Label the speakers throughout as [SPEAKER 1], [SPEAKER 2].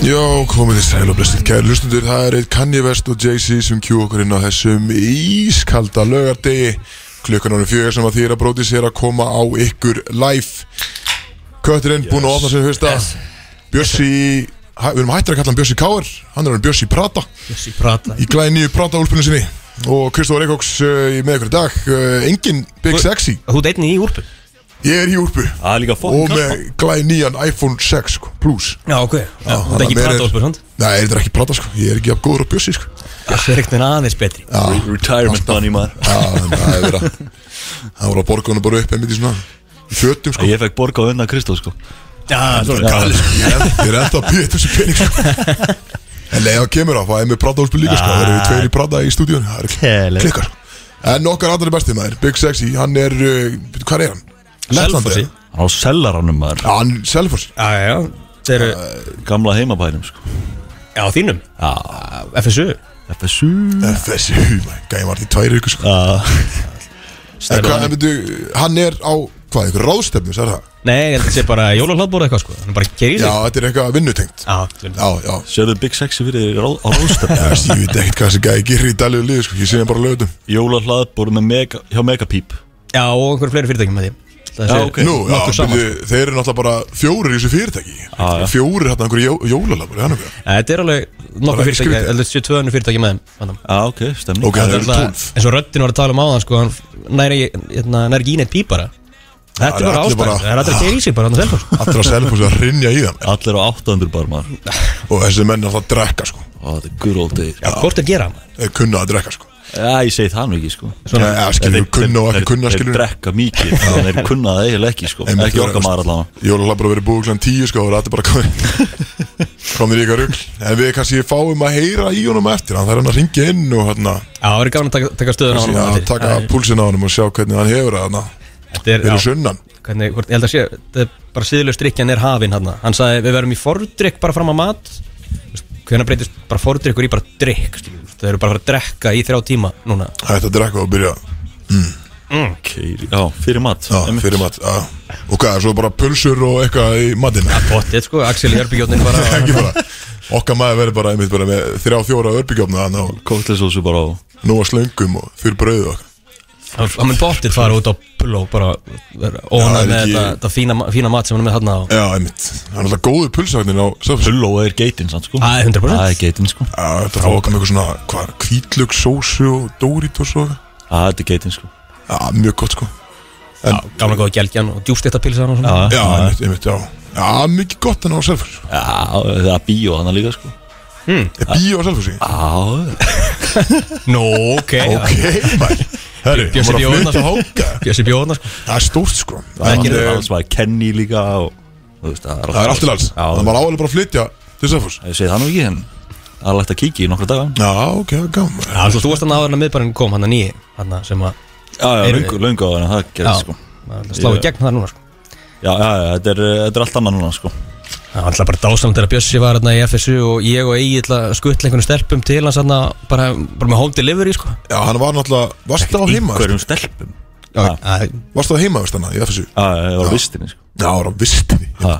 [SPEAKER 1] komið þið sæl og blessið kæri Lustundur, það er eitt Kanye West og Jay-Z sem kjú okkur inn á þessum ískalda lögardegi Klukkan ánum fjögur sem að þýra bróti sér að koma á ykkur live Kötturinn búinn að opna sér hausta
[SPEAKER 2] Yes.
[SPEAKER 1] Bjössi, hæ- við erum hættir að kalla hann Bjössi Káar Hann er hann Bjössi Prata
[SPEAKER 2] Bjössi Prata
[SPEAKER 1] Í glæði nýju Prata úlpunni sinni Og Kristóf Reykjóks uh, með ykkur í dag uh, Engin Big
[SPEAKER 3] Þú-
[SPEAKER 1] Sexy
[SPEAKER 2] Þú ert einnig í úrpu
[SPEAKER 1] Ég er í úlpu
[SPEAKER 3] Það er líka
[SPEAKER 1] Og
[SPEAKER 3] fokk
[SPEAKER 1] með glæði nýjan iPhone 6 sko, Plus
[SPEAKER 2] Já, ok Þú ert
[SPEAKER 1] þannig að
[SPEAKER 2] ekki
[SPEAKER 1] mér
[SPEAKER 2] Prata
[SPEAKER 1] er-
[SPEAKER 2] úrpu, sant?
[SPEAKER 1] Nei, þetta er ekki Prata sko Ég er ekki af góður á Bjössi sko
[SPEAKER 2] Bjössi er ekkert en aðeins betri
[SPEAKER 3] Re- Retirement money maður
[SPEAKER 1] Já, þannig að það er verið að Það voru að borga hana bara upp einmitt í svona í Fjötum sko
[SPEAKER 3] Ég fekk borga á unna Kristó sko
[SPEAKER 2] Já, þú
[SPEAKER 3] Já.
[SPEAKER 1] Kalli, sko, Ég er ég er ennþá að býja þessu pening sko En leiðan kemur á, það er með Prada úlspil líka sko Það
[SPEAKER 2] Ah.
[SPEAKER 1] eru tveir í Prada í stúdíun Það
[SPEAKER 2] Keli.
[SPEAKER 1] eru klikkar En okkar allra bestið maður, Big Sexy, hann er uh, Hvað er hann? Lettlandi
[SPEAKER 2] Selfossi.
[SPEAKER 3] Á sellaranum maður
[SPEAKER 1] Já, hann Selfoss
[SPEAKER 2] Já, já, já Þeir eru
[SPEAKER 3] Gamla heimabænum sko
[SPEAKER 2] Já, þínum
[SPEAKER 3] Já
[SPEAKER 2] FSU
[SPEAKER 3] FSU
[SPEAKER 2] Mm.
[SPEAKER 1] Eh, Þessi húma, gæði maður því tvær ykkur sko
[SPEAKER 2] Ah.
[SPEAKER 1] En hvað, en veitu, hann er á Hvað, ykkur ráðstefnu, sagði það?
[SPEAKER 2] Nei, ég held að þetta sé bara jólahlaðbóra eitthvað sko Hann er bara að gera í
[SPEAKER 1] Já,
[SPEAKER 2] sig
[SPEAKER 1] þetta er eitthvað vinnutengt
[SPEAKER 2] Já,
[SPEAKER 1] Já, já,
[SPEAKER 3] Sérðu Big Sexy fyrir þér í rá- á ráðstöfn
[SPEAKER 1] Já, veist, ég veit ekkert hvað þessi gæði gerir í daglegu liði sko. Ég sé hann bara lögutum
[SPEAKER 3] Jóla hlaðbor með mega, hjá Megapíp
[SPEAKER 2] já og einhverju fleiri fyrirtækjum með því Það
[SPEAKER 3] Já,
[SPEAKER 2] sé-
[SPEAKER 3] ok. sko.
[SPEAKER 1] Nú, já,
[SPEAKER 2] nokkuð saman,
[SPEAKER 1] byrju, þeir eru náttúrulega bara fjórir í þessu fyrirtæki
[SPEAKER 3] Ah, Já, já.
[SPEAKER 1] Fjórir hérna einhverju jó, jólalabur hann okkur.
[SPEAKER 2] Ja, Þetta er alveg
[SPEAKER 1] Bara
[SPEAKER 2] nokkuð
[SPEAKER 1] ekki
[SPEAKER 2] fyrirtæki
[SPEAKER 1] skrítið.
[SPEAKER 2] Þetta sé 200 fyrirtæki með þeim þannig að-
[SPEAKER 3] Já, Ah, ok, stemning
[SPEAKER 1] Ok, það
[SPEAKER 2] Þetta er
[SPEAKER 1] eru tólf
[SPEAKER 2] alltaf eins og röddin var að tala um áðan sko Hann næri, hérna, næri ekki í neitt pípara Þetta
[SPEAKER 1] Það
[SPEAKER 2] er
[SPEAKER 1] er
[SPEAKER 2] bara
[SPEAKER 1] allir
[SPEAKER 2] ástæðan
[SPEAKER 1] bara-
[SPEAKER 2] Það er sko. allir að gera í sig bara hann að selfa
[SPEAKER 1] Allra að selja að rinja í þeim
[SPEAKER 3] Allir á 800 bar maður
[SPEAKER 1] Og þessi menn alltaf að drekka sko.
[SPEAKER 3] Ó, þetta er good old days
[SPEAKER 2] Já, hvort er gera hann
[SPEAKER 1] Þeir kunna að drekka sko.
[SPEAKER 3] Já, ég segi það nú ekki sko
[SPEAKER 1] Já, ja, skilur, kunna og ekki kunna
[SPEAKER 3] Þeir
[SPEAKER 1] skilur
[SPEAKER 3] drekka mikið En þeir kunna það eiginlega ekki sko
[SPEAKER 1] Einmitt,
[SPEAKER 3] Ekki
[SPEAKER 1] þú-
[SPEAKER 3] okkar maður allavega
[SPEAKER 1] Jólalabur að vera búið klann tíu sko, og þetta bara komið komið í ykkar rugl En við kannski fáum að heyra í honum eftir Hann þarf hann að ringja inn og hérna,
[SPEAKER 2] Já, það verður gaman að taka, taka stöðuna á
[SPEAKER 1] já,
[SPEAKER 2] hann
[SPEAKER 1] taka púlsinn á honum og sjá hvernig hann hefur það hérna,
[SPEAKER 2] Þetta er,
[SPEAKER 1] fyrir
[SPEAKER 2] já,
[SPEAKER 1] sunnan
[SPEAKER 2] hvernig, hvort, ég held að sé þetta er bara síðlega strikkjan er hafin hann Hann sagði, við verðum í fordrykk bara fram að mat Hvernig breytist bara fordrykkur í bara drykk skilur við? Þau eru bara að fara að drekka í þrjá tíma núna
[SPEAKER 1] Hætt að drekka og byrja
[SPEAKER 3] Keiri- Já, fyrir mat
[SPEAKER 1] Já,
[SPEAKER 3] Einmitt.
[SPEAKER 1] fyrir mat, já Og hvað, svo bara pulsur og eitthvað í matinn
[SPEAKER 2] Pottið sko, Axel í herbygjónin bara
[SPEAKER 1] Ekki bara Okkar maður verður bara einmitt bara með þrjá fjóra örbyggjófna Þannig og
[SPEAKER 3] Kóktelsósu bara á
[SPEAKER 1] nóga slöngum og fyrir brauðu og okkar
[SPEAKER 2] Hann hann mun pottið fara út á pull og bara
[SPEAKER 1] Já, er
[SPEAKER 2] Ónað
[SPEAKER 1] ekki-
[SPEAKER 2] með þetta, þetta fína, fína mat sem hann er með hann á
[SPEAKER 1] Já, einmitt Það er alltaf góður pulsagnin á Selfoss Já,
[SPEAKER 3] Pulló er geitin sann sko
[SPEAKER 2] Það er 100%.
[SPEAKER 3] Það er geitin sko Já,
[SPEAKER 1] þetta fá okkar með eitthvað svona Hvað, kvítlug, sósu og Doritos og okkar
[SPEAKER 3] þetta er geitin sko
[SPEAKER 1] Já, mjög gott sko
[SPEAKER 2] Já, Gamla góða gelgjan og djústektapilsan og svona
[SPEAKER 3] Já,
[SPEAKER 1] Já, einmitt, einmitt, já Já, mikið gott en á Selfoss
[SPEAKER 3] Já, það er bíó hann líka sko
[SPEAKER 1] Er Eh, bíó á Selfossi?
[SPEAKER 3] Já,
[SPEAKER 2] Nú, ok
[SPEAKER 1] Ok, maður Herri, hann
[SPEAKER 2] Bjössi
[SPEAKER 1] var að
[SPEAKER 2] bjó
[SPEAKER 1] flytja
[SPEAKER 2] þarna.
[SPEAKER 1] hóka
[SPEAKER 2] Bjössi bjóðna sko
[SPEAKER 1] Það er stórt sko
[SPEAKER 2] Ekki
[SPEAKER 1] Hann,
[SPEAKER 3] það
[SPEAKER 1] eh,
[SPEAKER 3] er svæði Kenny líka og þú veist, það
[SPEAKER 1] Það er allt til alls
[SPEAKER 3] Já,
[SPEAKER 1] Það var áhverju bara að flytja til Selfoss
[SPEAKER 3] ég segi það nú ekki en það er lægt að kíkja í nokkra daga
[SPEAKER 1] Já, ok, það er gaman
[SPEAKER 2] Já, þú varst hann áður en að miðbærin kom hann að nýi hann sem að
[SPEAKER 3] Já, já,
[SPEAKER 2] Eru-
[SPEAKER 3] löngu, löngu á þannig að það
[SPEAKER 2] já,
[SPEAKER 3] gerist sko
[SPEAKER 2] maður slá í
[SPEAKER 3] Ég-
[SPEAKER 2] gegn það núna sko
[SPEAKER 3] Já, já, já, þetta er, þetta er allt annað núna sko
[SPEAKER 2] Það var alltaf bara dásamt til að Bjössi var hann í FSU og ég og Egil að skuttla einhvern stelpum til hans hann bara, bara með home delivery sko
[SPEAKER 1] Já, hann var náttúrulega, varst það á heima
[SPEAKER 3] Hverjum stelpum Já,
[SPEAKER 2] Já,
[SPEAKER 3] já,
[SPEAKER 2] það-
[SPEAKER 1] Varst það á heima, veist hana, í FSU
[SPEAKER 3] það var á vistinni sko
[SPEAKER 1] Já, það var á vistinni
[SPEAKER 3] Ha,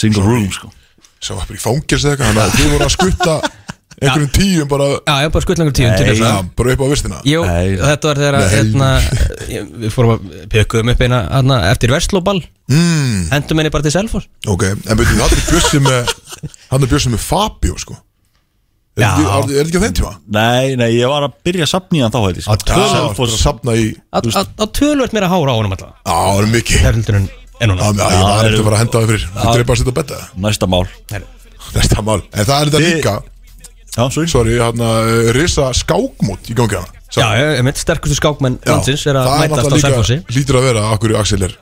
[SPEAKER 3] Single room sko
[SPEAKER 1] Sá var bara í fangils eða eitthvað Þannig að þú voru að skutta einhverjum tíum bara
[SPEAKER 2] já, ég bara skuttla einhvern tíum til
[SPEAKER 3] Nei.
[SPEAKER 2] þess
[SPEAKER 1] Já,
[SPEAKER 2] að
[SPEAKER 1] bara upp á vistina
[SPEAKER 2] Jú,
[SPEAKER 3] Nei.
[SPEAKER 2] þetta var þegar að,
[SPEAKER 1] Nei.
[SPEAKER 2] hérna, ég- við fórum að pjökkuðum upp eina hérna, eftir verslóball,
[SPEAKER 1] mm,
[SPEAKER 2] hendum henni bara til Selfoss
[SPEAKER 1] Ok, en betur, hann er bjössi með Hann er bjössi með Fabio, sko Er
[SPEAKER 2] Já.
[SPEAKER 1] þetta ekki- er þetta ekki á þeim tíma?
[SPEAKER 3] Nei, nei, ég var að byrja að sapna í hann þá hætti
[SPEAKER 2] Á
[SPEAKER 3] sko
[SPEAKER 2] tvö-
[SPEAKER 1] Já, það var að sapna í Já,
[SPEAKER 2] Að- að- að tölvöld mér að hára á honum alltaf
[SPEAKER 1] það er mikið Já,
[SPEAKER 2] Herhildurinn en núna
[SPEAKER 1] já, ég var
[SPEAKER 3] það
[SPEAKER 1] eftir
[SPEAKER 3] eru-
[SPEAKER 1] bara að henda það fyrir Þú drepa að setja að betta
[SPEAKER 3] Næsta mál
[SPEAKER 1] Næsta mál En það er þetta
[SPEAKER 3] Þið-
[SPEAKER 1] líka
[SPEAKER 3] Já, sorry
[SPEAKER 1] Sorry, hann að risa skákmót í gangi hana Sá-
[SPEAKER 2] Já, ég mitt sterkustu skákmenn landsins er að
[SPEAKER 1] það er
[SPEAKER 2] mætast á
[SPEAKER 1] náttúrulega
[SPEAKER 2] Selfossi
[SPEAKER 1] líka, Lítur að vera að hverju Axel er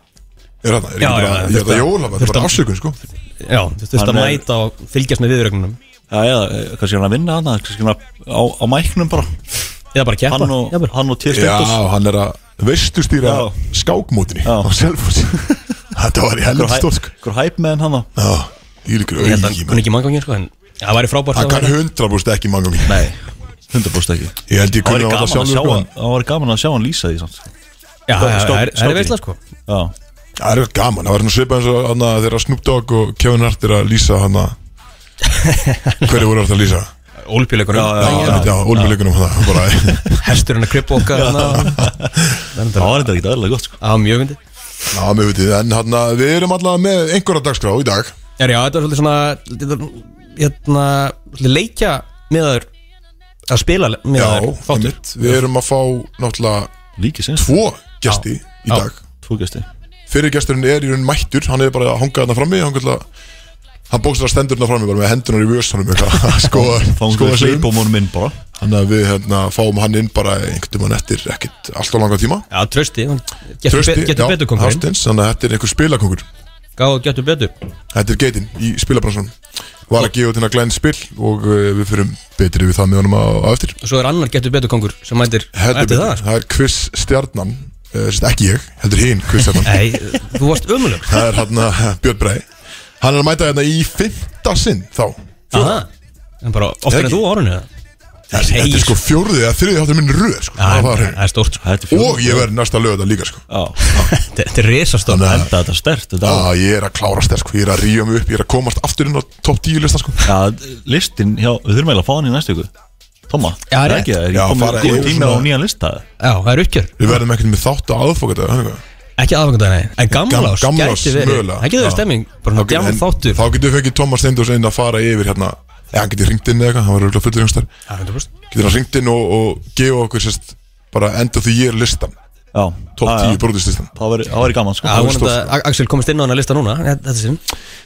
[SPEAKER 1] Er hann, er
[SPEAKER 2] Já,
[SPEAKER 1] ekki bara,
[SPEAKER 2] já,
[SPEAKER 1] ég er
[SPEAKER 2] þurfti
[SPEAKER 1] það
[SPEAKER 2] að-
[SPEAKER 1] jóla Það er
[SPEAKER 2] þurfti
[SPEAKER 1] bara
[SPEAKER 2] að-
[SPEAKER 1] afsökun sko
[SPEAKER 2] Já, þú þurft að
[SPEAKER 3] Hann er-
[SPEAKER 2] mæta og fylgjast með viðrögnunum
[SPEAKER 3] Já, já, eh, kannski hann að vinna hann Kannski hann að- á, á mæknum bara
[SPEAKER 2] Eða bara keppa
[SPEAKER 3] Hann og,
[SPEAKER 2] jafnvel.
[SPEAKER 3] hann og Týr
[SPEAKER 1] Já,
[SPEAKER 3] Steindos
[SPEAKER 1] hann er að veistustýra
[SPEAKER 3] Já.
[SPEAKER 1] skákmótinni
[SPEAKER 3] Já.
[SPEAKER 1] á Selfoss Þetta var í helviti stórt sko
[SPEAKER 3] Hver hæp með hann hann
[SPEAKER 1] Já, ég líkur
[SPEAKER 2] Ég held að hann kunni
[SPEAKER 1] auðvitað
[SPEAKER 2] ekki manngangin sko en það væri frábært
[SPEAKER 1] Hann
[SPEAKER 2] að
[SPEAKER 1] kann
[SPEAKER 2] vera-
[SPEAKER 1] hundra búst ekki manga mín
[SPEAKER 3] Nei, 100% ekki
[SPEAKER 1] Ég held ég
[SPEAKER 3] Það
[SPEAKER 1] kunni
[SPEAKER 3] var
[SPEAKER 1] að það
[SPEAKER 3] gaman að sjá
[SPEAKER 1] sjálfur sko.
[SPEAKER 3] hann Það var gaman að sjá hann lýsa því samt
[SPEAKER 2] Já, já, já,
[SPEAKER 3] skák-
[SPEAKER 2] það er- það
[SPEAKER 3] skákið.
[SPEAKER 2] er veitlega sko
[SPEAKER 3] Já,
[SPEAKER 1] Það er gaman, það var nú svipað eins og hann að þeirra Snoop Dogg og Kevin Hart er að lýsa hann að Hverju voru alltaf að lýsa?
[SPEAKER 2] Olbjuleikunum
[SPEAKER 1] Já, já, já ólmjöleikunum hann bara,
[SPEAKER 2] Hesturinn að krippa okkar
[SPEAKER 3] Það
[SPEAKER 2] Það
[SPEAKER 3] var þetta ekki aðeinslega gott sko
[SPEAKER 2] var mjög myndi
[SPEAKER 1] Já, mér veit ég, en hann við erum alltaf með einhverja dagskrá í dag
[SPEAKER 2] Er já, þetta var svolítið svona þetta- Hérna, svolítið leikja meðaður Að spila
[SPEAKER 1] Já,
[SPEAKER 2] meðaður þáttur
[SPEAKER 1] einmitt. við erum að fá náttúrulega
[SPEAKER 3] Líki sinns
[SPEAKER 1] tvo gesti í
[SPEAKER 2] Já.
[SPEAKER 1] dag
[SPEAKER 3] Tvo gæsti
[SPEAKER 1] Fyrir gesturinn er í raun mættur, hann er bara að hanga þarna frammi Hann, ætla, hann bókstur að stendur þarna frammi bara með hendunar í vösunum eitthvað, að Skoða,
[SPEAKER 3] Fáum
[SPEAKER 1] skoða
[SPEAKER 3] við
[SPEAKER 1] sig um
[SPEAKER 3] hleypum honum inn bara
[SPEAKER 1] Þannig að við hérna, fáum hann inn bara einhvern tímann eftir ekkert alltaf langan tíma
[SPEAKER 2] Já, trösti hann Getur
[SPEAKER 1] Trausti,
[SPEAKER 2] be- getur
[SPEAKER 1] já,
[SPEAKER 2] betur konkurinn
[SPEAKER 1] Hafsteins, þannig að þetta er einhver spilakongur
[SPEAKER 2] Gáðu getur betur
[SPEAKER 1] Þetta er geitin í spilabransunum Var að gefa út hérna glæn spil og uh, við fyrum betri við það með honum á, á eftir
[SPEAKER 2] Og svo er annar getur betur kongur Sem mætir
[SPEAKER 1] Heldur betur.
[SPEAKER 2] Eftir það sko.
[SPEAKER 1] Það er quiz stjarnan uh, sérst, Ekki ég, heldur hinn quiz stjarnan
[SPEAKER 2] Nei, þú varst ömuleg
[SPEAKER 1] Það er hann að Björn Brei Hann er að mæta hérna í fymta sinn þá
[SPEAKER 2] Aha. En bara oftar en
[SPEAKER 1] Ekki.
[SPEAKER 2] þú á árunni eða?
[SPEAKER 1] Þetta þetta
[SPEAKER 2] segir
[SPEAKER 1] er sko fjórði eða þriði hátur minn röð sko.
[SPEAKER 2] Já,
[SPEAKER 1] Það var
[SPEAKER 2] Það
[SPEAKER 1] hreinu.
[SPEAKER 2] er stórt sko.
[SPEAKER 3] Þetta er fjórum
[SPEAKER 1] Og ég verð næsta lög þetta líka sko.
[SPEAKER 3] Já
[SPEAKER 2] Þetta er risastórt
[SPEAKER 1] Þannig að-
[SPEAKER 3] Enda þetta stert Þetta á
[SPEAKER 1] ah, Ég er að klárast þér sko. Ég er að ríja mig upp, ég er að komast aftur inn á topp 10 lista sko.
[SPEAKER 3] Já, listin hjá Við þurfum eiginlega að fá hann í næstu ykkur Tóma
[SPEAKER 2] Já,
[SPEAKER 3] það
[SPEAKER 2] rétt.
[SPEAKER 3] er ekki það
[SPEAKER 1] Já,
[SPEAKER 3] Er
[SPEAKER 1] fara yfir
[SPEAKER 3] komið góð tími á
[SPEAKER 1] svona-
[SPEAKER 3] nýjan lista
[SPEAKER 2] Já, það er uppgjör
[SPEAKER 1] Við verðum ekkert með þátt að aðfoka þetta
[SPEAKER 2] Ekki aðfangadaginn, nei En
[SPEAKER 1] Gam-
[SPEAKER 2] gamlás,
[SPEAKER 1] gamlás,
[SPEAKER 2] gæti verið
[SPEAKER 1] mögulega.
[SPEAKER 2] Það getur
[SPEAKER 1] Já.
[SPEAKER 2] verið stemming Bara svona djám þáttur
[SPEAKER 1] Þá getur við fengið Thomas Steindors inn að fara yfir hérna Eða hann getur ringt inn eða eitthvað, hann var auðvitað fullur einhverstaðar.
[SPEAKER 2] Já, 100%.
[SPEAKER 1] Getur hann ringt inn og, og gefa okkur sérst Bara enda því ég er listan
[SPEAKER 3] Já
[SPEAKER 1] Top
[SPEAKER 3] Ah,
[SPEAKER 1] 10
[SPEAKER 3] Já, já.
[SPEAKER 1] brotislistan
[SPEAKER 3] Það væri- það væri gaman sko
[SPEAKER 2] Já, vonandi að A- Axel komist inn á hann að lista núna Þetta- Þetta sinn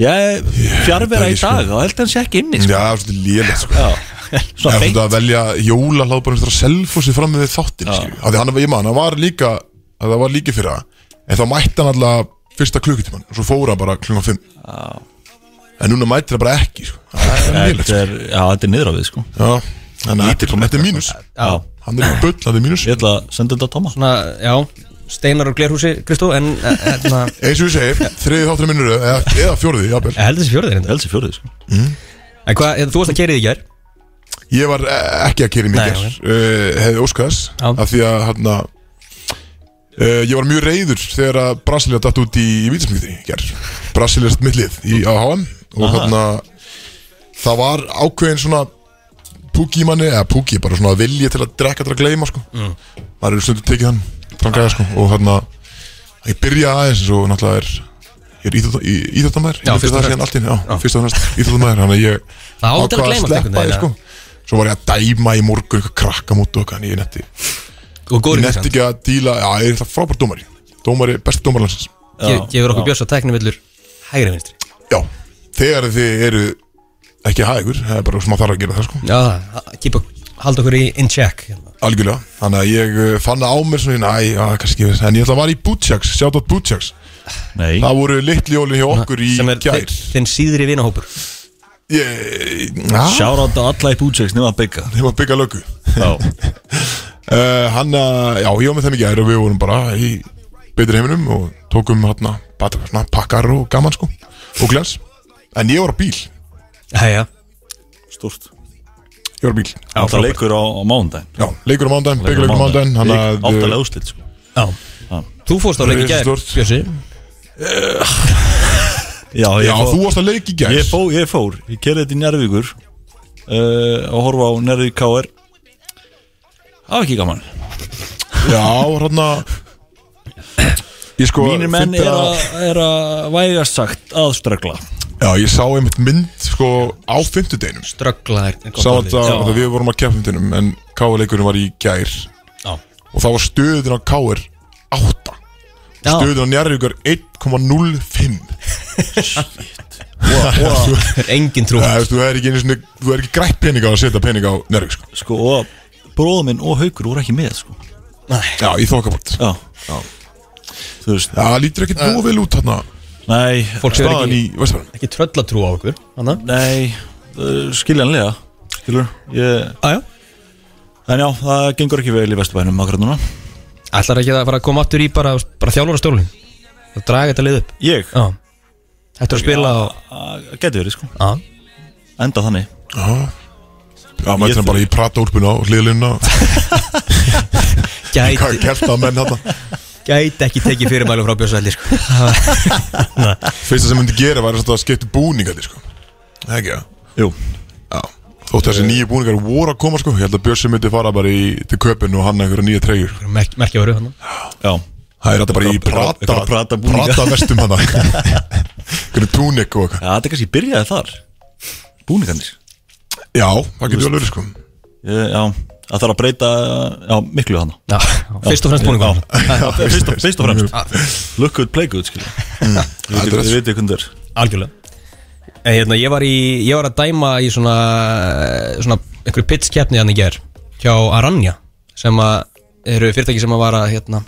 [SPEAKER 3] Ég fjarvera
[SPEAKER 1] Ég-
[SPEAKER 3] í dag og held að hann sé ekki inni sko.
[SPEAKER 1] Já, svolítið lélegt sko
[SPEAKER 3] Já
[SPEAKER 1] Það
[SPEAKER 3] Svona
[SPEAKER 1] er
[SPEAKER 3] beint
[SPEAKER 1] svolítið að velja jóla hláðbærum Þetta selfossi fram með þáttin Af því hann, ég man, hann var líka Það var líki fyrir það En þá mætti hann alltaf fyrsta klukkutíman Og svo fóra bara klungan 5 Já. En núna mætti það bara ekki sko. Það er lélegt
[SPEAKER 3] Þetta
[SPEAKER 1] sko.
[SPEAKER 3] er, já, þetta er niður á við sko
[SPEAKER 1] Já, Þannig að þetta er- þetta er mínus
[SPEAKER 3] Já,
[SPEAKER 1] Hann er í bull, hann er í mínus
[SPEAKER 3] ég ætla að senda þetta á Tóma
[SPEAKER 2] Svona, já Steinar og Glerhúsi, Kristó En, e- hérna- en, en
[SPEAKER 1] Eins og við segir, þriði þáttur minnur eða, eða fjórði, jábel
[SPEAKER 2] Ég held þessi fjórið hérna
[SPEAKER 3] Elsi fjórið sko
[SPEAKER 2] En hvað, hérna, þú varst að keira í gær
[SPEAKER 1] Ég var eh, ekki að keri mikið
[SPEAKER 2] Nei,
[SPEAKER 1] uh, Hefði óskaðis
[SPEAKER 2] Já.
[SPEAKER 1] Af því að hann uh, Ég var mjög reyður þegar að Brasilia datt út í, í vítasmyndi Brasilia satt mittlið í AHM Og
[SPEAKER 3] Aha.
[SPEAKER 1] hann Það var ákveðin svona Púki í manni, eða púki, bara svona vilji til að drekka til að gleyma sko mm. Maður eru stundum tekið hann, frangaði sko Og hann að ég byrja aðeins eins og náttúrulega er Ég er íþrótta- í- íþróttamæður, ég
[SPEAKER 2] Já,
[SPEAKER 1] myndi
[SPEAKER 2] fyrst og
[SPEAKER 1] það
[SPEAKER 2] fremst.
[SPEAKER 1] síðan allt inn, já, fyrst og fremst íþróttamæður, þannig að ég
[SPEAKER 2] Það á til að
[SPEAKER 1] ákvað
[SPEAKER 2] gleymast einhvern
[SPEAKER 1] sleppa því
[SPEAKER 2] veginn,
[SPEAKER 1] sko Svo var ég að dæma í morgun eitthvað krakka mútu okkar en ég netti Ég
[SPEAKER 2] Og góður
[SPEAKER 1] netti
[SPEAKER 2] ekki
[SPEAKER 1] ekki að díla, já ég er það frábært dómari Dómari, besti dómarlansins
[SPEAKER 3] Já,
[SPEAKER 2] Gefur okkur
[SPEAKER 3] já.
[SPEAKER 2] björs á tæknivillur Hægri vinstri
[SPEAKER 1] Já, þegar þið eru ekki hægur, það er bara sem að þarf að gera það sko
[SPEAKER 2] Já, kýpa, halda okkur í in check hérna.
[SPEAKER 1] Algjörlega, þannig að ég uh, fann það á mér svona, næ, já, kannski ekki En ég ætla að var í Butchaks, sjátt átt Butchaks
[SPEAKER 3] Nei,
[SPEAKER 1] Það voru litli jólin hjá okkur í
[SPEAKER 2] Sem er
[SPEAKER 1] gær
[SPEAKER 2] þi- þinn síðri vinahópur
[SPEAKER 1] Ég, na,
[SPEAKER 3] sjárat á alla í bútseks nema að bygga
[SPEAKER 1] þeim að byggja löggu
[SPEAKER 3] Já,
[SPEAKER 1] Uh, hann að, já, ég var með þeim í gær og við vorum bara í betri heiminum og tókum hann að pakkar og gaman sko og glens en ég var á bíl, ég
[SPEAKER 2] Jæja,
[SPEAKER 3] stort
[SPEAKER 1] var á bíl já,
[SPEAKER 3] Það
[SPEAKER 2] frábært.
[SPEAKER 3] leikur á, á mándaginn
[SPEAKER 1] leikur á mándaginn, byggjuleikur á mándaginn hann að,
[SPEAKER 3] Áttalega
[SPEAKER 1] uh,
[SPEAKER 3] úslit sko
[SPEAKER 2] Já Þú fórst á leik í gær,
[SPEAKER 1] Risastórt.
[SPEAKER 2] Bjössi
[SPEAKER 3] Já,
[SPEAKER 1] já,
[SPEAKER 3] fór-
[SPEAKER 1] þú varst að leik í gær
[SPEAKER 3] Ég fór, ég fór, ég kerði þetta í Njárvíkur uh, og horfa á Njárvík KR Það var ekki gaman
[SPEAKER 1] já, hann að ég sko
[SPEAKER 3] Mínir menn
[SPEAKER 1] fyndi
[SPEAKER 3] er að, er að vægast sagt að ströggla
[SPEAKER 1] já, ég sá einmitt mynd sko á fymtudeginum
[SPEAKER 2] Strögglaðir
[SPEAKER 1] sá þetta,
[SPEAKER 3] Já.
[SPEAKER 1] að við vorum að keppa fymtudeinum en K-leikurinn var í gær
[SPEAKER 2] Já
[SPEAKER 1] og þá var stöðin á K-er 8
[SPEAKER 2] Já,
[SPEAKER 1] stöðin á Njarvíkar 1,05
[SPEAKER 2] engin trú
[SPEAKER 1] Það, veist, þú er ekki einu svona, þú er ekki grætt pening á að setja pening á Njárvík sko.
[SPEAKER 3] sko, og bróður minn og haukur voru ekki með sko.
[SPEAKER 1] Já, í þokkabort
[SPEAKER 3] Já, já Þú veist,
[SPEAKER 1] Já, lítur ekki nóg vel út hérna
[SPEAKER 3] nei
[SPEAKER 2] Fólk sem er
[SPEAKER 1] Staðan í
[SPEAKER 2] ekki,
[SPEAKER 1] Vestfærum
[SPEAKER 2] ekki tröllatrú á okkur Hanna
[SPEAKER 3] Nei, uh, skiljanlega Skilur, ég
[SPEAKER 2] Aja
[SPEAKER 3] En já, það gengur ekki vel í Vesturbænum akkurat núna
[SPEAKER 2] Ætlar ekki að fara að koma aftur í bara, bara þjálfara stólin Og draga þetta lið upp
[SPEAKER 3] Ég,
[SPEAKER 2] Já Þetta er að spila á
[SPEAKER 3] það geti verið sko
[SPEAKER 2] Já
[SPEAKER 3] Enda þannig
[SPEAKER 1] Já, já
[SPEAKER 3] Ég
[SPEAKER 1] mætti hann bara í prata úlpuna og hliðlinna Hvað
[SPEAKER 2] Gæti,
[SPEAKER 1] kert að menn hérna
[SPEAKER 2] gæti ekki tekið fyrirmælu frá Bjössi Velli sko.
[SPEAKER 1] Fyrsta sem myndi gera var að skipta búninga því sko Það ekki, já Eh.
[SPEAKER 3] Jú,
[SPEAKER 1] Já. Þótt þessi nýju búningar voru að koma sko Ég held að Björsi myndi fara bara í, til köpinn og hanna einhverja nýja treyjur
[SPEAKER 2] merk, merkjavöru hann
[SPEAKER 3] já
[SPEAKER 1] Það er þetta bara í
[SPEAKER 3] Einhverja-
[SPEAKER 1] prata
[SPEAKER 3] einhverja Prada búninga.
[SPEAKER 1] Prata vestum hann Hvernig túnik og eitthvað
[SPEAKER 3] Já, þetta er kannski byrjaði þar Búningarnir
[SPEAKER 1] Já, það getur alveg verið, sko
[SPEAKER 3] Ég- Já, það þarf að breyta Já, miklu hana
[SPEAKER 2] Já, fyrst og fremst búningur
[SPEAKER 3] Já, fyrst og- fyrst og fremst
[SPEAKER 2] Já.
[SPEAKER 3] Look good, play good, skilja
[SPEAKER 1] Það Mm. er
[SPEAKER 3] Við
[SPEAKER 1] rétt.
[SPEAKER 3] veitum hvernig það er
[SPEAKER 2] Algjörlega En hérna, ég var, í, ég var að dæma í svona, svona einhverju pitskeppni hann í ger hjá Aranja sem að eru fyrirtæki sem að var að hérna,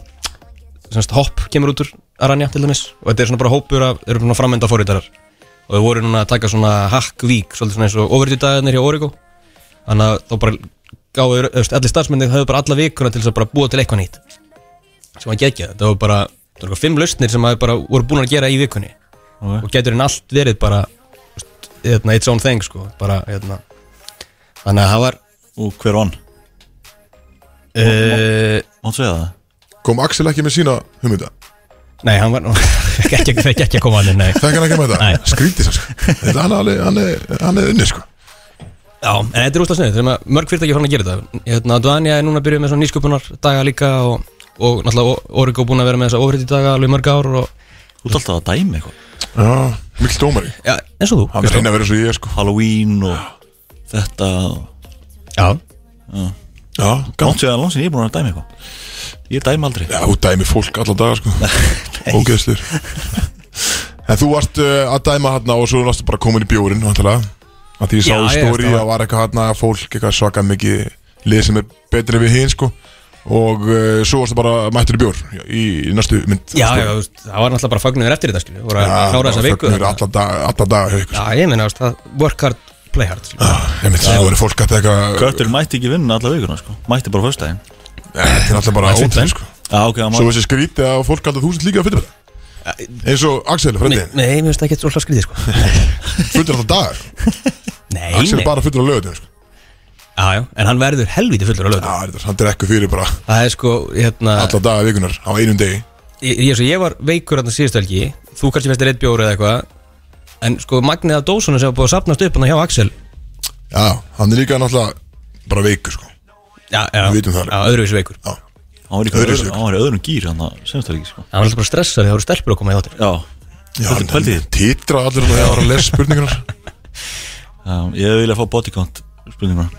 [SPEAKER 2] semst hopp kemur út úr Aranja til dæmis og þetta er svona bara hópur af, eru svona framenda fórhýtarar og þau voru núna að taka svona hack week svolítið svona eins og overtýtaðinir hjá Origo þannig að þá bara gáðu, þú veist, allir starfsmenni höfðu bara alla vikuna til þess að bara búa til eitthvað nýtt sem að gegja, þetta var bara það var fimm lausnir sem að bara voru búin að gera í vikunni
[SPEAKER 3] Ok.
[SPEAKER 2] og getur henni allt verið bara þú veist, hérna, it's own thing sko bara, hérna. þannig að það var
[SPEAKER 3] Og hver vann?
[SPEAKER 2] uh,
[SPEAKER 3] Máttu segja það?
[SPEAKER 1] Kom Axel ekki með sína hugmynda
[SPEAKER 2] nei, hann var nú fekk ekki, fekk ekki að koma hann inn, nei.
[SPEAKER 1] Þekk hann ekki með
[SPEAKER 2] Nei.
[SPEAKER 1] þetta Skrítið sér sko Þetta hann, hann, hann, er- hann er unni sko
[SPEAKER 2] Já, en þetta er úslega snið, þegar maður- mörg fyrirtæki fann að gera þetta hérna, Dvanja er núna að byrja með svona nýsköpunar daga líka og, og náttúrulega Origo búin að vera með þessa ofrið daga alveg í mörg ár og,
[SPEAKER 3] Þú ert alltaf að dæmi eitthvað
[SPEAKER 1] Já, mikill dómari
[SPEAKER 2] já, eins og þú
[SPEAKER 1] Hann er
[SPEAKER 2] Kristján.
[SPEAKER 1] reyna að vera eins og ég sko
[SPEAKER 3] Halloween og þetta
[SPEAKER 2] Já,
[SPEAKER 1] Já, gaman
[SPEAKER 3] Máttu segja það langsinn, ég er búin að dæmi eitthvað Ég dæmi aldrei
[SPEAKER 1] Já, þú dæmi fólk alla daga sko Ógeðslur En þú varst uh, að dæma hann og svo varstu bara komin í bjórin vantilega að því ég sá
[SPEAKER 2] Já,
[SPEAKER 1] í
[SPEAKER 2] ég
[SPEAKER 1] stóri að
[SPEAKER 2] veist það.
[SPEAKER 1] það var eitthvað hann að fólk eitthvað svaka mikið lið sem er betri við hinn sko og uh, svo varstu bara mættur í bjór í, í næstu mynd sko.
[SPEAKER 2] já, já, þú veist, það var náttúrulega bara fagnuður eftir þetta skilju, voru að
[SPEAKER 1] það
[SPEAKER 2] klára þessa
[SPEAKER 1] var
[SPEAKER 2] viku
[SPEAKER 1] þögnur
[SPEAKER 2] þarna.
[SPEAKER 1] alla daga, alla daga sko. hjá ykkur.
[SPEAKER 2] Já, ég meina, þú veist, það work hard, play hard skilju.
[SPEAKER 1] Ég myndi að það verið fólk að teka
[SPEAKER 3] Köttur mætti ekki vinna alla vikuna, sko Mætti bara föstudaginn
[SPEAKER 1] Þetta er alltaf bara
[SPEAKER 2] Það er fínt, en.
[SPEAKER 1] ótrúð sko
[SPEAKER 3] Já, ok, það
[SPEAKER 1] Eh, Svo
[SPEAKER 3] má
[SPEAKER 1] þessi skrítið að fólk alltaf þúsund líka að fyrir þetta eins og Axel,
[SPEAKER 2] Nei,
[SPEAKER 1] frændið,
[SPEAKER 2] nei, mér finnst það ekki svolítið skrítið sko
[SPEAKER 1] fullir alltaf dagar
[SPEAKER 2] Nei,
[SPEAKER 1] Axel
[SPEAKER 2] nei
[SPEAKER 1] er bara fullir á lögutum sko
[SPEAKER 2] já, já, En hann verður helviti fullur á lögum
[SPEAKER 1] Já, þetta er hann drekku fyrir bara
[SPEAKER 2] Það er sko, hérna
[SPEAKER 1] alla daga vikunar á einum degi
[SPEAKER 2] ég, ég, svo, ég var veikur hérna síðustu helgi Þú kannski fæstir eitt bjóri eða eitthvað En sko, magnið af dósunum sem var búið að sapnast upp hann hjá Axel
[SPEAKER 1] Já, hann er líka náttúrulega bara veikur sko
[SPEAKER 2] Já, já,
[SPEAKER 1] Við vitum það alveg.
[SPEAKER 2] já öðruvísi veikur
[SPEAKER 1] Já,
[SPEAKER 3] Hann var í einhverju
[SPEAKER 1] Öðru
[SPEAKER 3] öðru-
[SPEAKER 1] sök.
[SPEAKER 3] hann var í öðrum gýr hann að semst ekki, sko
[SPEAKER 2] Það var alltaf bara stressað, það voru stelpur að koma í þáttir
[SPEAKER 3] Já,
[SPEAKER 1] já
[SPEAKER 3] Pældi-
[SPEAKER 1] hann
[SPEAKER 3] pældi því?
[SPEAKER 1] titra allir og það var að lesa spurningunar
[SPEAKER 3] um, ég vilja fá bodycount spurninguna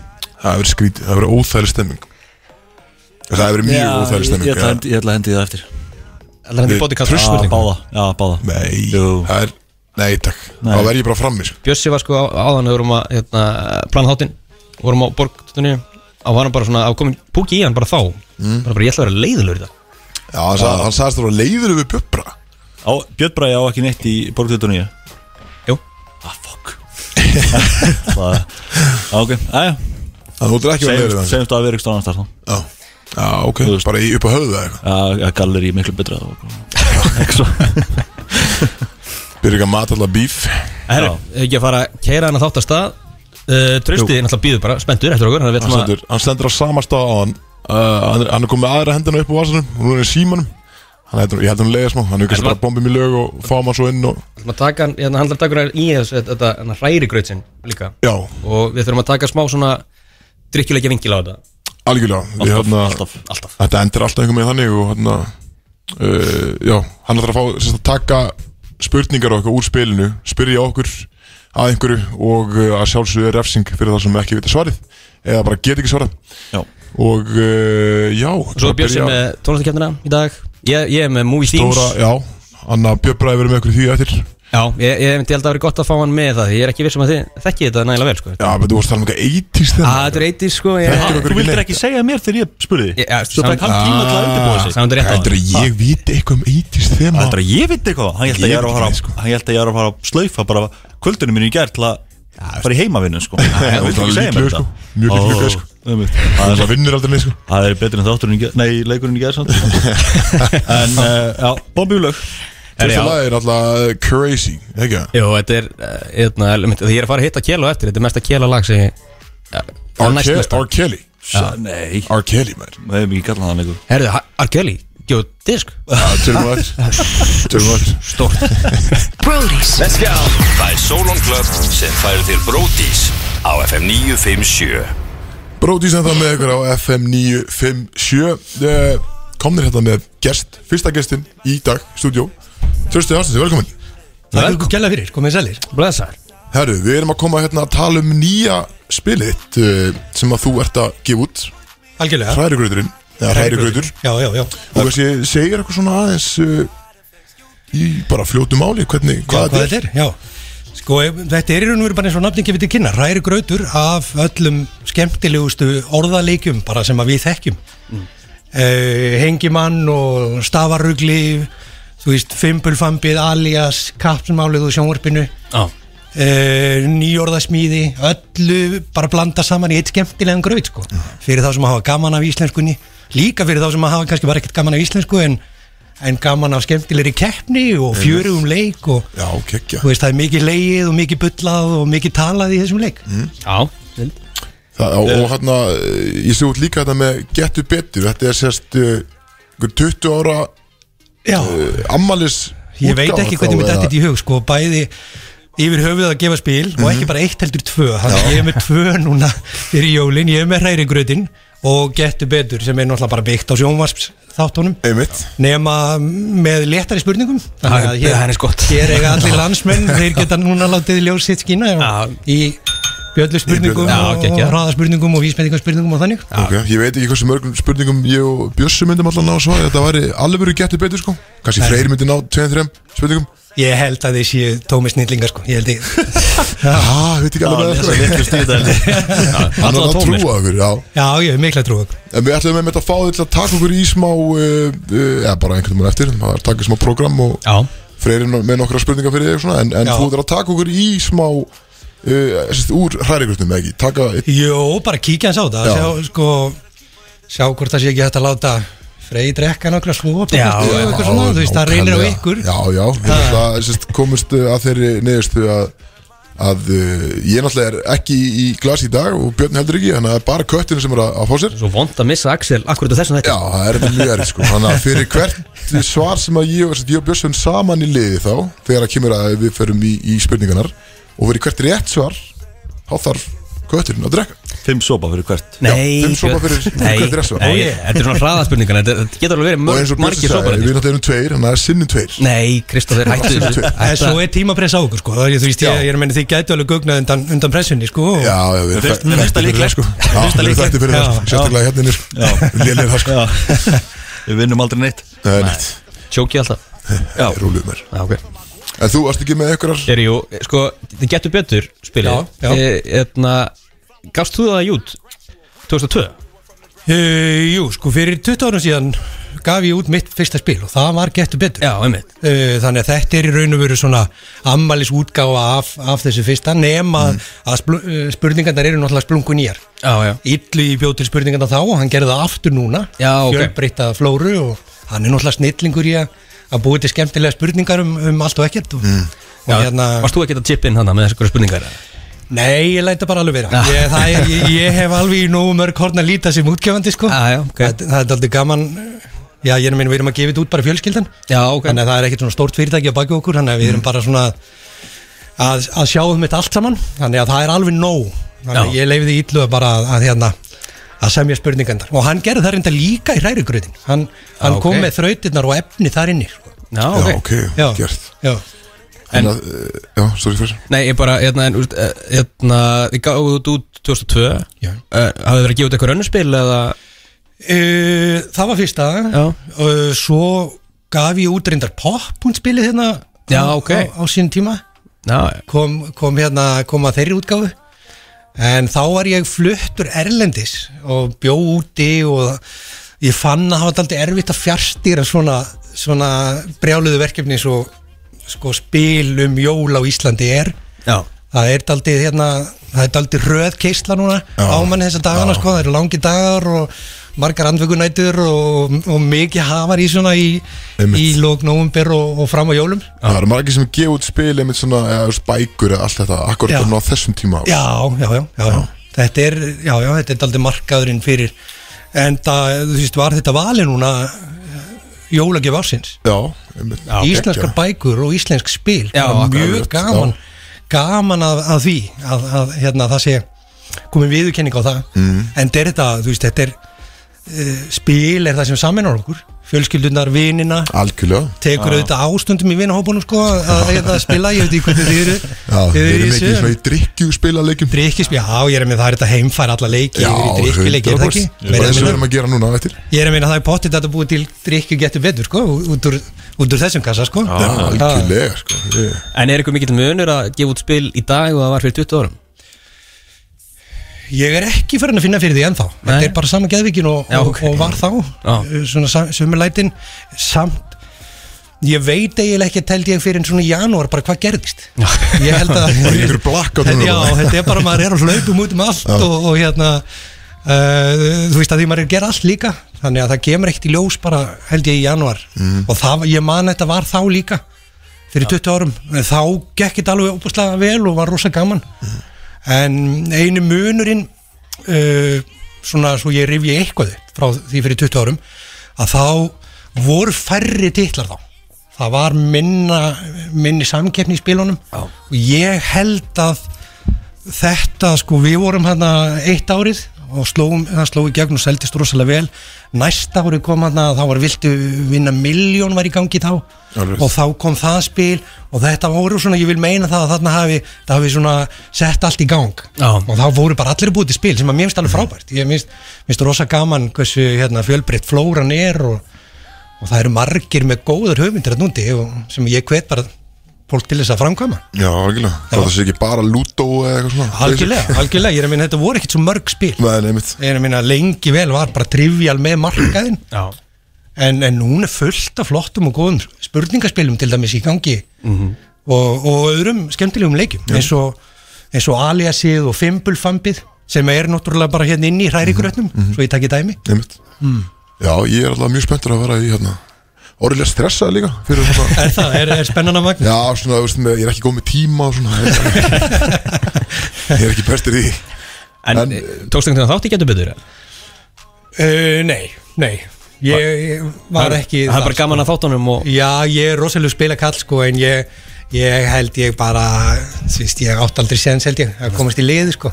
[SPEAKER 1] Það hefur verið skrítið, það hefur verið óþægileg stemming Það hefur verið mjög óþægileg
[SPEAKER 3] ég, ég,
[SPEAKER 1] stemming
[SPEAKER 3] ætla að hendi- ég ætla að hendi það eftir
[SPEAKER 2] Það er hendur
[SPEAKER 1] Við
[SPEAKER 2] bótikast
[SPEAKER 1] trustum
[SPEAKER 3] Já, báða, já, báða
[SPEAKER 1] Nei,
[SPEAKER 3] Jú.
[SPEAKER 1] það er, nei takk
[SPEAKER 3] Nei.
[SPEAKER 1] Þá verð ég bara frammi sko
[SPEAKER 2] Bjössi var sko á, áðan við vorum að hérna, plana þáttinn, vorum á borgtunni á hann bara svona, á komin púki í hann bara þá
[SPEAKER 1] Mm.
[SPEAKER 2] bara, bara ég ætla að vera leiðilegur í það
[SPEAKER 1] Já, hann, sag, hann sagðist það var leiður við bubbra
[SPEAKER 3] Á, Björn Bræði á ekki neitt í borgtöðuníu
[SPEAKER 2] Jú,
[SPEAKER 3] Ah, fuck Það Já, ok, aðja
[SPEAKER 1] Það notur ekki að vera leiður við hann
[SPEAKER 3] Segjumst að vera ykkur stóðan þar þá
[SPEAKER 1] Já, já ok,
[SPEAKER 3] veist.
[SPEAKER 1] bara í, upp á höfuða eitthvað
[SPEAKER 3] Já, galleri miklu betra og- Ekki svo
[SPEAKER 1] Byrja ekki að mata allar bíf
[SPEAKER 2] Herru, hefur ekki að fara að keira hann að þátt að stað uh, Trösti náttúrulega býður bara, spenntur eftir okkur þannig að við
[SPEAKER 1] Hann
[SPEAKER 2] ætlum að-
[SPEAKER 1] stendur, hann stendur á sama stað á hann uh, hann, er- hann er komið aðra hendina upp á vasanum Hún er í símanum Hann heldur, ég held hann leiða smá, hann er kannski
[SPEAKER 2] Ætla-
[SPEAKER 1] bara bombið mér lög og fáum hann svo inn og,
[SPEAKER 2] ætlum að taka hann, hérna handlar takur í þessu, þetta hérna, hræri grötsinn líka
[SPEAKER 1] já,
[SPEAKER 2] og við þurfum að taka smá svona drikkjuleikja vingil á þetta
[SPEAKER 1] algjörlega Ég, hérna,
[SPEAKER 3] Alltaf
[SPEAKER 2] alltaf
[SPEAKER 1] Þetta endur alltaf einhver með þannig og hérna, uh, já, hann ætlar að fá sérst, að taka spurningar og eitthvað úr spilinu spyrja okkur að einhverju og uh, að sjálfsögðu er refsing fyrir það sem ekki vita svarið eða bara get ekki svarað
[SPEAKER 3] Já,
[SPEAKER 1] og uh, já
[SPEAKER 2] Svo er
[SPEAKER 1] bara
[SPEAKER 2] Björsi
[SPEAKER 1] byrja-
[SPEAKER 2] með tónlistakefnina í dag ég, ég er með Movie
[SPEAKER 1] Dóra,
[SPEAKER 2] Themes
[SPEAKER 1] já, hann að bjöbraði verið með okkur í því eftir Já,
[SPEAKER 2] Já, ég, ég myndi held að það verið gott að fá hann með það ég er ekki vissum að þið þekki þetta nægilega vel sko.
[SPEAKER 1] menn þú varst að tala um eitthvað 80s
[SPEAKER 2] Að
[SPEAKER 1] þegar
[SPEAKER 2] þetta er eitís sko ég,
[SPEAKER 1] Þetta er okkur
[SPEAKER 3] þú
[SPEAKER 1] ekki
[SPEAKER 3] vildir
[SPEAKER 1] neitt.
[SPEAKER 3] ekki segja mér þegar ég spurði
[SPEAKER 2] ég, ég,
[SPEAKER 3] Svo bara
[SPEAKER 2] samt-
[SPEAKER 3] hann tíma til að undirbúa
[SPEAKER 2] Ah,
[SPEAKER 3] sig
[SPEAKER 2] samt rétt á
[SPEAKER 1] Þetta er
[SPEAKER 2] hann.
[SPEAKER 1] að ég viti eitthvað um 80s þegar
[SPEAKER 3] Þetta er að ég veit sko. eitthvað Hann held að ég er að fara Hann held að ég er að fara að slaufa bara kvöldunum mínu í gær til að fara í heimavinnu sko
[SPEAKER 1] það
[SPEAKER 3] Þú
[SPEAKER 1] var líklegur,
[SPEAKER 3] vildir ekki segja mér þetta
[SPEAKER 1] sko. Mjög
[SPEAKER 3] Ó,
[SPEAKER 1] líklegur, sko.
[SPEAKER 3] einmitt.
[SPEAKER 1] Það
[SPEAKER 3] Það
[SPEAKER 1] er
[SPEAKER 3] er-
[SPEAKER 1] það vinnur aldrei neitt sko
[SPEAKER 3] Það er betur en þátturinn í gær Nei, leikurinn í gær samt En, uh, já, bombjúlög
[SPEAKER 2] Herri, já.
[SPEAKER 1] Fyrsta lag er alltaf uh, crazy, ekki það?
[SPEAKER 2] Jó, þetta er eh, hérna, einmitt, Því ég er að fara að hitta Kjela á eftir Þetta er mesta Kjela lag sem ég eh, ja, það er
[SPEAKER 1] R.
[SPEAKER 2] næst
[SPEAKER 1] Kelly-
[SPEAKER 2] mesta.
[SPEAKER 1] R. Kelly
[SPEAKER 3] Nei,
[SPEAKER 1] R. Kelly, maður
[SPEAKER 3] við hefum ekki kallað hann leikur
[SPEAKER 2] Herðu, Arkeli tyggjó disk
[SPEAKER 1] Tölum að Tölum að
[SPEAKER 2] Stort
[SPEAKER 4] Brody's
[SPEAKER 2] Let's go
[SPEAKER 5] Það er Solon Club sem færir þér Bródís á FM 957
[SPEAKER 1] Bróðís en það með ykkur á FM 957 Eh, Komnir hérna með gest Fyrsta gestin í dag, stúdjó Trösti Hafsins, velkomin
[SPEAKER 2] Það er gæla fyrir, komið sælir Blessar
[SPEAKER 1] Herru, við erum að koma hérna að tala um nýja spilið þitt, eh, sem að þú ert að gefa út
[SPEAKER 6] Algjörlega
[SPEAKER 1] Hrærigröðurinn Eða hrærigröður
[SPEAKER 6] Já, já, já
[SPEAKER 1] Og þessi segir eitthvað svona aðeins eh, Í bara fljótu máli Hvernig,
[SPEAKER 6] Hvað,
[SPEAKER 1] hvað þetta er
[SPEAKER 6] þetta er? Já Sko, ef- þetta er í raun og veru bara eins og nafningi við til kynna Ræri grautur af öllum skemmtilegustu orðaleikjum bara sem að við þekkjum mm. Hengimann og stafarugli Þú veist, fimbulfambið, alias, kapsmálið og sjónvarpinu
[SPEAKER 2] Já
[SPEAKER 6] uh, nýjórðasmíði öllu bara blanda saman í eitt skemmtilegan gröð sko. fyrir þá sem hafa gaman af íslenskunni líka fyrir þá sem hafa kannski bara ekkert gaman af íslensku en, en gaman af skemmtilegri keppni og fjörugum leik og
[SPEAKER 1] Já, kekkja
[SPEAKER 6] þú veist það er mikið leið og mikið bullað og mikið talað í þessum leik
[SPEAKER 2] Já
[SPEAKER 1] Það, og, og hérna, eh, ég sé út líka þetta með Gettu betur, þetta er sérst eh, einhver 20 ára eh,
[SPEAKER 6] já,
[SPEAKER 1] ammalis
[SPEAKER 6] ég veit ekki hvernig mér dætti þetta í hug sko, bæði yfir höfuð að gefa spil og ekki bara eitt heldur tvö þannig ég er með tvö núna fyrir jólin, ég er með hræri gröðin og getur betur sem er náttúrulega bara byggt á sjónvarsps þáttunum
[SPEAKER 1] Einmitt,
[SPEAKER 6] nema með léttari spurningum þannig að
[SPEAKER 2] Já, það er eins gott.
[SPEAKER 6] hér, hér eiga allir landsmenn þeir geta núna látið ljós sitt skína
[SPEAKER 2] Já.
[SPEAKER 6] í bjöllu spurningum
[SPEAKER 2] Já,
[SPEAKER 6] og
[SPEAKER 2] geggjað.
[SPEAKER 6] hraðaspurningum og vísmendingarspurningum og þannig
[SPEAKER 1] ok, ég veit ekki hversu mörgum spurningum ég og Bjössi myndum allan ná að svara Þetta væri alveg verið gettu betur sko Kanski Freyri myndi ná 2-3 spurningum
[SPEAKER 6] ég held að þeir séu tómi snillingar sko ég held ég
[SPEAKER 1] Já, veit ekki alveg
[SPEAKER 3] Lesa litlu stíðdæli
[SPEAKER 1] Hann er
[SPEAKER 2] Alla
[SPEAKER 1] að
[SPEAKER 2] tómir.
[SPEAKER 1] trúa okkur, já
[SPEAKER 6] já ég hef mikla trú á okkur.
[SPEAKER 1] En við ætlum með þetta að fá þetta að taka okkur í smá eh, eh, Eða bara einhvern veginn eftir Það er að taka í smá program og
[SPEAKER 2] Já
[SPEAKER 1] Freyri með nokkra spurningar fyrir þig og svona, en, en
[SPEAKER 6] Já.
[SPEAKER 1] þú ert að taka okkur í smá uh, sérst, úr hrærigröfnum eða ekki taka eitt
[SPEAKER 6] jú bara kíkja hans á það
[SPEAKER 1] Já.
[SPEAKER 6] sjá, sko, sjá hvort það sé ekki hægt að láta frey drekka nokkra svo
[SPEAKER 2] Já, já,
[SPEAKER 6] eitthvað svona þú veist það reynir á
[SPEAKER 1] nákvæmlega.
[SPEAKER 6] ykkur
[SPEAKER 1] já, já, ég ætla að sérst, komist uh, að þeirri neðustu að að uh, ég náttúrulega er ekki í glas í dag og Björn heldur ekki þannig að það er bara köttinu sem er að, að fá sér
[SPEAKER 2] Svo vond að missa Axel akkurat á þessum
[SPEAKER 1] já,
[SPEAKER 2] þetta
[SPEAKER 1] það er þetta mjög erið sko þannig að fyrir hvert svar sem að ég, og- sérst, ég og Björn saman í liði þá þegar að kemur að við förum í, í spurningarnar og fyrir hvert rétt svar þá þarf kötturinn að drekka
[SPEAKER 3] Fimm sopa fyrir hvert
[SPEAKER 2] Nei
[SPEAKER 1] fimm sopa
[SPEAKER 2] Björn.
[SPEAKER 1] fyrir- fyrir
[SPEAKER 2] Nei,
[SPEAKER 1] hvert dressvar.
[SPEAKER 2] Nei, þetta er svona hraðaspurningan Þetta þetta getur alveg verið
[SPEAKER 1] og eins
[SPEAKER 2] mörg,
[SPEAKER 1] og Björn
[SPEAKER 2] margir
[SPEAKER 1] sagði,
[SPEAKER 2] sóparið
[SPEAKER 1] við náttúrulega erum tveir þannig að það er sinnum tveir
[SPEAKER 2] Nei, Kristof, þeir hættu þessu
[SPEAKER 6] en svo
[SPEAKER 2] Þetta-
[SPEAKER 6] er tímapressa á okkur sko það er- þú veist ég, ég er að menna þið gætu alveg gugnað undan, undan pressunni sko og-
[SPEAKER 1] Já, já, við
[SPEAKER 3] finnst- mér finnst það líklegt.
[SPEAKER 1] sko. Já,
[SPEAKER 3] Mér finnst það
[SPEAKER 1] við erum
[SPEAKER 3] líklegt.
[SPEAKER 1] þætti fyrir
[SPEAKER 6] Já,
[SPEAKER 1] það sko. Sérstaklega hérna inni sko. Lélir það sko
[SPEAKER 3] Já Við vinnum aldrei neitt
[SPEAKER 1] Það er nýtt
[SPEAKER 2] Tjókið alltaf
[SPEAKER 3] Já
[SPEAKER 1] Rúluð mér
[SPEAKER 2] Já, ok
[SPEAKER 1] En þú varst ekki með ykkurar
[SPEAKER 2] Þeir jú, sko, þið getur betur spilið
[SPEAKER 6] Já, já.
[SPEAKER 2] Þannig að gafst þú það í út 2002
[SPEAKER 6] Uh, jú, sko fyrir 20 árum síðan gaf ég út mitt fyrsta spil og það var getur betur
[SPEAKER 2] Já, einmitt
[SPEAKER 6] uh, Þannig að þetta er í raun og veru svona ammalis útgáfa af, af þessu fyrsta nema
[SPEAKER 2] Mhm.
[SPEAKER 6] mm. að spl uh, spurningarnar eru náttúrulega splungu nýjar
[SPEAKER 2] Já, já
[SPEAKER 6] Illu í bjóð til spurningarnar þá og hann gerði það aftur núna
[SPEAKER 2] Já, ok.
[SPEAKER 6] Fjölbreytta flóru og hann er náttúrulega snillingur í að að búið til skemmtilega spurningar um, um allt og ekkert og, og
[SPEAKER 2] Mm. Já,
[SPEAKER 6] hérna,
[SPEAKER 2] Varst þú að geta tipp inn hana með þessu hverju spurningar?
[SPEAKER 6] Nei, ég læta bara alveg vera
[SPEAKER 2] Já.
[SPEAKER 6] ég, það er, ég, ég hef alveg í nógu mörg horn að líta sem útgefandi sko
[SPEAKER 2] Ah, Já, já, ok.
[SPEAKER 6] það, það er aldrei gaman Já, ég er að meina við erum að gefa þetta út bara í fjölskyldan
[SPEAKER 2] Já, ok Mm.
[SPEAKER 6] Þannig að það er ekkert svona stórt fyrirtæki að baki okkur Þannig að við erum bara svona að, að sjá um þetta allt saman Þannig að það er alveg nóg Þannig að
[SPEAKER 2] Já.
[SPEAKER 6] ég leiði íllu að bara að, að, hérna, að semja spurningandar Og hann gerði það reynda líka í rærigröðin Hann, hann
[SPEAKER 2] Ah, ok.
[SPEAKER 6] kom með þrautirnar og efni þar inni sko.
[SPEAKER 2] Já,
[SPEAKER 1] Já,
[SPEAKER 2] ok
[SPEAKER 1] ok, gert
[SPEAKER 6] já,
[SPEAKER 1] En að, eh, Já, sorry fyrir
[SPEAKER 2] Nei, ég bara, hérna, en, úst, eh, hérna Þið gáðu þú út 2002
[SPEAKER 6] Já.
[SPEAKER 2] uh, Hafið verið að gefa út eitthvað önnurspil eða
[SPEAKER 6] Uh, það var fyrsta
[SPEAKER 2] Já.
[SPEAKER 6] uh, Svo gaf ég út reyndar poppunspilið hérna
[SPEAKER 2] Já,
[SPEAKER 6] á-
[SPEAKER 2] ok.
[SPEAKER 6] á, á sínum tíma
[SPEAKER 2] Já,
[SPEAKER 6] kom, kom, hérna, kom að þeirri útgáfu En þá var ég fluttur erlendis og bjó úti og ég fann að það var aldrei erfitt að fjárstýra svona, svona brjáluðu verkefni svo sko, spil um jól á Íslandi er
[SPEAKER 2] já
[SPEAKER 6] Það er daldið hérna, það er daldið röð keisla núna á manni þessa dagana sko, það eru langi dagar og margar andvökunætur og, og mikið hafar í svona í,
[SPEAKER 1] Einmitt.
[SPEAKER 6] í lók nóvumber og, og fram á jólum.
[SPEAKER 1] Það eru margir sem gefa út spil einmitt svona eða, þú veist, bækur eða allt þetta Akkur
[SPEAKER 6] Já.
[SPEAKER 1] bara á þessum tíma árs.
[SPEAKER 6] Já, já, já, já, já. Þetta er, já, já, þetta er daldið markaðurinn fyrir, en það, þú veist, var þetta vali núna eh, jólagjöf ásins
[SPEAKER 1] Já, einmitt.
[SPEAKER 2] Já.
[SPEAKER 6] Íslenskar
[SPEAKER 1] Geggjað.
[SPEAKER 6] bækur og íslensk spil
[SPEAKER 2] Já,
[SPEAKER 6] Bara
[SPEAKER 2] akkurat,
[SPEAKER 6] mjög
[SPEAKER 1] já.
[SPEAKER 6] gaman gaman að, að því að, að hérna, það sé komin viðurkenning á það mm. en þetta er þetta, þú veist, þetta er uh, spil er það sem saminar okkur fjölskyldunar, vinina
[SPEAKER 1] Algjörlega
[SPEAKER 6] tekur auðvitað ástundum í vinahópunum sko að hérna, spila, ég veit ekki hvernig þið eru
[SPEAKER 1] Já, við erum ekki svona í drikkjúspilaleikjum
[SPEAKER 6] drikkispi, já ég er að meina það er þetta heimfæra alla leiki,
[SPEAKER 1] Já,
[SPEAKER 6] yfir í drikkjuleiki, er það ekki?
[SPEAKER 1] 100%. Bara
[SPEAKER 6] Meira
[SPEAKER 1] eins og við
[SPEAKER 6] eða minna.
[SPEAKER 1] erum að gera núna eftir
[SPEAKER 6] Ég er að meina það er pottið þetta búið til drikki getur betur sko, út úr, út úr þessum kassa sko
[SPEAKER 1] Já, algjörlega sko Ég-
[SPEAKER 2] En er ykkur mikill munur að gefa út spil í dag og það var fyrir 20 árum?
[SPEAKER 6] Ég er ekki farin að finna fyrir því ennþá
[SPEAKER 2] Nei.
[SPEAKER 6] Þetta er bara sama geðvikin og,
[SPEAKER 2] Já,
[SPEAKER 6] og-
[SPEAKER 2] ok.
[SPEAKER 6] og var þá
[SPEAKER 2] Já.
[SPEAKER 6] Svona sömulætin Samt Ég veit eiginlega ekki tældi ég fyrir en svona í janúar bara hvað gerðist Ég held að
[SPEAKER 1] Bara einhver blackout núna
[SPEAKER 6] Þetta- Já,
[SPEAKER 1] bara.
[SPEAKER 6] þetta er bara maður er á hlaupum út um allt og, og hérna uh, Þú veist að því maður er að gera allt líka Þannig að það kemur ekkert í ljós bara held ég í janúar Og það, ég man þetta var þá líka Fyrir 20 árum En Þá gekk þetta alveg óbúslega vel og var rosa gaman en einu munurinn uh, svona svo ég rifji eitthvað upp frá því fyrir 20 árum að þá voru færri titlar þá það var minna minni samkeppni í spilunum
[SPEAKER 2] Já.
[SPEAKER 6] og ég held að þetta sko við vorum hérna eitt árið og slóum, það sló í gegn og seldist rosalega vel næsta árið kom hérna þá var viltu vinna miljón var í gangi þá
[SPEAKER 1] Alveg.
[SPEAKER 6] og þá kom það spil og þetta voru svona, ég vil meina það að þarna hafi, það hafi svona sett allt í gang
[SPEAKER 2] Já.
[SPEAKER 6] og þá voru bara allir búið til spil sem að mér finnst alveg frábært ég finnst, finnst rosa gaman hversu hérna, fjölbreytt flóran er og, og það eru margir með góður höfundir að núndi og, sem ég hvet bara fólk til þess að framkvæma
[SPEAKER 1] Já, algjörlega
[SPEAKER 6] Já.
[SPEAKER 1] Það sé ekki bara lútó eða eitthvað svona
[SPEAKER 6] algjörlega, algjörlega, ég er að minna þetta voru ekkert svo mörg spil
[SPEAKER 1] Nei, neymitt
[SPEAKER 6] ég er að minna lengi vel var bara trivial með markaðin
[SPEAKER 2] Já
[SPEAKER 6] en, en núna er fullt af flottum og góðum spurningaspilum til dæmis í gangi og, og öðrum skemmtilegum leikjum eins og, eins og aliasið og fimbulfambið sem er náttúrulega bara hérna inni í hrærigrötnum svo ég takki dæmi
[SPEAKER 1] Neymitt
[SPEAKER 6] Hmm.
[SPEAKER 1] Já, ég er alltaf mjög spenntur að vera í hérna Orðilega stressað líka fyrir svona
[SPEAKER 6] er það, er, er spennan að magna
[SPEAKER 1] Já, svona, þú veist, með- ég er ekki góð með tíma og svona Ég er ekki bestur í því.
[SPEAKER 2] En,
[SPEAKER 1] En-
[SPEAKER 2] en tókstu einhvern veginn þátt í getur betur? eða?
[SPEAKER 6] uh, nei, nei ég, ég var ekki
[SPEAKER 2] Það er
[SPEAKER 6] þar, sko.
[SPEAKER 2] bara gaman að þáttunum og
[SPEAKER 6] Já, ég er rosalega spila kall sko en ég, ég held ég bara síst, ég átt aldrei séns held ég að komast í liði sko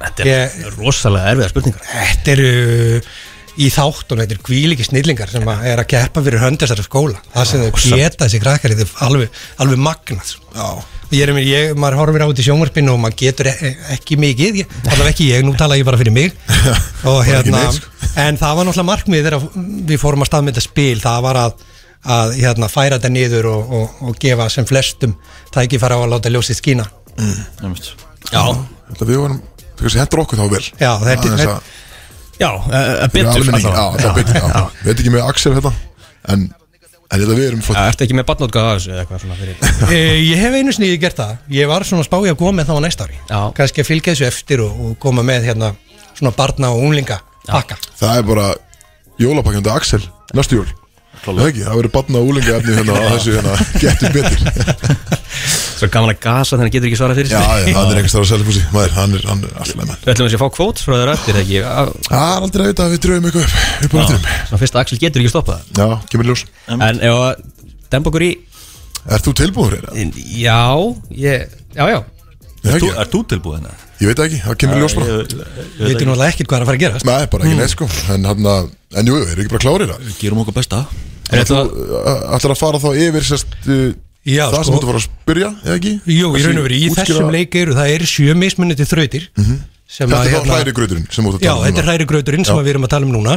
[SPEAKER 2] Þetta er
[SPEAKER 6] Ég-
[SPEAKER 2] rosalega erfiða spurningar
[SPEAKER 6] Þetta eru uh, í þáttun, þetta eru kvíliki snillingar sem að er að keppa fyrir hönd þessara skóla það sem þau geta þessi krakkar þetta er alveg, alveg magnað sko. ég er, einmitt- ég, maður horfir á þetta í sjónvarpinu og maður getur e ekki mikið ég, allavega ekki ég, nú tala ég bara fyrir mig og
[SPEAKER 1] Bara ekki
[SPEAKER 6] hérna
[SPEAKER 1] neitt, sko.
[SPEAKER 6] en það var náttúrulega markmið þegar við fórum að staðmynda spil það var að, að hérna, færa þetta niður og, og, og gefa sem flestum tækifæra á að láta ljósið skína
[SPEAKER 3] Nefnist
[SPEAKER 2] Já,
[SPEAKER 1] Þetta við varum, þú veist, hendur okkur þá vel
[SPEAKER 6] Já, þetta-
[SPEAKER 1] Aðeins að-
[SPEAKER 2] já, eh,
[SPEAKER 1] fyrir
[SPEAKER 2] betur
[SPEAKER 1] almenningi, Já,
[SPEAKER 2] allavega.
[SPEAKER 1] það er betur, já Við veit ekki með Axel hérna En, en þetta við erum
[SPEAKER 2] Já,
[SPEAKER 1] flott
[SPEAKER 2] ertu ekki með barnótgáð af þessu eða eitthvað svona fyrir
[SPEAKER 6] e, ég hef einu sinni gert það ég var svona að spá ég að koma með það á næsta ári
[SPEAKER 2] Já.
[SPEAKER 6] kannski að fylgja þessu eftir og, og koma með hérna svona barna og unglinga pakka
[SPEAKER 1] Það er bara jólapakkjandi Axel Næstu jól Það er ekki, það verður batna og úlinga efni hérna á þessu hérna getur betur
[SPEAKER 2] Svo gaman að gasa þannig að getur ekki svarað fyrir
[SPEAKER 1] Já, já, hann er einhvers þar á Selfossi Maður, hann er, hann er alltaf með mann
[SPEAKER 2] Við ætlum að sé að fá kvót frá þér eftir ekki Á-
[SPEAKER 1] Það er aldrei að vita að við dröfum eitthvað upp upp á nættinum
[SPEAKER 2] Svona fyrst að Axel getur ekki stoppað það.
[SPEAKER 1] Já, kemur í ljós
[SPEAKER 2] En ef að demba okkur í
[SPEAKER 1] Er þú tilbúður hérna?
[SPEAKER 2] Já, ég, já, já
[SPEAKER 1] Er
[SPEAKER 3] Þú,
[SPEAKER 1] ekki?
[SPEAKER 3] ert þú tilbúin það?
[SPEAKER 1] Ég veit það ekki, það kemur í ljós bara
[SPEAKER 6] við veitum náttúrulega ekkert hvað er að fara að gera
[SPEAKER 1] Nei, bara ekki neitt sko En hann að, en jú, jú, er ekki bara klárir það
[SPEAKER 3] Við gerum okkur besta
[SPEAKER 2] Er þetta
[SPEAKER 1] Ætlar að fara þá yfir sérst uh,
[SPEAKER 6] Já,
[SPEAKER 1] Það sem
[SPEAKER 6] sko.
[SPEAKER 1] þú fara að spyrja, eða ekki?
[SPEAKER 6] Jú, í
[SPEAKER 1] Þessi
[SPEAKER 6] raun og verið, í
[SPEAKER 1] útskýra-
[SPEAKER 6] þessum leik eru það eru sjö mismunandi þrautir sem
[SPEAKER 1] Þetta
[SPEAKER 6] að,
[SPEAKER 1] er þá
[SPEAKER 6] hérna-
[SPEAKER 1] hlæri gröðurinn sem þú ert að
[SPEAKER 6] Já,
[SPEAKER 1] tala um
[SPEAKER 6] þetta er
[SPEAKER 1] núna.
[SPEAKER 6] hrærigrauturinn sem
[SPEAKER 1] Já.
[SPEAKER 6] að við erum að tala um núna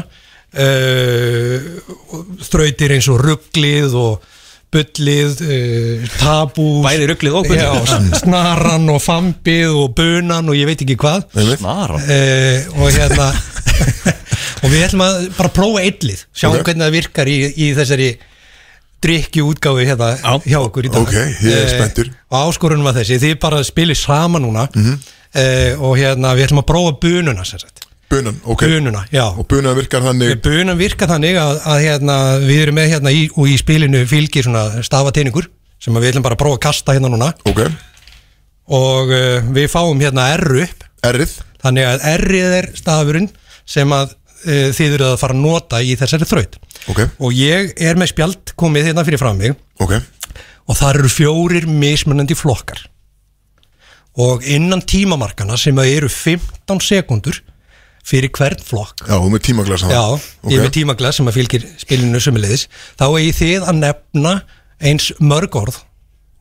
[SPEAKER 6] uh, Þrautir eins og rugglið og bullið, uh, tabú
[SPEAKER 2] Bæði ruglið og bullið.
[SPEAKER 6] Já, s- Snaran og fambið og bunan og ég veit ekki hvað
[SPEAKER 1] Einmitt.
[SPEAKER 3] Snara
[SPEAKER 6] uh, og hérna og við ætlum að bara prófa eitthlið sjáum
[SPEAKER 1] Ok.
[SPEAKER 6] hvernig það virkar í, í þessari drikki útgáfi hérna
[SPEAKER 2] Já.
[SPEAKER 6] hjá okkur í dag
[SPEAKER 1] Ok, ég er
[SPEAKER 6] Eh,
[SPEAKER 1] spenntur. Mhm.
[SPEAKER 6] og áskorunum að þessi, þið bara spilir sama núna mm og hérna við ætlum að prófa bununa sem sagt,
[SPEAKER 1] Bunan, ok
[SPEAKER 6] bununa, já
[SPEAKER 1] Og bunan virkar þannig
[SPEAKER 6] bunan virka þannig að, að hérna, við erum með hérna í, og í spilinu fylgir svona stafateiningur sem að við ætlum bara að prófa að kasta hérna núna
[SPEAKER 1] Ok,
[SPEAKER 6] og uh, við fáum hérna R upp
[SPEAKER 1] errið
[SPEAKER 6] Þannig að R-ið er stafurinn sem að uh, þið eruð að fara að nota í þessari þraut
[SPEAKER 1] Ok,
[SPEAKER 6] og ég er með spjald komið hérna fyrir fram mig
[SPEAKER 1] ok,
[SPEAKER 6] og þar eru fjórir mismunandi flokkar og innan tímamarkana sem að eru 15 sekundur fyrir hvern flokk
[SPEAKER 1] já, þú með tímaglas
[SPEAKER 6] Já, ég er með
[SPEAKER 1] okay.
[SPEAKER 6] tímaglas sem að fylgir spilinu sömuleiðis þá eigi þið að nefna eins mörg orð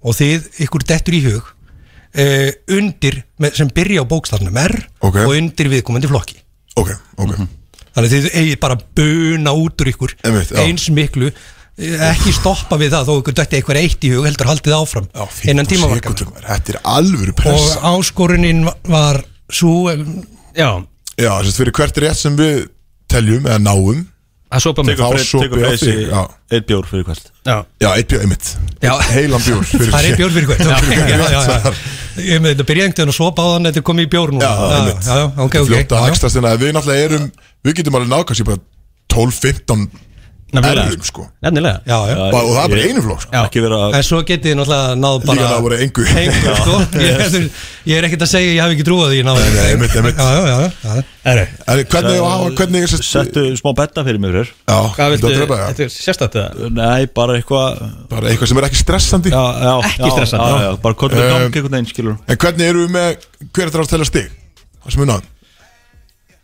[SPEAKER 6] og þið ykkur dettur í hug uh, undir með, sem byrja á bókstafnum R
[SPEAKER 1] Ok.
[SPEAKER 6] og undir viðkomandi flokki
[SPEAKER 1] ok, ok,
[SPEAKER 6] Mhm. þannig að þið eigið bara að buna út úr ykkur
[SPEAKER 1] Einmitt, já.
[SPEAKER 6] eins miklu eh, ekki stoppa við það þó ykkur dætti eitthvað eitt í hug heldur haldið áfram
[SPEAKER 1] já,
[SPEAKER 6] innan
[SPEAKER 1] 15
[SPEAKER 6] tímamarkana
[SPEAKER 1] sekúndur, maður. Þetta er alvöru pressa
[SPEAKER 6] og áskorunin var eh, svo
[SPEAKER 2] Já,
[SPEAKER 1] Já, þess að fyrir hvert rétt sem við teljum eða náum
[SPEAKER 2] það sopa mig
[SPEAKER 1] Þá
[SPEAKER 3] Tekur Freyr-
[SPEAKER 1] sopi á
[SPEAKER 3] tekur Freyr
[SPEAKER 1] þig,
[SPEAKER 3] sig
[SPEAKER 1] já.
[SPEAKER 3] Eitt bjór fyrir hvert
[SPEAKER 2] Já,
[SPEAKER 1] Já, eitt bjór, einmitt
[SPEAKER 2] Já.
[SPEAKER 1] Heilan bjór fyrir
[SPEAKER 6] Það er
[SPEAKER 1] sig.
[SPEAKER 6] bjór fyrir hvern okay, já, já, já. Ég með þetta byrja einhvern og svo báðan Þetta er komið í bjór núna
[SPEAKER 1] Já, einmitt
[SPEAKER 6] Ah, já, já, ok, ok
[SPEAKER 1] Fljóta
[SPEAKER 6] já, já.
[SPEAKER 1] hagstast en að hérna. við náttúrulega erum Við getum alveg nákvæmst í bara 12-15
[SPEAKER 2] nefnilega
[SPEAKER 1] erfum sko
[SPEAKER 2] Nefnilega
[SPEAKER 6] Já, já.
[SPEAKER 1] Bara- Og það er bara einu flokk sko.
[SPEAKER 2] Já.
[SPEAKER 3] Ekki vera að
[SPEAKER 6] En svo getið þið náttúrulega náð bara
[SPEAKER 1] Líka það voru engu.
[SPEAKER 6] Engu, sko ég, ég er ekkert að segja, ég hef ekki trúið því Nei,
[SPEAKER 1] nei, einmitt, einmitt.
[SPEAKER 6] Já, já, já, já.
[SPEAKER 2] Erri,
[SPEAKER 1] En hvernig á að hafa, hvernig er sérst
[SPEAKER 3] Settu smá betta fyrir mig fyrir
[SPEAKER 1] Já,
[SPEAKER 2] hvað viltu,
[SPEAKER 1] þetta er bara-
[SPEAKER 2] þetta er sérstætt eða?
[SPEAKER 3] Nei, bara eitthvað
[SPEAKER 1] Bara eitthvað sem er ekki stressandi
[SPEAKER 3] já, já,
[SPEAKER 2] Ekki
[SPEAKER 3] já,
[SPEAKER 2] stressandi.
[SPEAKER 3] já, já, Bara kortum
[SPEAKER 1] Um,
[SPEAKER 3] við gangi einhvern veginn skilur
[SPEAKER 1] En hvernig eru við með Hver er það að telja stig? Það sem við náðum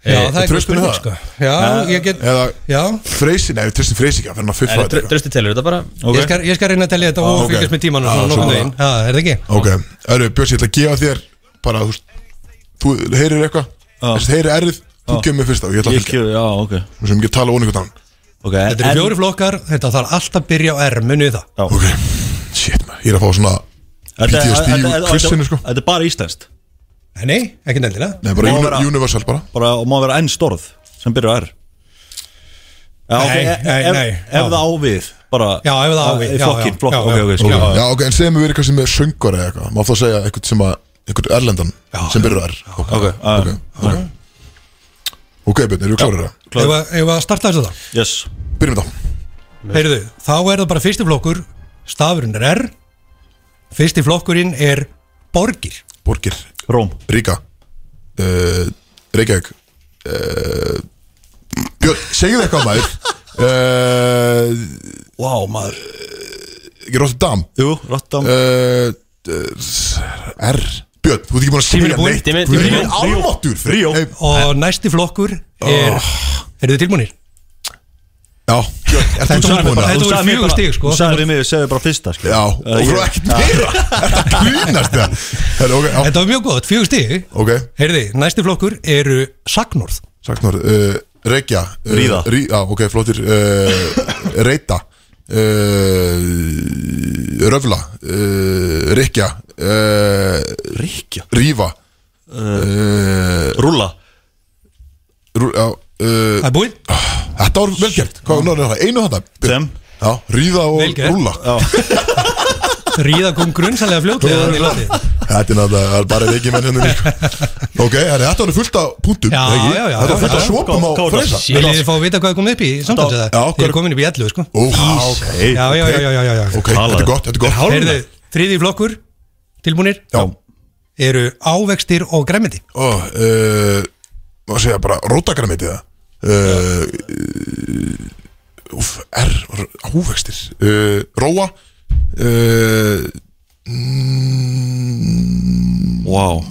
[SPEAKER 6] já, það er
[SPEAKER 1] treystu henni
[SPEAKER 6] spurning,
[SPEAKER 1] það?
[SPEAKER 6] sko Já, ég get
[SPEAKER 1] Eða
[SPEAKER 6] Já,
[SPEAKER 1] Freysi, nei, við tristum Freysi ekki að fyrir hann að
[SPEAKER 2] Erri,
[SPEAKER 1] fuffa
[SPEAKER 2] dr-
[SPEAKER 1] þetta
[SPEAKER 2] Drusti telur þetta bara
[SPEAKER 6] ég skal, ég skal reyna að telja þetta
[SPEAKER 1] Ah,
[SPEAKER 6] og
[SPEAKER 1] ok.
[SPEAKER 6] fylgjast með
[SPEAKER 1] Ah,
[SPEAKER 6] tímanum svona nokkurn
[SPEAKER 1] svona.
[SPEAKER 6] veginn. Já, er það ekki?
[SPEAKER 1] Ok, Erfi, Björns, ég ætla að gefa þér bara, þú veist, þú heyrir eitthvað þessi heyrir errið, þú gefur mér fyrst og ég ætla að
[SPEAKER 3] Ég
[SPEAKER 1] fylgja,
[SPEAKER 3] kjör, já, ok
[SPEAKER 1] við sem ekki að tala ón einhvern annan
[SPEAKER 3] Ok,
[SPEAKER 6] Þetta eru
[SPEAKER 3] en-
[SPEAKER 6] fjóri flokkar, þetta þarf alltaf að byrja á R Munið það
[SPEAKER 1] Ok, shit man, ég er að fá svona
[SPEAKER 3] Þetta-
[SPEAKER 1] PTSD
[SPEAKER 3] þetta-
[SPEAKER 1] úr
[SPEAKER 3] þetta-
[SPEAKER 1] quizinu, sko.
[SPEAKER 3] Þetta er bara íslenskt
[SPEAKER 6] Nei, Nei, ekki nefnilega
[SPEAKER 1] Nei, bara
[SPEAKER 3] Má
[SPEAKER 1] uni,
[SPEAKER 3] vera-
[SPEAKER 1] universal bara
[SPEAKER 3] bara, og má vera enn storð sem byrjar á R já, ok, e-
[SPEAKER 6] Nei,
[SPEAKER 3] ef-
[SPEAKER 6] nei, nei,
[SPEAKER 3] ef, ef
[SPEAKER 6] já.
[SPEAKER 3] það ávið bara,
[SPEAKER 6] Já, ef það á við,
[SPEAKER 3] Eh,
[SPEAKER 6] já,
[SPEAKER 3] flokkin,
[SPEAKER 6] já,
[SPEAKER 3] flokk,
[SPEAKER 6] já,
[SPEAKER 3] ok,
[SPEAKER 6] já.
[SPEAKER 3] ok,
[SPEAKER 1] Ok,
[SPEAKER 3] skil já,
[SPEAKER 1] Já, ok, en segjum við verið eitthvað sem er söngur eða eitthvað Má þá segja eitthvað sem að, eitthvað erlendan sem byrjar er Ok,
[SPEAKER 3] ok,
[SPEAKER 1] ok,
[SPEAKER 3] já,
[SPEAKER 1] ok Ok, Björn, eru klárir það?
[SPEAKER 3] Klár.
[SPEAKER 6] Ef að- ef að starta þessu það
[SPEAKER 3] yes
[SPEAKER 1] Byrjum við þá
[SPEAKER 6] Heyrðu, þá er það bara fyrsti flokkur Stafurinn er R Fyrsti flokkurinn er borgir
[SPEAKER 1] Borgir,
[SPEAKER 3] Róm,
[SPEAKER 1] Ríka uh, Reykjavík uh, Björn, segjum við eitthvað maður Uh,
[SPEAKER 3] wow, maður
[SPEAKER 1] ekki Rotterdam
[SPEAKER 3] jú,
[SPEAKER 6] Eh,
[SPEAKER 3] Rotterdam
[SPEAKER 1] uh, R Björn, þú ert ekki búin að
[SPEAKER 6] Tíminn
[SPEAKER 1] segja
[SPEAKER 6] er búinn,
[SPEAKER 1] neitt
[SPEAKER 2] tíminn-
[SPEAKER 1] Þú ert
[SPEAKER 2] tíminn
[SPEAKER 1] ekki álmáttur
[SPEAKER 3] Ríó.
[SPEAKER 1] Hey,
[SPEAKER 6] Og næsti flokkur er oh.
[SPEAKER 1] Ah.
[SPEAKER 6] Eru þið tilbúinir?
[SPEAKER 1] Já, Björn, ert þú
[SPEAKER 6] Þetta voru
[SPEAKER 1] tilbúin
[SPEAKER 6] bara-
[SPEAKER 1] að
[SPEAKER 6] þetta- voru
[SPEAKER 3] sagði mér
[SPEAKER 6] fjögur
[SPEAKER 3] bara-
[SPEAKER 6] stig, sko.
[SPEAKER 3] Þú sagði við mig, segðu bara fyrsta skil
[SPEAKER 1] Já, og
[SPEAKER 3] Eh,
[SPEAKER 1] þú
[SPEAKER 3] ég-
[SPEAKER 1] ekkert meira Þetta klínast það Herra, ok, já,
[SPEAKER 6] Þetta var mjög gott, fjögur
[SPEAKER 1] Ah.
[SPEAKER 6] stig
[SPEAKER 1] ok
[SPEAKER 6] Heyrðu, næsti flokkur eru sagnorð
[SPEAKER 1] Sagt nú, uh, Reykja uh,
[SPEAKER 3] Ríða.
[SPEAKER 1] rí, Já, ok, flottir uh, Reita uh, Röfla uh, Reykja uh,
[SPEAKER 3] Ríkja,
[SPEAKER 1] Rífa uh,
[SPEAKER 3] rúlla
[SPEAKER 1] rú, já, uh,
[SPEAKER 6] Það er búið
[SPEAKER 1] Þetta var velgjert, hvað var það? Einu þetta?
[SPEAKER 3] Sem?
[SPEAKER 1] Já, ríða og
[SPEAKER 6] Vel gert.
[SPEAKER 1] rúlla
[SPEAKER 6] Ríða kom grunnsalega fljótlega þannig í landi
[SPEAKER 1] Þetta er náttúrulega það er bara veikið menn henni Ok, herri, þetta var fullt af punktum
[SPEAKER 6] Já,
[SPEAKER 1] er ekki?
[SPEAKER 6] já, já,
[SPEAKER 1] Þetta var
[SPEAKER 6] já,
[SPEAKER 1] fullt af
[SPEAKER 6] já.
[SPEAKER 1] svopum á
[SPEAKER 3] Kó- kóta.
[SPEAKER 1] freysa
[SPEAKER 6] Viljið þið fá að vita hvað er komið upp í samtals eða?
[SPEAKER 1] Já,
[SPEAKER 6] Ég
[SPEAKER 1] hvað-
[SPEAKER 6] er komin upp í 11
[SPEAKER 1] Ó,
[SPEAKER 6] sko
[SPEAKER 1] ok,
[SPEAKER 6] Já, já, já, já, já, já, já.
[SPEAKER 1] ok, þetta er gott, þetta er gott
[SPEAKER 6] Heyrðu, þriði flokkur Tilbúinir
[SPEAKER 1] Já,
[SPEAKER 6] Eru ávextir og græmiti
[SPEAKER 1] og Hvað eh, segja bara, rótagrammitið það Uh, uh, Úf, R, ávextir uh, Róa uh,
[SPEAKER 3] Wow,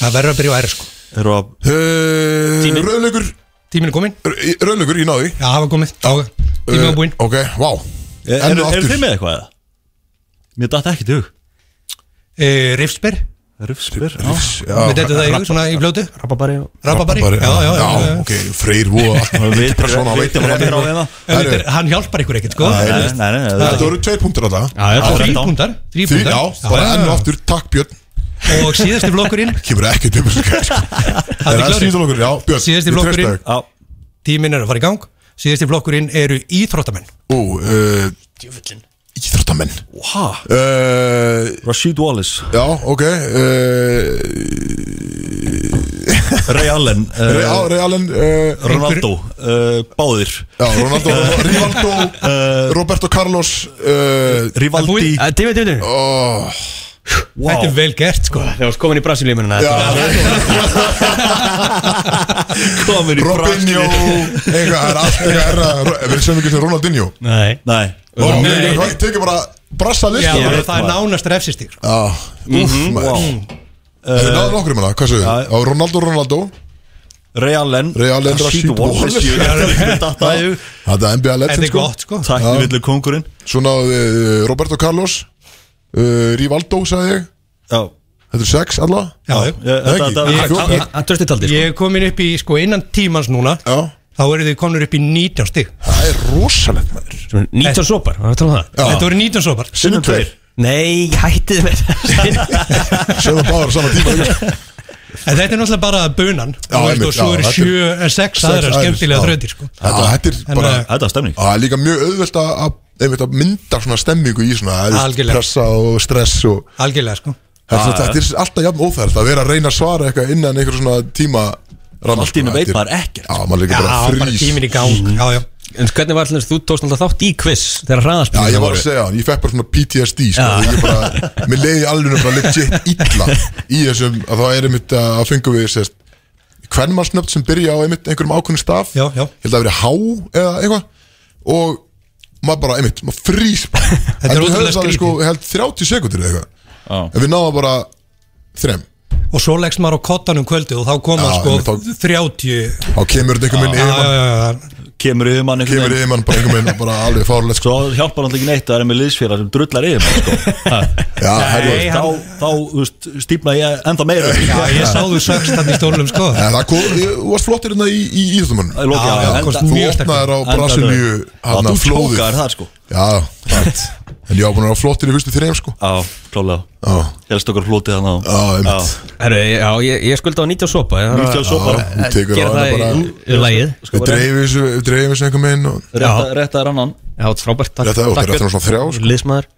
[SPEAKER 6] Það verður að byrja á R sko
[SPEAKER 3] eru að
[SPEAKER 1] uh,
[SPEAKER 2] Tíminn.
[SPEAKER 1] Rauðlaugur
[SPEAKER 6] Tíminn er komin
[SPEAKER 1] Rauðlaugur, ég náði
[SPEAKER 6] Já, það var komið Já, Tíminn
[SPEAKER 1] Eh,
[SPEAKER 6] var búinn
[SPEAKER 1] Ok, vá
[SPEAKER 3] Er,
[SPEAKER 1] Enn
[SPEAKER 3] er,
[SPEAKER 1] og
[SPEAKER 3] er
[SPEAKER 1] aftur
[SPEAKER 3] þið með eitthvað eða? Mér datt ekki til hug
[SPEAKER 6] e, Rifsberg
[SPEAKER 3] Rufsbyr
[SPEAKER 1] Já,
[SPEAKER 6] Við dættu það í hug, svona í blötu
[SPEAKER 2] Rappabari og
[SPEAKER 6] Rababari
[SPEAKER 1] bara-
[SPEAKER 6] Já, já, já, já.
[SPEAKER 1] ok, Freyr Vóa Þetta er svona að veita
[SPEAKER 3] Þetta er á veina
[SPEAKER 6] En þetta er- Hann hjálpar ykkur ekkert, sko
[SPEAKER 3] Nei, nei, nei, nei,
[SPEAKER 1] Þetta
[SPEAKER 3] þetta-
[SPEAKER 1] voru tveir punktur alltaf
[SPEAKER 2] Já, já,
[SPEAKER 6] Þrý
[SPEAKER 3] þrettán.
[SPEAKER 6] púntar Þrý
[SPEAKER 1] Því,
[SPEAKER 6] púntar
[SPEAKER 1] já, bara enn og aftur, takk Björn
[SPEAKER 6] Og síðasti flokkurinn
[SPEAKER 1] Kemur ekki til mér Það
[SPEAKER 6] er klárir.
[SPEAKER 1] síðan okkur, já, Björn
[SPEAKER 6] Síðasti
[SPEAKER 1] ég
[SPEAKER 6] flokkurinn.
[SPEAKER 1] treysti þér.
[SPEAKER 3] Já,
[SPEAKER 6] Tíminn er að fara í gang Síðasti flokkurinn eru íþróttamenn
[SPEAKER 1] Ú, uh, Íþróttamenn
[SPEAKER 3] Wow.
[SPEAKER 1] uh,
[SPEAKER 3] Rashid Wallace
[SPEAKER 1] Já, ok uh,
[SPEAKER 3] Ray Allen eh,
[SPEAKER 1] Ray, á, Ray Allen uh,
[SPEAKER 3] Ronaldo uh, Báðir
[SPEAKER 1] Já, Ronaldo, Rivaldo Roberto Carlos uh,
[SPEAKER 3] Rivaldi
[SPEAKER 2] Tími, tími, tími
[SPEAKER 1] oh,
[SPEAKER 6] Þetta er vel gert sko
[SPEAKER 2] Það varst komin í Brasilíumina
[SPEAKER 3] Komin
[SPEAKER 1] Robinho eitthvað, það er allt eitthvað erra við sem ekki sem Ronaldinho
[SPEAKER 2] Nei
[SPEAKER 3] Nei
[SPEAKER 1] Ronaldinho hann tekur bara brassa
[SPEAKER 6] Já,
[SPEAKER 1] listan
[SPEAKER 6] bara, það er nánast refsistýr sko.
[SPEAKER 1] Já, úf maður Þau náðu nokkur um hana, hvað segir þið? Á Ronaldo, Ronaldo
[SPEAKER 3] Realen
[SPEAKER 1] Realen Rashid Wallace.
[SPEAKER 3] Tækni
[SPEAKER 1] Þetta er NBA
[SPEAKER 6] Þetta
[SPEAKER 1] legend
[SPEAKER 6] er
[SPEAKER 1] sko
[SPEAKER 6] gott sko
[SPEAKER 3] villu kongurinn
[SPEAKER 1] Svo náðu þið eh, Roberto Carlos eh, Rivaldo, sagði ég
[SPEAKER 3] Já
[SPEAKER 1] Þetta er sex alla
[SPEAKER 6] Já,
[SPEAKER 3] Já,
[SPEAKER 1] Eh,
[SPEAKER 3] þetta-
[SPEAKER 1] Þetta
[SPEAKER 3] þetta-
[SPEAKER 1] er ekki
[SPEAKER 2] Hann trösti taldi
[SPEAKER 6] Ég er komin upp í, sko, innan tímans núna
[SPEAKER 1] Já,
[SPEAKER 6] Þá eru þið komin upp í 19 stig
[SPEAKER 1] það er rosalegt maður
[SPEAKER 2] 19 sko. sopar, var það að tala um það?
[SPEAKER 1] Já.
[SPEAKER 6] Þetta voru 19 sopar
[SPEAKER 1] Sinnum tveir
[SPEAKER 2] Nei, hættið með
[SPEAKER 1] Sjöðum báður á sama tíma líka, sko.
[SPEAKER 6] En þetta er náttúrulega bara bunan
[SPEAKER 1] Já,
[SPEAKER 6] Þú veist,
[SPEAKER 1] einmitt,
[SPEAKER 6] Og svo
[SPEAKER 1] já,
[SPEAKER 6] eru
[SPEAKER 1] þetta
[SPEAKER 6] eh,
[SPEAKER 1] er-
[SPEAKER 6] 7 en 6
[SPEAKER 1] sex
[SPEAKER 6] aðra
[SPEAKER 1] aðrir,
[SPEAKER 6] skemmtilega
[SPEAKER 1] já.
[SPEAKER 6] þrautir sko
[SPEAKER 1] Já, Þetta er
[SPEAKER 6] En,
[SPEAKER 1] bara
[SPEAKER 6] eh,
[SPEAKER 3] Þetta er stemning
[SPEAKER 1] Það er líka mjög auðvelt að, að, einmitt að mynda svona stemmingu í svona þú veist,
[SPEAKER 6] Algjörlega.
[SPEAKER 1] pressa og stress og
[SPEAKER 6] Algjörlega sko
[SPEAKER 1] þetta, þetta er alltaf jafn óþært að vera að reyna að svara eitthvað innan einhver svona tíma ramma,
[SPEAKER 3] Allt í einu
[SPEAKER 1] sko,
[SPEAKER 3] veit
[SPEAKER 1] þetta er-
[SPEAKER 3] maður ekkert.
[SPEAKER 1] Já, maður
[SPEAKER 6] Já,
[SPEAKER 1] líka bara
[SPEAKER 6] bara
[SPEAKER 1] frýs
[SPEAKER 6] tímin í gang
[SPEAKER 1] Mm.
[SPEAKER 6] Já, já
[SPEAKER 2] En hvernig var allir þú tókst alltaf þátt í quiz Þegar
[SPEAKER 1] Já,
[SPEAKER 2] hraðarspilum
[SPEAKER 1] ég var að segja hann, ég fekk bara svona PTSD sko,
[SPEAKER 2] Já.
[SPEAKER 1] og ég bara, mér leiði alveg bara legit illa í þessum að það er einmitt að fengum við sérst hvernmannsnöfn sem byrja á einmitt einhverjum ákveðnum staf
[SPEAKER 6] Já, já.
[SPEAKER 1] Ég held að það verið há eða eitthvað og maður bara, einmitt, maður frýs bara En
[SPEAKER 6] Þetta er
[SPEAKER 1] við
[SPEAKER 6] ótrúlega
[SPEAKER 1] höfðum alveg,
[SPEAKER 6] skrítið.
[SPEAKER 1] sko, ég held 30 sekundir eða
[SPEAKER 3] Já.
[SPEAKER 1] eitthvað en við náðum bara þrem
[SPEAKER 6] Og svo leggst maður á kottanum kvöldu og þá koma
[SPEAKER 1] Já,
[SPEAKER 6] sko
[SPEAKER 1] einmitt, þá-
[SPEAKER 6] 30
[SPEAKER 1] þá kemur þetta einhver minn
[SPEAKER 6] Já, já,
[SPEAKER 1] yfirmann
[SPEAKER 6] já, já.
[SPEAKER 3] Kemur yfir mann einhvern
[SPEAKER 1] kemur
[SPEAKER 3] veginn.
[SPEAKER 1] yfir mann bara einhver minn og bara alveg fárlega sko.
[SPEAKER 3] Svo hjálpar hann ekki neitt að það er með liðsfélag sem drullar yfir mann sko.
[SPEAKER 1] Já, herru,
[SPEAKER 6] Nei,
[SPEAKER 3] Þá, þá þú veist, stýpna ég enda meira
[SPEAKER 6] Já, ég sá þú sögst þannig í stólum sko
[SPEAKER 1] en það kom, þú varst flottir hérna í, í íþjóttumann
[SPEAKER 3] Í lokin, já,
[SPEAKER 1] þú
[SPEAKER 6] komst mjög sterkur.
[SPEAKER 1] opnaðir á Brasilíu hann
[SPEAKER 3] Þú
[SPEAKER 1] að flóðið
[SPEAKER 3] tjókar það sko
[SPEAKER 1] Já, en ég á búin að vera flottir í fyrstu þreim sko
[SPEAKER 3] Já, klálega
[SPEAKER 1] Já,
[SPEAKER 3] Helst okkar flótið hann á
[SPEAKER 1] já, einmitt
[SPEAKER 2] Herru, já, ég, ég skulda á 19 sopa ég þarf að-
[SPEAKER 3] Nýttjál svo
[SPEAKER 1] Já,
[SPEAKER 3] bara
[SPEAKER 1] Þú tekur á
[SPEAKER 2] Gera
[SPEAKER 1] hana
[SPEAKER 2] það
[SPEAKER 1] bara
[SPEAKER 2] í- sko, í lagið
[SPEAKER 1] Við dreifum þessu, við dreifum þessu einhver meginn og
[SPEAKER 3] Rétta- Rétta er annan
[SPEAKER 2] Já, þetta er frábært Takk,
[SPEAKER 1] Rétta, og þetta er svona þrjá, sko.
[SPEAKER 2] Liðsmaður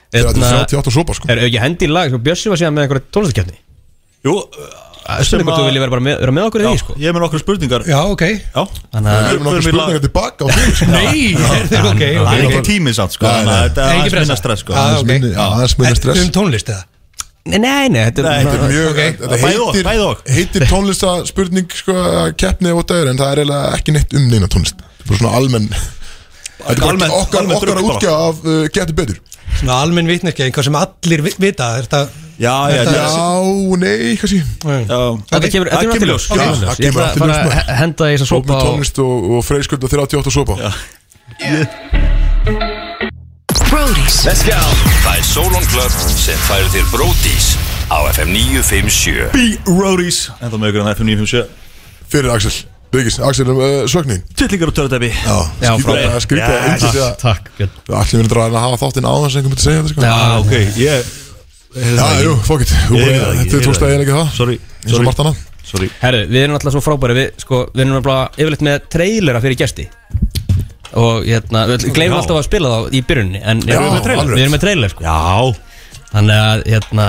[SPEAKER 1] Þetta er
[SPEAKER 2] Hérna,
[SPEAKER 1] 38 sopa sko
[SPEAKER 2] Er ekki hendi í lag sko, Bjössi var síðan með einhverja tónlistakefni
[SPEAKER 3] Jú,
[SPEAKER 2] Spurning hvort þú viljið vera, bara með, vera með okkur í
[SPEAKER 3] já,
[SPEAKER 2] því sko.
[SPEAKER 3] ég er með nokkra spurningar
[SPEAKER 6] Já, ok
[SPEAKER 3] Já,
[SPEAKER 2] Þannig
[SPEAKER 1] Við
[SPEAKER 2] að
[SPEAKER 1] erum nokkuð
[SPEAKER 3] förum í lag.
[SPEAKER 1] spurningar tilbaka á því sko
[SPEAKER 6] Nei, heyrðu, ok,
[SPEAKER 3] það er
[SPEAKER 6] ok
[SPEAKER 3] ekki tími samt sko
[SPEAKER 1] Nei, nei.
[SPEAKER 3] þannig að Þetta er
[SPEAKER 6] Nei, ekki
[SPEAKER 3] aðeins
[SPEAKER 6] pressa.
[SPEAKER 3] minna stress sko
[SPEAKER 6] Já,
[SPEAKER 1] Aðeins
[SPEAKER 6] ok.
[SPEAKER 1] minni- já, Aðeins minna stress
[SPEAKER 6] Um tónlist eða?
[SPEAKER 2] Nei, nei, nei, þetta
[SPEAKER 3] Nei,
[SPEAKER 2] er
[SPEAKER 1] Þetta er mjög,
[SPEAKER 6] Ok.
[SPEAKER 1] þetta
[SPEAKER 3] Bæði og, bæði og.
[SPEAKER 1] heitir, heitir tónlistaspurning sko, að keppni og dæður en það er eiginlega ekki neitt um neina tónlist Það er bara svona almenn Þetta er
[SPEAKER 3] Almenn-
[SPEAKER 1] bara okkar,
[SPEAKER 3] almenn
[SPEAKER 1] okkar
[SPEAKER 3] drukk bara.
[SPEAKER 1] útgjá af uh, getur betur
[SPEAKER 6] Svona almenn vitneskja, einhvað sem allir vi- vita er þetta,
[SPEAKER 3] Já, já,
[SPEAKER 6] Þetta-
[SPEAKER 3] já
[SPEAKER 1] Já, nei, kannski
[SPEAKER 3] já.
[SPEAKER 2] Þetta kemur þetta
[SPEAKER 3] Það
[SPEAKER 2] kemur allt í ljós
[SPEAKER 1] Já,
[SPEAKER 2] kemur allt í
[SPEAKER 1] það
[SPEAKER 2] ljós.
[SPEAKER 1] kemur allt í
[SPEAKER 2] Ég ætla að fara
[SPEAKER 1] ljós, maður.
[SPEAKER 2] að henda í þessa
[SPEAKER 1] Tók
[SPEAKER 2] sopa
[SPEAKER 1] með
[SPEAKER 2] og-
[SPEAKER 1] tónlist og, og freyskulda 38 sopa
[SPEAKER 4] Brody's
[SPEAKER 5] Let's go Það er Solon Club sem færir þér Brótis á FM 957
[SPEAKER 3] B-Roadies En þá með ykkur en FM 957
[SPEAKER 1] Fyrir Axel Byggis, Axel, uh, söknin
[SPEAKER 3] Tittlingar og törðdæpi
[SPEAKER 2] Já,
[SPEAKER 1] Skrýta,
[SPEAKER 2] frábært.
[SPEAKER 1] skrýta,
[SPEAKER 3] Yes.
[SPEAKER 1] einhvers
[SPEAKER 2] Takk,
[SPEAKER 1] vegar
[SPEAKER 2] Takk, Björn
[SPEAKER 1] Allir verður að hafa þáttinn á þess að einhver myndi segja þetta sko
[SPEAKER 2] Já,
[SPEAKER 3] Ok, ég
[SPEAKER 1] já jú, fuck it Þú bara-
[SPEAKER 3] Ég heyrði það ekki, ég
[SPEAKER 1] Þetta
[SPEAKER 3] heyrði
[SPEAKER 1] tókst
[SPEAKER 3] það
[SPEAKER 1] að ég er ekki það
[SPEAKER 3] Sorry,
[SPEAKER 1] Eins og
[SPEAKER 3] sorry.
[SPEAKER 1] Martana
[SPEAKER 3] Sorry
[SPEAKER 2] Herru, við erum alltaf svo frábæri Við, sko, við erum bara yfirleitt með trailera fyrir gesti Og hérna, við gleymum
[SPEAKER 3] Já.
[SPEAKER 2] alltaf að spila þá í byrjunni En
[SPEAKER 1] Já,
[SPEAKER 2] við erum með trailer,
[SPEAKER 1] alveg.
[SPEAKER 2] við erum með trailer sko.
[SPEAKER 3] Já
[SPEAKER 2] Þannig að, hérna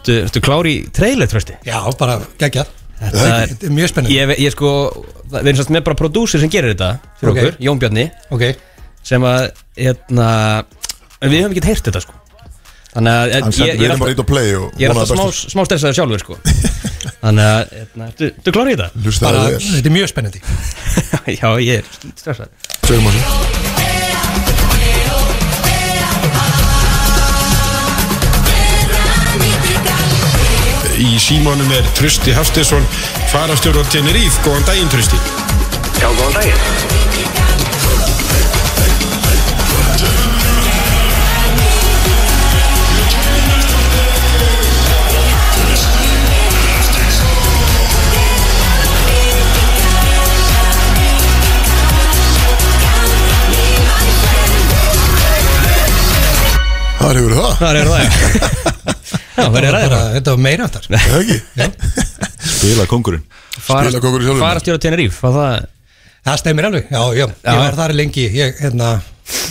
[SPEAKER 2] Ertu, ertu klári í trailer, trösti?
[SPEAKER 6] já, bara geggjað
[SPEAKER 2] Þetta er,
[SPEAKER 6] Þetta er mjög spennandi
[SPEAKER 2] ég, ég sko Við erum svolítið með bara prodúsir sem gerir þetta Fyrir
[SPEAKER 6] Ok.
[SPEAKER 2] okkur, Jón Bjarni
[SPEAKER 6] Ok,
[SPEAKER 2] Sem að, hérna en Við höfum ekki heyrt þetta, sko Þannig að
[SPEAKER 1] Hann
[SPEAKER 2] ég,
[SPEAKER 1] sendi
[SPEAKER 2] ég, er
[SPEAKER 1] við bara
[SPEAKER 2] alltaf-
[SPEAKER 1] ít á play og
[SPEAKER 2] ég er
[SPEAKER 1] vonaði
[SPEAKER 2] alltaf smá,
[SPEAKER 1] besta.
[SPEAKER 2] smá stressaður sjálfur, sko Þannig að, hérna, ertu, ertu klári í þetta?
[SPEAKER 1] Hlustaði
[SPEAKER 6] bara,
[SPEAKER 1] vel
[SPEAKER 6] þetta er mjög spennandi
[SPEAKER 2] Já, ég er stressaður
[SPEAKER 1] Segum að það
[SPEAKER 7] Í símónum er Trösti Haftinsson, farastjóru á Teneríf. Góðan daginn, Trösti.
[SPEAKER 5] Já, góðan daginn
[SPEAKER 1] Það hefur það
[SPEAKER 2] Það er það Já, það er
[SPEAKER 6] bara,
[SPEAKER 2] ræðið
[SPEAKER 6] Þetta var meira þar
[SPEAKER 1] Það ekki
[SPEAKER 3] Spila kongurinn
[SPEAKER 1] Spila kókur í sjálfum.
[SPEAKER 2] Farast jóra Teneríf var það
[SPEAKER 6] Það stemir alveg, já, já,
[SPEAKER 2] Já.
[SPEAKER 6] ég var þar lengi Ég, hérna,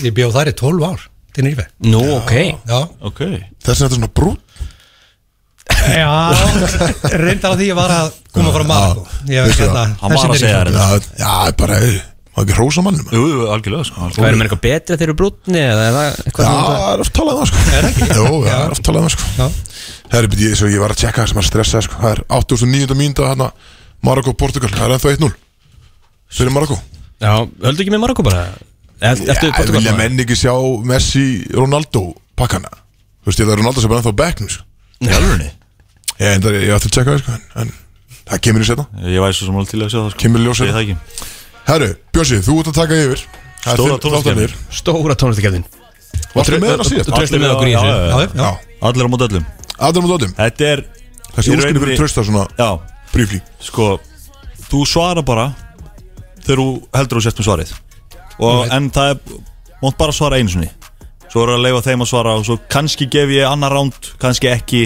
[SPEAKER 6] ég bjóð þar í 12 ár Til nýrfi
[SPEAKER 2] Nú, ok
[SPEAKER 6] Já,
[SPEAKER 3] Ok
[SPEAKER 1] Þess að þetta er svona brún
[SPEAKER 6] já reyndar að því ég var að koma frá Marko Ég
[SPEAKER 1] Vissi
[SPEAKER 6] hérna,
[SPEAKER 3] Hann var að segja þér
[SPEAKER 1] Já, já, bara hey, Má ekki hrósa mannum?
[SPEAKER 3] Jú, jú, algjörlega sko
[SPEAKER 2] Hvað er með eitthvað betra þegar þeir eru brútni eða er það
[SPEAKER 1] Já,
[SPEAKER 2] eitthvað
[SPEAKER 1] það er oft talað um það sko Er það ekki? Jó, það er oft talað um það sko Það er byrja, ég, svo ég var að tjekka það sem að stressa sko Það er 8.900 mínúta hérna Marokko, Portugal, það er ennþá 1-0 Fyrir Marokko
[SPEAKER 2] Já, höldu ekki með Marokko bara Eft- Eftir
[SPEAKER 1] Það
[SPEAKER 2] Portugal
[SPEAKER 1] vilja
[SPEAKER 2] bara?
[SPEAKER 1] menn ekki sjá Messi, Ronaldo pakkana Þú veist, ég það er Ronaldo sem er ennþá á bekknum sko.
[SPEAKER 3] Í alvörunni?
[SPEAKER 1] Ég, endar, ég ætti að tjekka það sko en, en það kemur í setna
[SPEAKER 3] Ég væri svo sem alveg til að sjá það sko
[SPEAKER 1] Kemur í ljós
[SPEAKER 3] Ég
[SPEAKER 1] hérna.
[SPEAKER 3] það ekki
[SPEAKER 1] Herru, Björnsi, þú ert að taka yfir Það er
[SPEAKER 3] Stóra
[SPEAKER 1] þinn- þáttarnir.
[SPEAKER 2] Stóra tónlistakefnin
[SPEAKER 1] Varstu með hana síðan?
[SPEAKER 2] Þú treystir með
[SPEAKER 3] Allir-
[SPEAKER 2] okkur í
[SPEAKER 3] já,
[SPEAKER 2] þessu
[SPEAKER 3] já, já.
[SPEAKER 6] já, já.
[SPEAKER 3] Allir á mót öllum
[SPEAKER 1] Adam og Dóttum
[SPEAKER 3] Þetta er
[SPEAKER 1] Þessi
[SPEAKER 3] Í
[SPEAKER 1] úrskynni
[SPEAKER 3] rauninni-
[SPEAKER 1] fyrir trösta svona
[SPEAKER 3] Já,
[SPEAKER 1] brífli
[SPEAKER 3] sko Þú svara bara Þegar þú heldur þú sért með svarið og, En það er Mátt bara svara einu sinni Svo voru að leifa þeim að svara Og svo kannski gef ég annar ránd Kannski ekki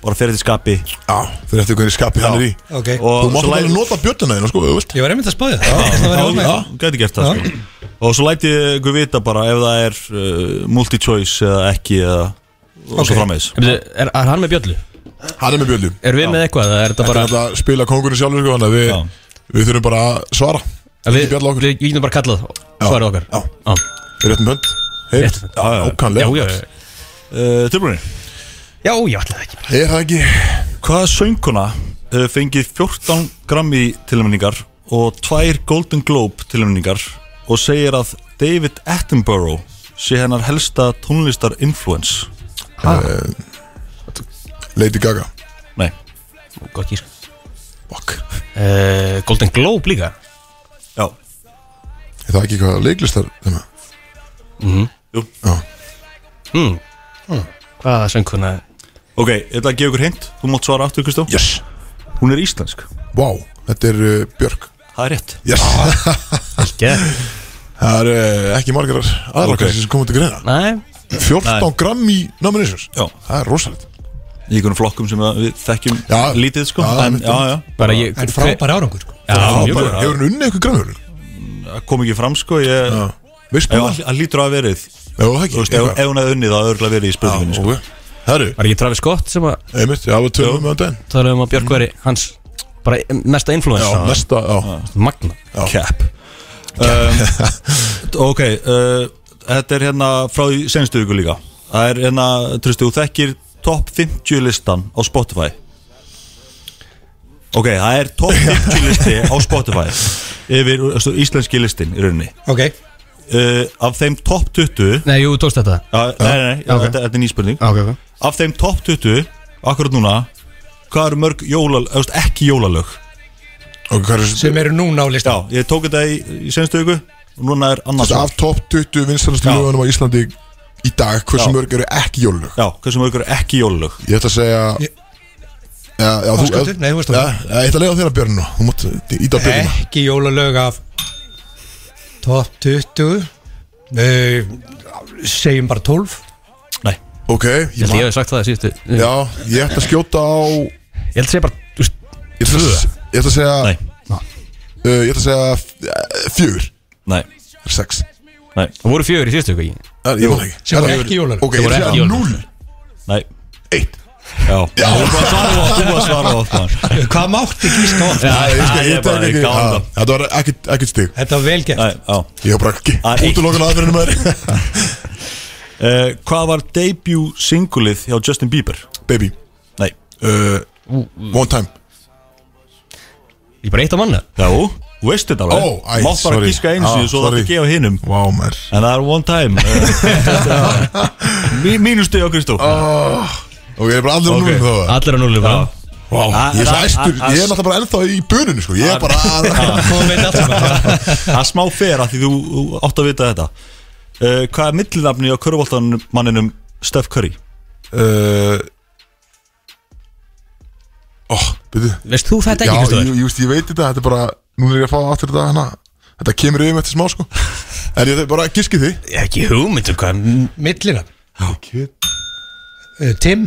[SPEAKER 3] Bara fyrir til skapi
[SPEAKER 1] Já, fyrir eftir hvernig skapið hann er í
[SPEAKER 6] Ok,
[SPEAKER 3] Og
[SPEAKER 1] Þú mátt
[SPEAKER 3] svo
[SPEAKER 1] bara
[SPEAKER 3] læt-
[SPEAKER 1] nota bjöllina þína sko, ef þú vilt
[SPEAKER 6] ég var einmitt að spáði það Það var
[SPEAKER 3] Já,
[SPEAKER 6] alveg-
[SPEAKER 3] já, gæti gert það sko. Og svo læti ég ykkur vita bara ef það er uh, multi-choice eða ekki eða, og
[SPEAKER 6] Ok.
[SPEAKER 3] svo framvegis
[SPEAKER 2] En byrju, Er er hann með bjöllu?
[SPEAKER 1] Hann er með bjöllum
[SPEAKER 2] Er við með eitthvað? eða Er þetta
[SPEAKER 1] Þetta er
[SPEAKER 2] bara
[SPEAKER 1] alltaf að spila kongurinn sjálfur sko, þannig að
[SPEAKER 3] Já.
[SPEAKER 1] við, við þurfum bara að svara
[SPEAKER 2] að
[SPEAKER 1] ekki bjalla okkur.
[SPEAKER 2] Við við getum bara kallað Svarað okkar
[SPEAKER 1] Já,
[SPEAKER 2] Já,
[SPEAKER 1] við réttum hönd Heyr,
[SPEAKER 2] Rétt.
[SPEAKER 1] já, já,
[SPEAKER 2] já,
[SPEAKER 1] ókanlega
[SPEAKER 2] já já.
[SPEAKER 3] uh, Tilbrunni,
[SPEAKER 2] Já, ég ætla það ekki
[SPEAKER 1] Er það ekki
[SPEAKER 3] hvaða sönguna hefur fengið 14 grammi tilnæmningar og tvær Golden Globe tilnæmningar og segir að David Attenborough sé hennar helsta tónlistar influence
[SPEAKER 1] Lady Gaga
[SPEAKER 3] Nei,
[SPEAKER 2] Gott gísk
[SPEAKER 1] Fuck
[SPEAKER 2] uh, Golden Globe líka
[SPEAKER 3] já,
[SPEAKER 1] Er það ekki hvað leiklistar þeim að
[SPEAKER 2] hmm. Hvaða sönguna
[SPEAKER 3] ok, ég ætla að gefa ykkur hint þú mátt svara aftur, Kristó
[SPEAKER 1] Yes
[SPEAKER 3] Hún er íslensk,
[SPEAKER 1] Vá, þetta er uh, Björk
[SPEAKER 3] það er rétt
[SPEAKER 1] Yes
[SPEAKER 2] Ekki
[SPEAKER 1] Það er uh, ekki margar aðra
[SPEAKER 3] Ok.
[SPEAKER 1] okay. sem komum til greina
[SPEAKER 2] Nei
[SPEAKER 1] 14
[SPEAKER 3] Nei.
[SPEAKER 1] gramm í nominations
[SPEAKER 3] Já.
[SPEAKER 1] Það er rosalegt
[SPEAKER 3] í einhvern flokkum sem við þekkjum
[SPEAKER 1] Já.
[SPEAKER 3] lítið sko
[SPEAKER 1] Já,
[SPEAKER 3] en,
[SPEAKER 1] einmitt.
[SPEAKER 3] já, já,
[SPEAKER 2] Bara ég
[SPEAKER 6] En frábær árangur sko.
[SPEAKER 2] Já,
[SPEAKER 1] Já,
[SPEAKER 2] mjög
[SPEAKER 1] bara,
[SPEAKER 2] góður.
[SPEAKER 1] Hefur hann unnið eitthvað grammjörn?
[SPEAKER 3] það kom ekki fram sko ég,
[SPEAKER 1] Já Veist
[SPEAKER 3] Ef
[SPEAKER 1] þú það?
[SPEAKER 3] hann lítur að hafa verið
[SPEAKER 1] Já, það
[SPEAKER 3] Þú
[SPEAKER 1] ekki
[SPEAKER 3] veist, ef, ef hún hefði unnið þá örgulega verið í spurningunni sko.
[SPEAKER 1] eitthvað. Já, ok. Herru,
[SPEAKER 2] Var ekki Travis Scott sem að
[SPEAKER 1] einmitt, já, við tölum með hann
[SPEAKER 2] talaði um að Björk veri hans bara mesta influence
[SPEAKER 1] Já, næsta, já
[SPEAKER 2] Magna
[SPEAKER 3] Cap um, Ok uh, Þetta er hérna frá í senstu viku líka Það er hérna, trústu, þú þekkir top 50 listan á Spotify Ok, það er top 50 listi á Spotify yfir veistu, íslenski listin í rauninni
[SPEAKER 6] Ok,
[SPEAKER 3] uh, Af þeim top 20 uh,
[SPEAKER 2] Nei, jú, tókst þetta
[SPEAKER 3] Nei, nei, nei,
[SPEAKER 2] Ok.
[SPEAKER 3] þetta, þetta er nýspurning
[SPEAKER 2] Ok, ok
[SPEAKER 3] Af þeim top 20, akkurat núna Hvað eru mörg jólalög, eða þú veist, ekki jólalög
[SPEAKER 1] Ok, hvað er
[SPEAKER 6] sem eru núna á listan
[SPEAKER 3] Já, ég tók þetta í, í senstu viku og núna er annars
[SPEAKER 1] Þetta af top 20 vinstalastu
[SPEAKER 3] Já.
[SPEAKER 1] lögunum á Íslandi í dag, hversu
[SPEAKER 3] Já.
[SPEAKER 1] mörg eru ekki jólulög?
[SPEAKER 3] Já, hversu mörgur er ekki jólulög
[SPEAKER 1] Ég ætla að segja
[SPEAKER 6] Ég-
[SPEAKER 1] Já, já, þú
[SPEAKER 6] Ásgautur? Nei, þú veist það.
[SPEAKER 1] Já, já, Ég ætla að leiða þér að björn nú Þú mátt íta á björnina
[SPEAKER 6] Ekki jólalög af Top 20 uh, Segjum bara 12
[SPEAKER 3] Nei,
[SPEAKER 1] Ok, ég
[SPEAKER 2] Ég held ég
[SPEAKER 1] man
[SPEAKER 2] hefði sagt það síðustu Já
[SPEAKER 1] Já, ég ætla að skjóta á Ég
[SPEAKER 2] Ég held að segja bara Þú veist
[SPEAKER 1] ætla að, ég ætla að segja
[SPEAKER 3] nei,
[SPEAKER 1] uh, Ég ætla að segja f- eh, fjögur
[SPEAKER 3] nei,
[SPEAKER 1] Það er sex
[SPEAKER 3] nei,
[SPEAKER 2] Það voru fjögur í síðustu ekki
[SPEAKER 1] Það er- Ég man það ekki
[SPEAKER 6] Sem
[SPEAKER 1] Það
[SPEAKER 6] voru
[SPEAKER 1] er-
[SPEAKER 6] ekki jólalög
[SPEAKER 1] Ok, ég
[SPEAKER 2] voru
[SPEAKER 1] ætla að
[SPEAKER 2] ekki
[SPEAKER 1] segja
[SPEAKER 2] jólulög.
[SPEAKER 1] 0
[SPEAKER 3] nei
[SPEAKER 1] 1
[SPEAKER 3] Já, já. þú er bara að svara á, þú er bara að svara á maður.
[SPEAKER 6] Hvað mátti gíska á?
[SPEAKER 3] Já,
[SPEAKER 1] Ég skal-
[SPEAKER 3] ég
[SPEAKER 1] ég
[SPEAKER 3] er bara
[SPEAKER 1] tek
[SPEAKER 3] ekki
[SPEAKER 1] ekki
[SPEAKER 3] gáðan
[SPEAKER 1] Já, Þetta var ekkert- ekkert stig
[SPEAKER 6] Þetta var vel gert
[SPEAKER 3] Nei, já
[SPEAKER 1] Ég hef bara ekki
[SPEAKER 3] Það er eitt.
[SPEAKER 1] Útulokkan aðferðinu maður
[SPEAKER 3] uh, Hvað var debut singulið hjá Justin Bieber?
[SPEAKER 1] Baby
[SPEAKER 3] Nei,
[SPEAKER 1] uh, One time
[SPEAKER 2] Ég bara eitt á manna
[SPEAKER 3] já, þú veist þetta
[SPEAKER 1] Ó,
[SPEAKER 3] alveg
[SPEAKER 1] æ,
[SPEAKER 3] Mátt bara
[SPEAKER 1] sorry.
[SPEAKER 3] gíska eins
[SPEAKER 1] Já,
[SPEAKER 3] og svo þetta
[SPEAKER 1] sorry.
[SPEAKER 3] gefa hinnum
[SPEAKER 1] Vá wow, maður
[SPEAKER 3] En það er one time uh, mí- Mínustu á Kristó Já,
[SPEAKER 1] Ok, ég er bara allir
[SPEAKER 3] Ok.
[SPEAKER 1] okay. núna þá það.
[SPEAKER 2] Allir á núlið bara
[SPEAKER 1] Vá, ég er svo
[SPEAKER 3] það-
[SPEAKER 1] æstur Ég
[SPEAKER 3] það-
[SPEAKER 1] er náttúrulega bara ennþá í buninu sko Ég er bara
[SPEAKER 6] Þú veit allt sem að
[SPEAKER 3] Það er smá fer að því þú þú átt að vita þetta uh, Hvað er millinafni á körfóltamanninum Steph Curry?
[SPEAKER 1] Uh, Ó, byrju
[SPEAKER 2] Veist þú þetta
[SPEAKER 1] Já,
[SPEAKER 2] ekki
[SPEAKER 1] ég,
[SPEAKER 2] Kristóður?
[SPEAKER 1] ég, veist, ég veit þetta Þetta er bara Nú er ég að fá aftur þetta hana Þetta kemur yfir með þetta smá sko En ég bara giski því
[SPEAKER 2] Ég hef ekki hugmyndu hvað
[SPEAKER 6] Millina uh, Tim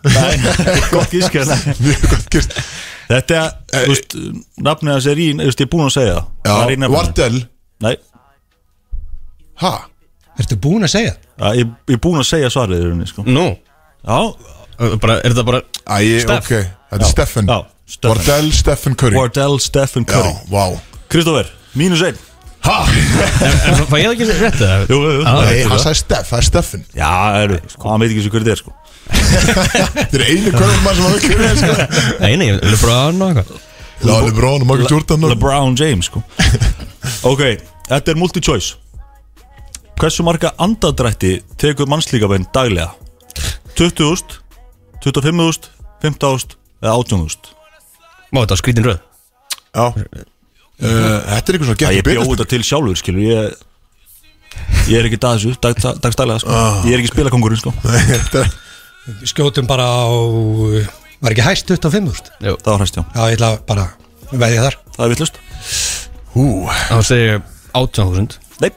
[SPEAKER 3] Nei, gott gískjast
[SPEAKER 1] Mjög gott gist
[SPEAKER 3] Þetta, þú veist, nafnið hans er í, þú veist, ég er búinn að segja það Það er
[SPEAKER 1] Eh,
[SPEAKER 3] í
[SPEAKER 1] Já,
[SPEAKER 3] nafninu.
[SPEAKER 1] Vardell
[SPEAKER 3] Nei,
[SPEAKER 1] Ha?
[SPEAKER 6] Ertu búin að segja?
[SPEAKER 3] að ég, ég er búinn að segja svarið í rauninni, sko
[SPEAKER 2] Nú
[SPEAKER 3] Já,
[SPEAKER 2] bara, Er þetta bara
[SPEAKER 1] Æ,
[SPEAKER 2] Steph.
[SPEAKER 1] ok Þetta er Steffen
[SPEAKER 3] já, Stephen
[SPEAKER 1] Vardell Stephen Curry
[SPEAKER 3] Wardell Stephen
[SPEAKER 1] Já,
[SPEAKER 3] Curry
[SPEAKER 1] vá
[SPEAKER 3] Kristófer, mínus einn
[SPEAKER 2] En en fæ ég það ekki rétt það?
[SPEAKER 3] Jú, jú, jú.
[SPEAKER 1] Nei, hann sagði Steff, það er Steffin
[SPEAKER 3] Já, eru, hann veit ekki svo hverju þetta er sko
[SPEAKER 1] Þetta er einu körfum maður sem hann ekki verið sko.
[SPEAKER 2] Nei, nei, LeBron og eitthvað
[SPEAKER 1] Já, Lebrón og Michael Jordan og-
[SPEAKER 3] LeBron James sko Ok, þetta er multi-choice Hversu marga andadrætti tekur mannslíkabæn daglega? 20.000, 25.000, 15.000 eða 18.000
[SPEAKER 2] Má þetta skrítin röð
[SPEAKER 1] Já Uh, þetta er eitthvað svona
[SPEAKER 3] Já,
[SPEAKER 1] gett
[SPEAKER 3] Ég bjóð þetta til sjálfur, skilur Ég, ég er ekki dagsjú, dag, dag, dagstælega sko. Ég er ekki spilakongurinn, sko
[SPEAKER 1] Þetta er
[SPEAKER 6] Skjótum bara á eh, Var ekki hæst 25 úrst
[SPEAKER 3] Það var hæst, já,
[SPEAKER 6] Já, ég ætla bara að veðja þar
[SPEAKER 3] það er vittlust
[SPEAKER 1] Hú,
[SPEAKER 2] Þá segir ég 18.000
[SPEAKER 3] Nei,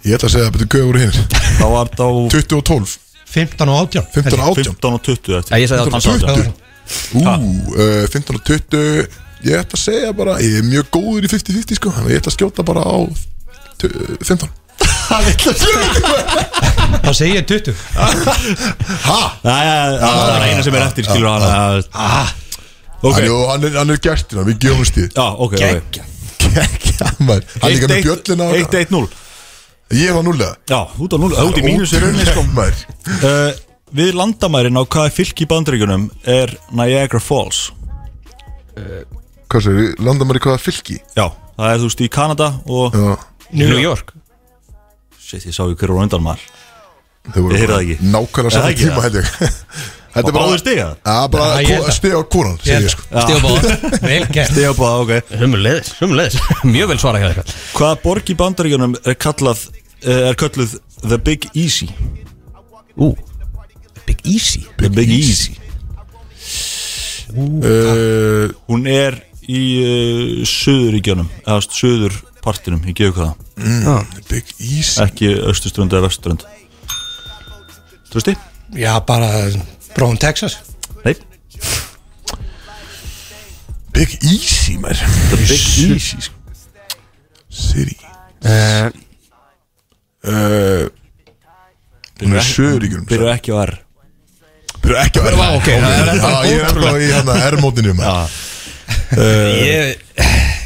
[SPEAKER 1] ég ætla að segja að betur göður hinn
[SPEAKER 3] þá var þá
[SPEAKER 1] 20 og 12,
[SPEAKER 6] 15 og 18
[SPEAKER 1] 15 og 18
[SPEAKER 3] 15 og 20 eftir
[SPEAKER 2] Já, ég sagði
[SPEAKER 3] 15 og
[SPEAKER 2] 18.
[SPEAKER 3] 20.
[SPEAKER 6] 18.
[SPEAKER 1] Ú, uh, 15 og 20 Ég ætla að segja bara, ég er mjög góður í 50-50 sko Ég ætla að skjóta bara á tu- eh, 15
[SPEAKER 6] Þá segi ég 20
[SPEAKER 3] Nei, nei, það er eina sem er eftir, skilur hann
[SPEAKER 1] Hann,
[SPEAKER 3] Ok,
[SPEAKER 1] er- hann, er, hann er gertina, við gefum stíð
[SPEAKER 3] já, ok, ok
[SPEAKER 1] Kekja, maður Hann er líka með bjöllina og-
[SPEAKER 3] 1-1-0
[SPEAKER 1] Ég var núlega
[SPEAKER 3] Já, út á 0 Út í mínus er rauninni sko
[SPEAKER 1] maður
[SPEAKER 3] uh, Við landamærin á hvaða fylki í bandaríkunum er Niagara Falls
[SPEAKER 1] Hvað segir, landa maður í hvaða fylki?
[SPEAKER 3] Já, það er þú veist í Kanada og
[SPEAKER 1] Já,
[SPEAKER 2] New York
[SPEAKER 3] Shit, ég sá ekki hverju röndan maður
[SPEAKER 1] þau voru
[SPEAKER 3] Ég heyrði
[SPEAKER 1] bara
[SPEAKER 3] það ekki.
[SPEAKER 1] Nákvæmlega
[SPEAKER 3] Er það
[SPEAKER 1] saman
[SPEAKER 3] ekki
[SPEAKER 1] tíma held ég Þetta
[SPEAKER 3] Og báðir stiga?
[SPEAKER 1] Já,
[SPEAKER 6] Já,
[SPEAKER 1] bara
[SPEAKER 6] ég held
[SPEAKER 1] ko-
[SPEAKER 6] það.
[SPEAKER 1] stiga á konan,
[SPEAKER 6] Ég
[SPEAKER 1] segir
[SPEAKER 6] held
[SPEAKER 1] ég sko
[SPEAKER 2] Stíðabáð
[SPEAKER 6] Vel gert
[SPEAKER 3] Þegar búið, ok
[SPEAKER 2] Sumulegðis, sumulegðis Mjög vel svarað hjá þér
[SPEAKER 3] Hvaða borg í bandaríkunum er kallað uh, er kallað The Big Easy
[SPEAKER 2] Ú Big Easy
[SPEAKER 3] The Big Easy Eh,
[SPEAKER 1] Uh,
[SPEAKER 3] Hún er í uh, söðuríkjunum eða söður partinum, ég gefu hvaða
[SPEAKER 1] Big Easy
[SPEAKER 3] ekki austurströnd eða vesturströnd Trösti?
[SPEAKER 6] Já, bara Bróðum Texas
[SPEAKER 3] Nei
[SPEAKER 1] Big Easy, maður
[SPEAKER 3] The Big Easy sko.
[SPEAKER 1] Siri
[SPEAKER 6] Eh,
[SPEAKER 1] uh, Hún er söguríkjum
[SPEAKER 3] Byrju ekki á R
[SPEAKER 1] Byrju ekki að verða ok Já, ég er ennþá í hérna R-mótinu maður.
[SPEAKER 2] Ég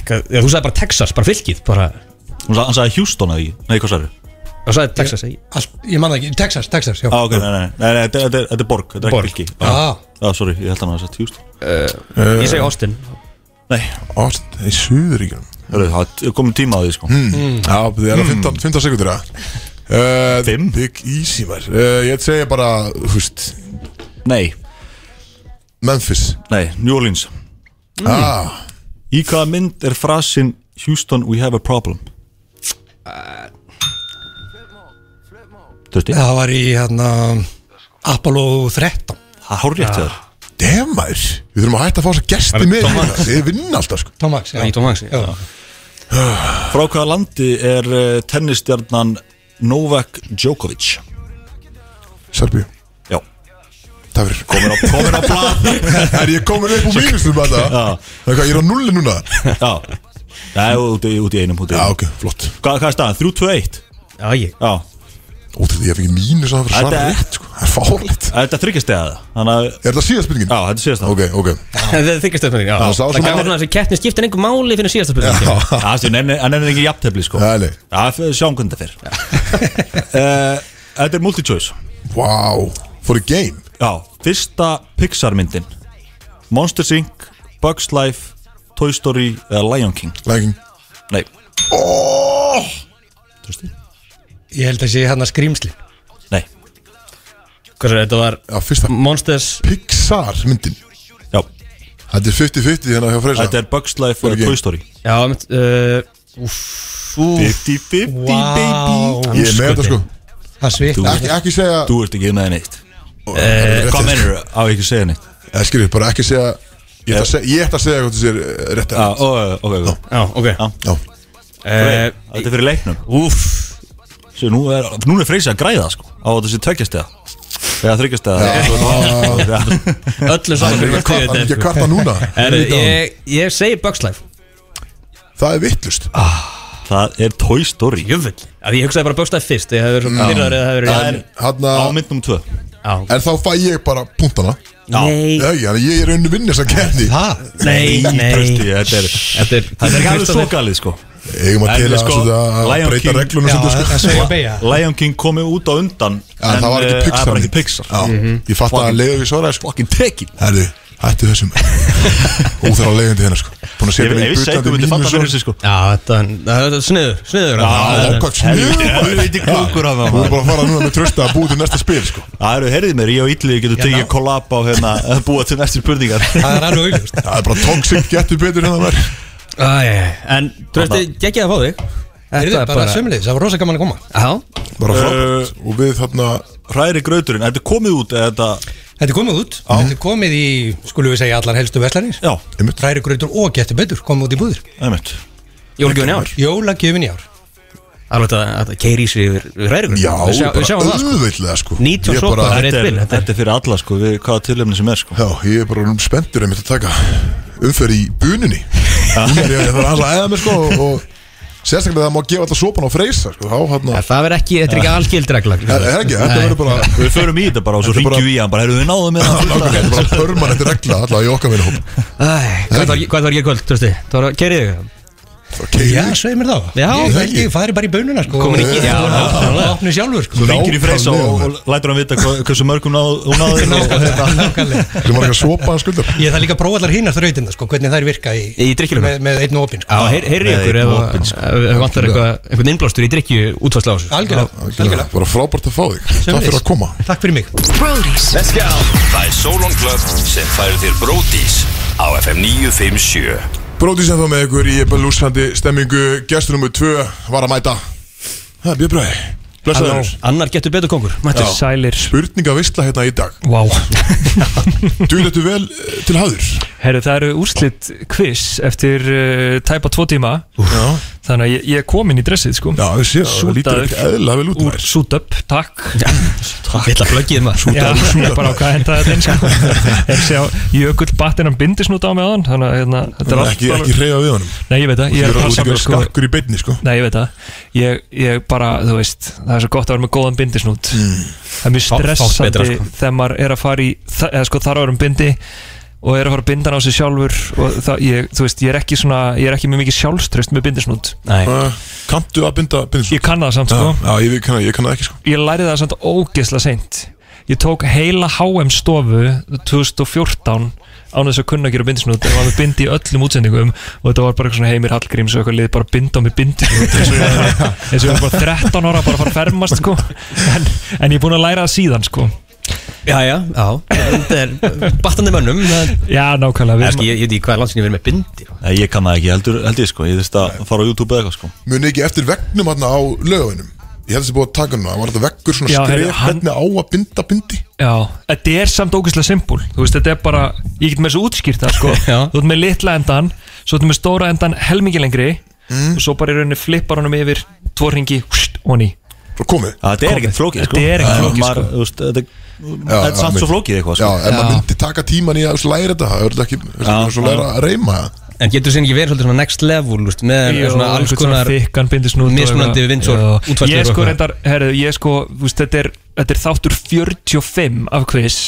[SPEAKER 2] hvað- já, Þú sagði bara Texas, bara fylkið bara
[SPEAKER 3] Hún sagði, hann sagði Houston eða ekki Nei, hvað sagði
[SPEAKER 2] Þú sagði Texas ég-
[SPEAKER 6] Allt, Ég man það ekki, Texas, Texas, já
[SPEAKER 3] ah, okay, nei, nei, nei, nei, nei, þetta þetta er, þetta er borg, þetta er
[SPEAKER 2] Borg.
[SPEAKER 3] ekki fylki Já,
[SPEAKER 6] Já,
[SPEAKER 3] ah. sorry, ég held hann að það sagði Houston
[SPEAKER 2] Ég segi Austin
[SPEAKER 3] Nei,
[SPEAKER 1] Ást, það er söguríkjum
[SPEAKER 3] hörru, það er komin tíma á því sko
[SPEAKER 1] Já, það er að 15, 15 sekundir að Uh,
[SPEAKER 3] Mm. Fimm?
[SPEAKER 1] Big Easy maður uh, Ég segi bara, húst
[SPEAKER 3] Nei,
[SPEAKER 1] Memphis
[SPEAKER 3] nei, New Orleans Mm.
[SPEAKER 1] ah,
[SPEAKER 3] Í hvaða mynd er frasin Houston, we have a problem Törsti,
[SPEAKER 6] það var í hérna Apollo 13
[SPEAKER 3] það hár rétt þér
[SPEAKER 1] Damn maður Við þurfum að hætta að fá þess að gesti með hérna. Þið vinna alltaf sko
[SPEAKER 6] Tomax, já
[SPEAKER 2] Í Tom Hanks,
[SPEAKER 6] Já.
[SPEAKER 3] Frá hvaða landi er uh, tennistjarnan Novak Djokovic
[SPEAKER 1] Serbíu
[SPEAKER 3] Já,
[SPEAKER 1] Það verður
[SPEAKER 3] komin á, komin á blad
[SPEAKER 1] Er ég komin upp úr mínustum þetta? Það er hvað, ég er á nulli núna
[SPEAKER 3] Já, Nei, út, í- út í einum út í
[SPEAKER 1] Já,
[SPEAKER 3] einum.
[SPEAKER 1] ok, flott
[SPEAKER 3] Hvað, hvað er staðan? 3-2-1
[SPEAKER 2] Já, ég
[SPEAKER 3] Já,
[SPEAKER 1] Ótrúlega, ég fengi mínus að það fyrir svara
[SPEAKER 3] Þetta-
[SPEAKER 1] rétt sko. Það er fárlegt
[SPEAKER 3] þetta er þryggjastega Þannig að,
[SPEAKER 1] Er þetta síðast spurningin?
[SPEAKER 3] já, þetta séast það
[SPEAKER 1] Ok, ok
[SPEAKER 2] Það er þykast spurning já.
[SPEAKER 1] Já, sá
[SPEAKER 2] Það
[SPEAKER 1] sem
[SPEAKER 2] gæmur
[SPEAKER 1] var-
[SPEAKER 2] svona þessi keppni skiptir einhver máli fyrir síðasta spurning
[SPEAKER 1] Já.
[SPEAKER 3] Það stu, hann nefnir ekki jafntefli sko
[SPEAKER 1] Nei, nei.
[SPEAKER 3] Já, f- sjáum hvernig það fer Eh, Þetta er multi-choice
[SPEAKER 1] Vá, for a game
[SPEAKER 3] Já, fyrsta Pixar myndin Monsters Inc, Bugs Life Toy Story eða Lion King
[SPEAKER 1] Læking
[SPEAKER 3] Nei,
[SPEAKER 1] oh!
[SPEAKER 3] trústu?
[SPEAKER 6] Ég held að sé hérna skrýmsli
[SPEAKER 3] Nei,
[SPEAKER 2] Hvað er þetta var
[SPEAKER 1] Já, fyrsta
[SPEAKER 2] Monsters
[SPEAKER 1] Pixar myndin
[SPEAKER 3] já,
[SPEAKER 1] Þetta er 50-50 hérna hjá Freysa
[SPEAKER 3] þetta er Bugs Life
[SPEAKER 1] Lion
[SPEAKER 3] eða
[SPEAKER 1] King.
[SPEAKER 3] Toy Story
[SPEAKER 2] Já, mynd uh, Úf Úf
[SPEAKER 3] 50-50
[SPEAKER 6] Vá.
[SPEAKER 3] baby
[SPEAKER 1] Ég er með þetta sko
[SPEAKER 6] Það svik
[SPEAKER 3] Þú-
[SPEAKER 1] Ekki, ekki segja Eh,
[SPEAKER 3] Þú ert ekki með neitt
[SPEAKER 1] Hvað
[SPEAKER 3] Eh, Hvað mennur á ekki að segja neitt?
[SPEAKER 1] Ég Eh, skilur, bara ekki segja Ég ætla að segja, ég ætla að segja hvað þú sér eh, rétt
[SPEAKER 3] Eh. Já,
[SPEAKER 1] að
[SPEAKER 3] ó, ok, ok
[SPEAKER 2] Já, ok
[SPEAKER 3] Já.
[SPEAKER 1] Já,
[SPEAKER 2] Eh,
[SPEAKER 3] Þetta er fyrir leiknum
[SPEAKER 2] Úf
[SPEAKER 3] Svo nú er, nú er Freysi að græða sko Á þessi tveggjastega Eða
[SPEAKER 2] Öllum
[SPEAKER 3] þryggjastega
[SPEAKER 1] það
[SPEAKER 2] saman
[SPEAKER 1] er ekki að kvarta- hann er ekki að kvarta núna
[SPEAKER 2] Er, sko. ég, ég segi Bugs Life
[SPEAKER 1] Það er vittlust
[SPEAKER 3] Ah. Það er Toy Story
[SPEAKER 2] Jöfull Því ég hugsaði bara Bugs Life fyrst Ég hefði verið svo pyrraður eða það hefði
[SPEAKER 3] Það er
[SPEAKER 2] verið
[SPEAKER 1] Hanna,
[SPEAKER 3] á myndnum 2
[SPEAKER 2] Já
[SPEAKER 1] hérna, en þá fæ ég bara punktana
[SPEAKER 2] Nei
[SPEAKER 1] Ég, ég er unnu vinnir sem kefni
[SPEAKER 6] Það,
[SPEAKER 2] Nei, nei
[SPEAKER 3] Trausti, þetta er-
[SPEAKER 2] Þetta er
[SPEAKER 3] Það er ekki alveg svo galið sko
[SPEAKER 1] Eigum að
[SPEAKER 3] En
[SPEAKER 1] til að,
[SPEAKER 3] sko,
[SPEAKER 1] sko, að
[SPEAKER 3] Lion
[SPEAKER 1] breyta
[SPEAKER 3] King-
[SPEAKER 1] reglunum
[SPEAKER 6] Já,
[SPEAKER 1] svolítið,
[SPEAKER 6] þetta
[SPEAKER 1] sko.
[SPEAKER 6] segja beigja
[SPEAKER 3] Lion King komi út á undan
[SPEAKER 1] Já, það var
[SPEAKER 3] eh,
[SPEAKER 1] ekki Pixar
[SPEAKER 3] Það var ekki
[SPEAKER 1] mynd.
[SPEAKER 3] Pixar Mhm.
[SPEAKER 1] Já, Ég fatt að leiðu við svaraði sko
[SPEAKER 3] Fucking tekin
[SPEAKER 1] Herðu, hættu þessum Óþar að leiðandi hérna sko Búin að setja
[SPEAKER 3] Ég veit-
[SPEAKER 1] mig
[SPEAKER 3] ég
[SPEAKER 1] í
[SPEAKER 3] vissi að þú
[SPEAKER 1] bullandi
[SPEAKER 3] myndir fatta fyrir
[SPEAKER 1] mínus
[SPEAKER 3] þessu sko
[SPEAKER 2] Já, þetta þetta er sniður, sniður
[SPEAKER 1] Já, hvað
[SPEAKER 3] Helviti,
[SPEAKER 1] snöður
[SPEAKER 3] helviti klókur af það,
[SPEAKER 1] Þú
[SPEAKER 3] maður.
[SPEAKER 1] er bara að fara núna með trösta að búi til næsta spil sko
[SPEAKER 3] Það eru, heyrðið mér, ég og Ítli getur tekið
[SPEAKER 6] ná.
[SPEAKER 3] kollab á hérna að búa til næstu spurningar
[SPEAKER 6] Það er alveg auðvist
[SPEAKER 1] Það er bara toxic getur betur hérna verð
[SPEAKER 2] En trösti, geggið að fá þig
[SPEAKER 6] Þetta er bara sömulegis, það var rosa gaman að koma
[SPEAKER 2] Já,
[SPEAKER 1] Bara
[SPEAKER 3] Eh,
[SPEAKER 1] frábært Og við þarna
[SPEAKER 3] Hræri grauturinn, er þetta komið út eða þetta
[SPEAKER 6] Þetta er komið út, þetta er komið í, skulum við segja, allar helstu veslanir
[SPEAKER 3] Já,
[SPEAKER 1] einmitt.
[SPEAKER 6] Ræri gröður og getur betur, komið út í búður
[SPEAKER 3] einmitt
[SPEAKER 2] jólgjöfni ár
[SPEAKER 6] Jólagjöfin í ár
[SPEAKER 2] Alveg þetta- þetta keiri í sig yfir ræðugur
[SPEAKER 1] Já,
[SPEAKER 2] Við sjá- við
[SPEAKER 1] bara
[SPEAKER 2] sjáum það sko
[SPEAKER 1] auðveitlega sko
[SPEAKER 2] 19
[SPEAKER 1] Ég er bara-
[SPEAKER 2] sopar. Það er
[SPEAKER 3] Þetta
[SPEAKER 2] eitt
[SPEAKER 3] er,
[SPEAKER 2] bil, þetta er-
[SPEAKER 3] þetta er fyrir alla sko, við hvaða tilöfni sem er sko
[SPEAKER 1] Já, ég er bara um spenntur einmitt að taka umferð í bununni Hún er- ég- Það er hans að æða mig sko og- og Sérstaklega það má gefa alltaf sopan á freysa sko Þá hérna
[SPEAKER 2] En Það verður ekki, þetta er ekki algild regla
[SPEAKER 1] Það er ekki, þetta verður bara
[SPEAKER 3] Við förum í þetta bara og svo
[SPEAKER 1] Þetta er bara-
[SPEAKER 3] ringjum við í hann bara, heyrðu við náðum hérna." með
[SPEAKER 1] Nákvæmlega,
[SPEAKER 3] það
[SPEAKER 1] Þetta er bara permanent regla allavega í okkar minna
[SPEAKER 2] Æ, Hvað var hvað ætlarðu að gera í kvöld, trösti? Það var að keiri þig
[SPEAKER 1] hóp
[SPEAKER 6] Já, segir mér þá
[SPEAKER 2] Já,
[SPEAKER 6] Ég held
[SPEAKER 1] ekki.
[SPEAKER 6] ég fari bara í bönuna sko
[SPEAKER 2] Komin í-
[SPEAKER 6] Og-
[SPEAKER 2] já,
[SPEAKER 6] og-
[SPEAKER 2] nákvæmlega.
[SPEAKER 6] og Opnu sjálfur sko
[SPEAKER 1] Svo
[SPEAKER 3] Ringir í freysa og,
[SPEAKER 1] Nákvæmlega.
[SPEAKER 3] og lætur hann vita hva- hversu mörgum náð, hún náði og, og hérna
[SPEAKER 6] Nákvæmlega.
[SPEAKER 1] Sem var ekki að sopa hann skuldar
[SPEAKER 6] Ég þarf líka að prófa allar hínar þrautina sko, hvernig þær virka í,
[SPEAKER 2] Í drykkjunum?
[SPEAKER 6] með, með einn og opinn sko.
[SPEAKER 2] Já, heyr- heyri
[SPEAKER 3] Nei,
[SPEAKER 2] ykkur ef
[SPEAKER 3] opinn,
[SPEAKER 2] að-
[SPEAKER 3] sko.
[SPEAKER 2] ef ef vantar eitthvað- einhvern innblástur í drikju útfærsla á þessu
[SPEAKER 6] Algjörlega, algjörlega
[SPEAKER 1] Bara frábært að fá þig Takk fyrir að koma
[SPEAKER 6] Takk fyrir mig
[SPEAKER 4] Brody's.
[SPEAKER 5] Það er Solon Club sem færir þér Bródís á FM 957
[SPEAKER 1] Bróti sem þá með ykkur í belúsandi stemmingu Gestur nummer 2 var að mæta Það er bjöðbræði Blessaður
[SPEAKER 2] Annar getur betur kongur Mættir sælir
[SPEAKER 1] Spurninga vissla hérna í dag
[SPEAKER 8] Vá,
[SPEAKER 1] Duðlættu vel eh, til hafður
[SPEAKER 8] herru það eru úrslit quiz eftir uh, tæpa tvo tíma
[SPEAKER 1] Já,
[SPEAKER 8] þannig að ég, ég er komin í dressið sko
[SPEAKER 1] já ég sé það Það
[SPEAKER 8] Sútaður.
[SPEAKER 1] lítur ekki eðla vel út
[SPEAKER 8] úr
[SPEAKER 1] maður.
[SPEAKER 8] suit up, takk
[SPEAKER 2] Vill að flöggið maður
[SPEAKER 8] Já,
[SPEAKER 1] Sútaður, sútaður.
[SPEAKER 8] bara á hvað hendaði þetta eins sko. en sjá, jökull batinn hann bindist nút á mig á hann þannig að hérna, þetta er allt
[SPEAKER 1] Ekki, ekki reyða við honum
[SPEAKER 8] Nei, ég veit
[SPEAKER 1] Þú
[SPEAKER 8] það, ég
[SPEAKER 1] ert
[SPEAKER 8] er að
[SPEAKER 1] að
[SPEAKER 8] passa
[SPEAKER 1] gera
[SPEAKER 8] mig sko
[SPEAKER 1] skakkur í beinni sko
[SPEAKER 8] Nei, ég veit það ég, ég bara, þú veist, það er svo gott að vera með góðan bindisnút Það er mjög
[SPEAKER 2] Mm. Fátt- fátt
[SPEAKER 8] stressandi
[SPEAKER 2] betra, sko.
[SPEAKER 8] þegar maður er að fara í þa- eða sko þar árum bindi og er að fara að binda hann á sig sjálfur og það, ég, þú veist, ég er ekki svona ég er ekki með mikið sjálfströst með bindisnút
[SPEAKER 2] Nei
[SPEAKER 1] Eh, Kanntu að binda bindisnút?
[SPEAKER 8] Ég kann það samt, sko
[SPEAKER 1] Já, ah, ég kann það, ég kann það ekki sko
[SPEAKER 8] Ég læri það samt ógeðslega seint Ég tók heila HM stofu 2014 án þess að kunna að gera bindisnút og var með bindi í öllum útsendingum og þetta var bara eitthvað svona heimir Hallgríms og eitthvað liðið bara að binda á mig bindisnút eins og ég eins og ég var bara 13 ára bara að fara að fermast sko en, en ég er búin að læra það síðan sko
[SPEAKER 2] Já, já, já Þetta er battandi mönnum Það
[SPEAKER 8] Já, nákvæmlega
[SPEAKER 2] Ég,
[SPEAKER 8] við
[SPEAKER 2] sko, ég,
[SPEAKER 8] erum-
[SPEAKER 2] ég veit ekki hvað er langt sinni verið með bindi sko.
[SPEAKER 3] Nei, ég kann það ekki, heldur, heldur ég sko, ég þurfti að fara á YouTube eða eitthvað sko
[SPEAKER 1] muni ekki eftir vegnum hérna á lögavinnum ég held að það sé búið að taka núna, var þetta veggur svona
[SPEAKER 8] Já,
[SPEAKER 1] skref
[SPEAKER 8] heyrðu, hann-
[SPEAKER 1] hvernig á að binda bindi
[SPEAKER 8] Já, þetta er samt ógeðslega simpul Þú veist, þetta er bara, ég get með þessu útskýrt það sko
[SPEAKER 2] Já.
[SPEAKER 8] Þú ert með litla endan Svo ertu með stóra endan helmingi lengri
[SPEAKER 2] Mm.
[SPEAKER 8] Og svo bara í rauninni flippar honum yfir Tvo ringi, húst, honi
[SPEAKER 1] svo komið,
[SPEAKER 3] Ja, Þetta er ekkert flókið sko
[SPEAKER 8] Þetta er ekkert
[SPEAKER 3] En
[SPEAKER 8] flókið,
[SPEAKER 3] maður,
[SPEAKER 8] sko.
[SPEAKER 3] þú veist, Þetta
[SPEAKER 1] Já,
[SPEAKER 3] þetta er
[SPEAKER 1] já,
[SPEAKER 3] samt svo
[SPEAKER 1] mynd.
[SPEAKER 3] flókið eitthvað
[SPEAKER 1] Ah, já,
[SPEAKER 3] sko
[SPEAKER 1] ef maður myndi taka tíman í að þú veist, læra þetta það verður þetta ekki, það
[SPEAKER 3] Já,
[SPEAKER 1] er svo læra að reyma það.
[SPEAKER 2] En getur þessi ekki verið svolítið svona next level úst, með
[SPEAKER 8] Jú,
[SPEAKER 2] svona alls
[SPEAKER 8] einhvern
[SPEAKER 2] konar
[SPEAKER 8] þykkan bindisnút og
[SPEAKER 2] mismunandi
[SPEAKER 8] eitthvað.
[SPEAKER 2] vindsor-
[SPEAKER 8] Já.
[SPEAKER 2] útfærslur
[SPEAKER 8] Ég
[SPEAKER 2] og
[SPEAKER 8] sko
[SPEAKER 2] eitthvað.
[SPEAKER 8] reyndar, herru, ég sko þú veist, þetta, er, þetta er þáttur 45 af quiz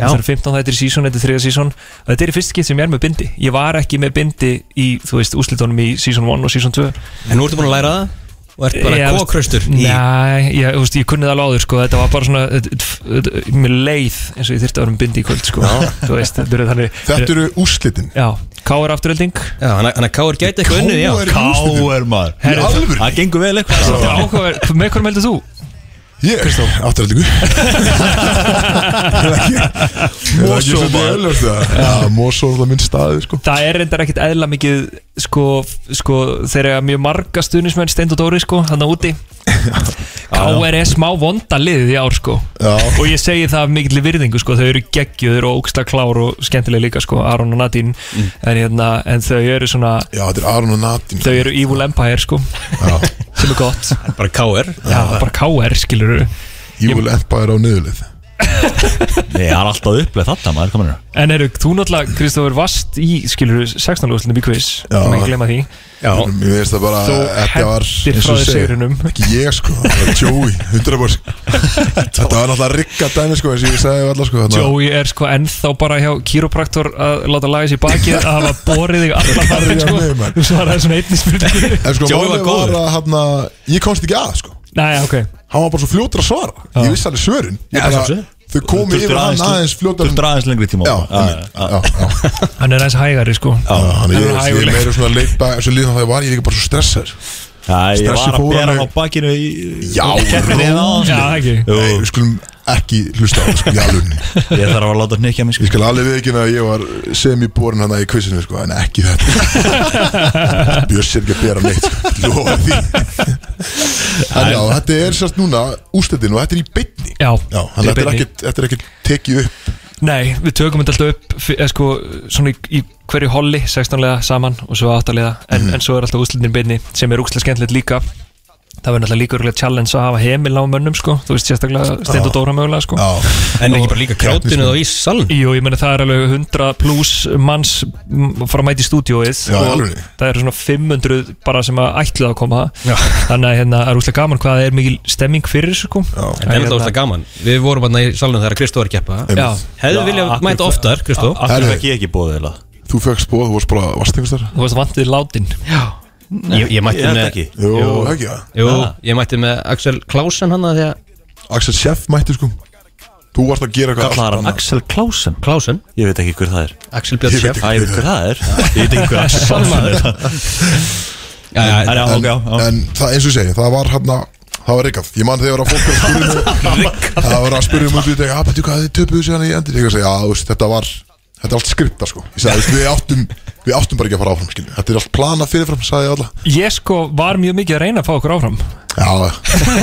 [SPEAKER 2] Já.
[SPEAKER 8] Þetta er 15 þættir í sísón, þetta er 3 sísón og þetta er í fyrst skipt sem ég er með bindi Ég var ekki með bindi í, þú veist, úslitunum í sísón 1 og sísón 2
[SPEAKER 2] En nú ertu búin að læra það og ert bara
[SPEAKER 8] Já, þú veist,
[SPEAKER 2] kókraustur í
[SPEAKER 8] Nei, ég, þú veist, ég kunni það alveg áður sko, þetta var bara svona þetta- þetta- þetta- mér leið eins og ég þyrfti að vera um bindi í kvöld sko. þú veist, þetta eru þannig
[SPEAKER 1] þetta eru úrslitin
[SPEAKER 8] Já, K.R. afturölding
[SPEAKER 2] Já, þannig þannig að Káur gæti eitthvað unnið já.
[SPEAKER 1] K.R.
[SPEAKER 3] Káer maður
[SPEAKER 1] í alvöru
[SPEAKER 3] Það gengur vel eitthvað
[SPEAKER 1] sko.
[SPEAKER 8] Þetta er áhugaverð, með hvernig heldur þú?
[SPEAKER 1] ég, afturhaldingu
[SPEAKER 3] Mosó, maður.
[SPEAKER 1] maður Mosó er það minn staði sko.
[SPEAKER 8] Það er reyndar ekkit eðla mikið sko, sko þegar mjög marga stuðnismenn Steind og Dóri sko, þannig úti K.R. er smá vonda liðið í ár sko
[SPEAKER 1] já,
[SPEAKER 8] og ég segi það af mikill virðingu sko, þau eru geggjöður og ógsta klár og skemmtilega líka sko, Aron og Nadine en, hérna, en þau eru svona
[SPEAKER 1] já, þetta er Aron og Natin
[SPEAKER 8] þau eru Evil Empire sko
[SPEAKER 1] já,
[SPEAKER 8] sem er gott,
[SPEAKER 2] Bara Káur
[SPEAKER 8] já, bara KR skilur
[SPEAKER 1] Evil Empire á niðurlið
[SPEAKER 3] Nei, það er alltaf uppleið þarna maður, hérna. hvað mennur
[SPEAKER 8] En eru, þú náttúrulega, Kristófur, vast í skilur 16. úrslitum í quiz
[SPEAKER 1] Já.
[SPEAKER 8] Má ekki glemma því
[SPEAKER 1] Mér veist það bara
[SPEAKER 8] Þú
[SPEAKER 1] Þetta var
[SPEAKER 8] hendir
[SPEAKER 1] eins
[SPEAKER 8] frá
[SPEAKER 1] og
[SPEAKER 8] þér
[SPEAKER 1] ég segi
[SPEAKER 8] sigrunum
[SPEAKER 1] Ekki ég sko, það var Joey 100% Þetta var náttúrulega rikka dæmi sko eins og ég sagði allar sko þarna.
[SPEAKER 8] Joey er sko ennþá bara hjá kýrópraktor að láta laga sér í bakið að hafa borið þig allar farfinn sko
[SPEAKER 1] Já, nei, maður.
[SPEAKER 8] Þú svaraði svona einni spurningu
[SPEAKER 1] En sko
[SPEAKER 3] Joey var
[SPEAKER 1] málið var
[SPEAKER 3] góður.
[SPEAKER 1] að hana, ég komst ekki að sko
[SPEAKER 8] Næja, ok
[SPEAKER 1] Hann var bara svo fljótur að svara Ég vissi alveg svörin Ég
[SPEAKER 2] Já,
[SPEAKER 1] bara,
[SPEAKER 2] sjálfsögðu.
[SPEAKER 1] Þau komi yfir hann aðeins fljótur
[SPEAKER 3] Þú draðins lengri tíma
[SPEAKER 1] Já,
[SPEAKER 3] Já,
[SPEAKER 1] einmitt.
[SPEAKER 3] já,
[SPEAKER 1] já, já
[SPEAKER 8] Hann er aðeins hægari sko
[SPEAKER 1] Já, Þannig ég,
[SPEAKER 8] Hann er
[SPEAKER 1] ég er
[SPEAKER 8] hægulegur.
[SPEAKER 1] meira svona leipa eins og líðan það var, ég er líka bara svo stressar
[SPEAKER 3] já Ég
[SPEAKER 1] Stressi
[SPEAKER 3] var að
[SPEAKER 1] fór
[SPEAKER 3] bera
[SPEAKER 1] hann
[SPEAKER 3] hann á
[SPEAKER 1] í-
[SPEAKER 3] bakinu í
[SPEAKER 1] Já,
[SPEAKER 3] Keppinni
[SPEAKER 1] ró-
[SPEAKER 3] það
[SPEAKER 8] Já, ekki
[SPEAKER 3] sko. Jú,
[SPEAKER 1] Nei, við skulum ekki hlusta á það sko, í alvörunni.
[SPEAKER 3] ég þarf að láta hnykkja mig
[SPEAKER 1] Ég
[SPEAKER 3] sko
[SPEAKER 1] skal alveg við ekki að ég var semi-borin hann í kvissinu sko, en ekki þetta Björs er ekki að bera neitt sko, lofa því En já, þetta er sérst núna ústættinu og þetta er í beinni
[SPEAKER 8] Já,
[SPEAKER 1] Já, þannig
[SPEAKER 8] í
[SPEAKER 1] að þetta er
[SPEAKER 8] beinni.
[SPEAKER 1] ekkert- þetta er ekkert tekið upp
[SPEAKER 8] Nei, við tökum þetta alltaf upp fyr- eða, sko, svona í, í hverju holli 16 lega saman og svo 8 lega en,
[SPEAKER 1] Mhm.
[SPEAKER 8] en svo er alltaf úslitin beinni sem er úkslega skemmtilegt líka það verður alltaf líka örgulega challenge að hafa heimil á mönnum sko, þú veist sérstaklega stend og dóra mögulega sko.
[SPEAKER 1] Já,
[SPEAKER 2] En er ekki bara líka krátinu þá í saln
[SPEAKER 8] Jú, ég meni það er alveg 100 pluss manns m, frá mæti í stúdíóið
[SPEAKER 1] Já,
[SPEAKER 8] og
[SPEAKER 1] alveg.
[SPEAKER 8] það eru svona 500 bara sem að ætla að koma þannig að hérna, það er úslega gaman hvað það er mikil stemming fyrir þessu, sko.
[SPEAKER 2] En það er það gaman Við vorum hann í salnum þegar Kristó var að keppa
[SPEAKER 8] Já,
[SPEAKER 2] Hefðu
[SPEAKER 3] Já,
[SPEAKER 2] viljað
[SPEAKER 3] akkurat.
[SPEAKER 2] mæta oftar, Kristó
[SPEAKER 3] Akkur
[SPEAKER 1] Herðu.
[SPEAKER 3] fekk ég ekki bóðið eða
[SPEAKER 1] þú fegst bóð, þú varst bara vastingustar
[SPEAKER 8] þú veist vantið látin
[SPEAKER 2] Ég ég
[SPEAKER 3] Ég
[SPEAKER 2] mætti
[SPEAKER 3] held
[SPEAKER 2] með
[SPEAKER 3] ekki
[SPEAKER 1] Jú, ekki það
[SPEAKER 2] Jú, ég mætti með Axel Klausen hann að því að
[SPEAKER 1] Axel Sheff mætti sko Þú varst að gera eitthvað allt
[SPEAKER 3] Kallar hann
[SPEAKER 1] annað.
[SPEAKER 3] Axel Klausen
[SPEAKER 2] Klausen,
[SPEAKER 3] Ég veit ekki hver það er
[SPEAKER 2] Axel Björn
[SPEAKER 1] Ég veit
[SPEAKER 2] Sjöf
[SPEAKER 3] Æ, ég veit hver það er Ég veit ekki hver Axel Klausen er Það er
[SPEAKER 2] Já,
[SPEAKER 3] já, ok, já, já.
[SPEAKER 1] En það eins og ég segi, það var hann Það var reikað, ég man þegar að fólk var að spyrja mig Það var að spyrja mig út í þetta Já, betur hvað þið töpuðu sér hann í endur Ég að segja, já, þú veist, þetta var Þetta er allt skripta, sko Ég sagði, þú veist, við áttum Við áttum bara ekki að fara áfram, skilju Þetta er allt planað fyrirfram, sagði ég alla
[SPEAKER 8] Ég sko var mjög mikið að reyna að fá okkur áfram
[SPEAKER 1] Já,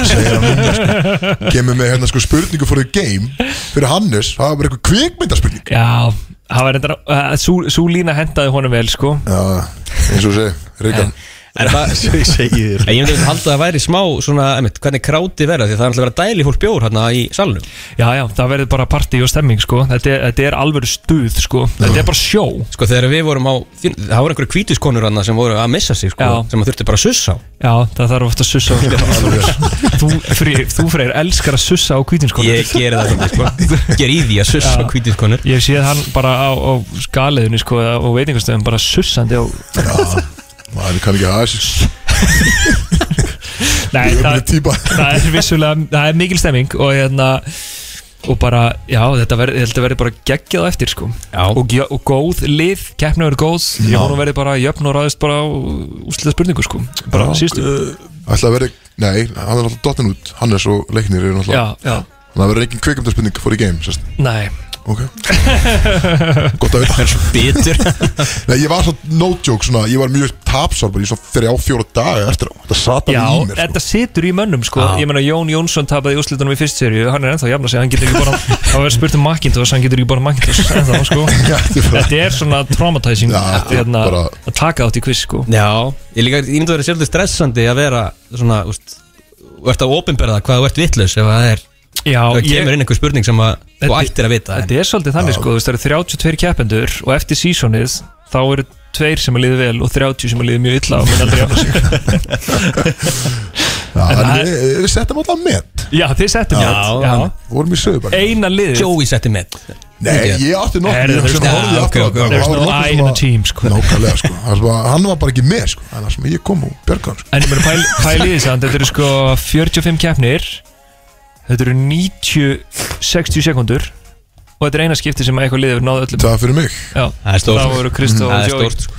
[SPEAKER 1] segja hann núna, sko Kemur með hérna, sko, spurningu for the game Fyrir Hannes, það var bara eitthvað kvikmyndaspurning
[SPEAKER 8] Já, það var reyndar uh, sú, sú lína hendaði honum vel sko
[SPEAKER 1] Já, eins og ég segi, reikað
[SPEAKER 2] En það-
[SPEAKER 3] Ég segi þér
[SPEAKER 2] En ég myndi halda að það væri smá svona, einmitt, hvernig kráti verða því það er alltaf að vera dæli fólk bjór hérna í salnum
[SPEAKER 8] Já, já, það verður bara partí og stemming sko Þetta er, þetta er alveg stuð sko Þetta er bara sjó
[SPEAKER 2] Sko þegar við vorum á, þín- það voru einhverju kvítuskonur hérna sem voru að missa sig sko,
[SPEAKER 8] Já.
[SPEAKER 2] sem að þurfti bara að sussa á
[SPEAKER 8] Já, það þarf ofta að sussa á Þú, freyr, þú freyr, elskar að sussa á sko. kvítinskonu
[SPEAKER 2] Ég geri það svona, sko, ger í því að sussa á
[SPEAKER 8] Já.
[SPEAKER 2] kvítuskonur
[SPEAKER 8] Ég sé hann bara á, á skaliðinu sko og veitingastöðum bara sussandi á
[SPEAKER 1] Maður kann ekki að þessi
[SPEAKER 8] Nei,
[SPEAKER 1] ömurleg
[SPEAKER 8] það,
[SPEAKER 1] típa.
[SPEAKER 8] það er vissulega það er mikil stemming og hérna og bara, já, þetta verður ég held að verður bara geggjað á eftir sko
[SPEAKER 2] Já.
[SPEAKER 8] og, gjö- og góð lið, keppna verður góð
[SPEAKER 1] Já.
[SPEAKER 8] ég vonum verður bara jöfn og ráðist bara á úslita spurningu sko bara
[SPEAKER 1] Já,
[SPEAKER 8] síðustu
[SPEAKER 1] Ætla að vera, nei, hann er alltaf dottin út Hannes og leiknir eru náttúrulega
[SPEAKER 8] já, já,
[SPEAKER 1] Þannig að það verður engin kvikmyndarspurning for the game, sérst.
[SPEAKER 8] nei
[SPEAKER 1] Ok. Gott að vita.
[SPEAKER 2] Bitur
[SPEAKER 1] Nei, ég var svo no joke, svona, ég var mjög tapsár bara í svona þrjá, fjóra daga eftir á. Þetta satan
[SPEAKER 8] já,
[SPEAKER 1] í mér, sko.
[SPEAKER 8] þetta situr í mönnum sko
[SPEAKER 2] Já.
[SPEAKER 8] ég meina Jón Jónsson tapaði úslitunum í fyrst serju hann er ennþá jafn að segja, hann getur ekki bara hann verður spurt um Macintosh, hann getur ekki bara Macintosh ennþá, sko.
[SPEAKER 1] Já, þetta er bara-
[SPEAKER 8] þetta er svona traumatizing
[SPEAKER 1] Já,
[SPEAKER 8] þetta
[SPEAKER 1] þetta er
[SPEAKER 8] er hérna,
[SPEAKER 1] bara-
[SPEAKER 8] að taka átt í quiz sko
[SPEAKER 2] Já, ég líka, ég myndi að vera sérlega stressandi að vera svona, úst, og ert að opinberða hvað þú ert vitlaus ef það er,
[SPEAKER 8] já,
[SPEAKER 2] það kemur inn einhver spurning sem að þú
[SPEAKER 8] Þetta-
[SPEAKER 2] ættir að vita en-
[SPEAKER 8] Þetta er svolítið þannig sko, þú veist það eru 32 keppendur og eftir sísonið þá eru tveir sem að liði vel og 30 sem að liði mjög illa og menn aldrei jafna sig.
[SPEAKER 1] Já, en
[SPEAKER 8] það-
[SPEAKER 1] við, við settum alltaf met.
[SPEAKER 8] Já, þið settum
[SPEAKER 2] Já,
[SPEAKER 8] mér
[SPEAKER 2] hann-
[SPEAKER 1] Vorum í sögubæk.
[SPEAKER 8] Eina liði
[SPEAKER 2] Joey setti með
[SPEAKER 1] Nei, ég átti
[SPEAKER 8] Herri,
[SPEAKER 1] nokkuð.
[SPEAKER 8] there's
[SPEAKER 1] Ég
[SPEAKER 8] no-
[SPEAKER 1] horfði
[SPEAKER 2] ok,
[SPEAKER 1] aftur á
[SPEAKER 2] ok,
[SPEAKER 1] þetta.
[SPEAKER 8] there's
[SPEAKER 1] Það var
[SPEAKER 8] no
[SPEAKER 1] nokkuð
[SPEAKER 8] I
[SPEAKER 1] sem
[SPEAKER 8] in a
[SPEAKER 1] að-
[SPEAKER 8] team, sko.
[SPEAKER 1] Nákvæmlega, sko. Það sem að- Hann var bara ekki með, sko. Það er það sem ég kom og björgaði, hann, sko.
[SPEAKER 8] En ég meina pæl- pæli því samt, þetta eru sko 45 keppnir Þetta eru 90-60 sekundur og þetta er eina skipti sem að eitthvað liði náðu öllum
[SPEAKER 1] Það fyrir mig.
[SPEAKER 8] Já,
[SPEAKER 2] Það er stórt.
[SPEAKER 8] þá voru Kristó
[SPEAKER 2] Það
[SPEAKER 8] og
[SPEAKER 2] er
[SPEAKER 8] Jói
[SPEAKER 2] stórt, sko.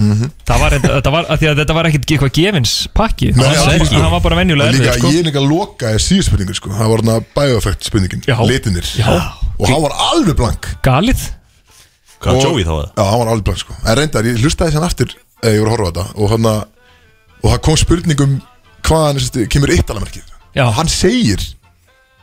[SPEAKER 8] Það var, þetta- þetta var, af því að þetta var ekkit eitthvað gefins pakki
[SPEAKER 1] Nei,
[SPEAKER 8] Það var-
[SPEAKER 1] alls ekki.
[SPEAKER 8] það var bara venjulega
[SPEAKER 1] Og
[SPEAKER 8] erfið
[SPEAKER 1] líka,
[SPEAKER 8] sko.
[SPEAKER 1] ég líka lokaði síðu spurningu sko. það var hann að bæjóeffekt spurningin
[SPEAKER 8] Já.
[SPEAKER 1] litinir
[SPEAKER 8] Já.
[SPEAKER 1] og hann var alveg blank
[SPEAKER 8] Galið?
[SPEAKER 3] Hvað,
[SPEAKER 1] Og-
[SPEAKER 3] Joey þá að
[SPEAKER 1] já, hann var alveg blank sko. en reyndar, ég hlustaði þessan aftur eða ég voru að horfa á þetta og, hana, og það kom spurningum hvaðan sérst, kemur eittalamerkið
[SPEAKER 8] Já.
[SPEAKER 1] hann segir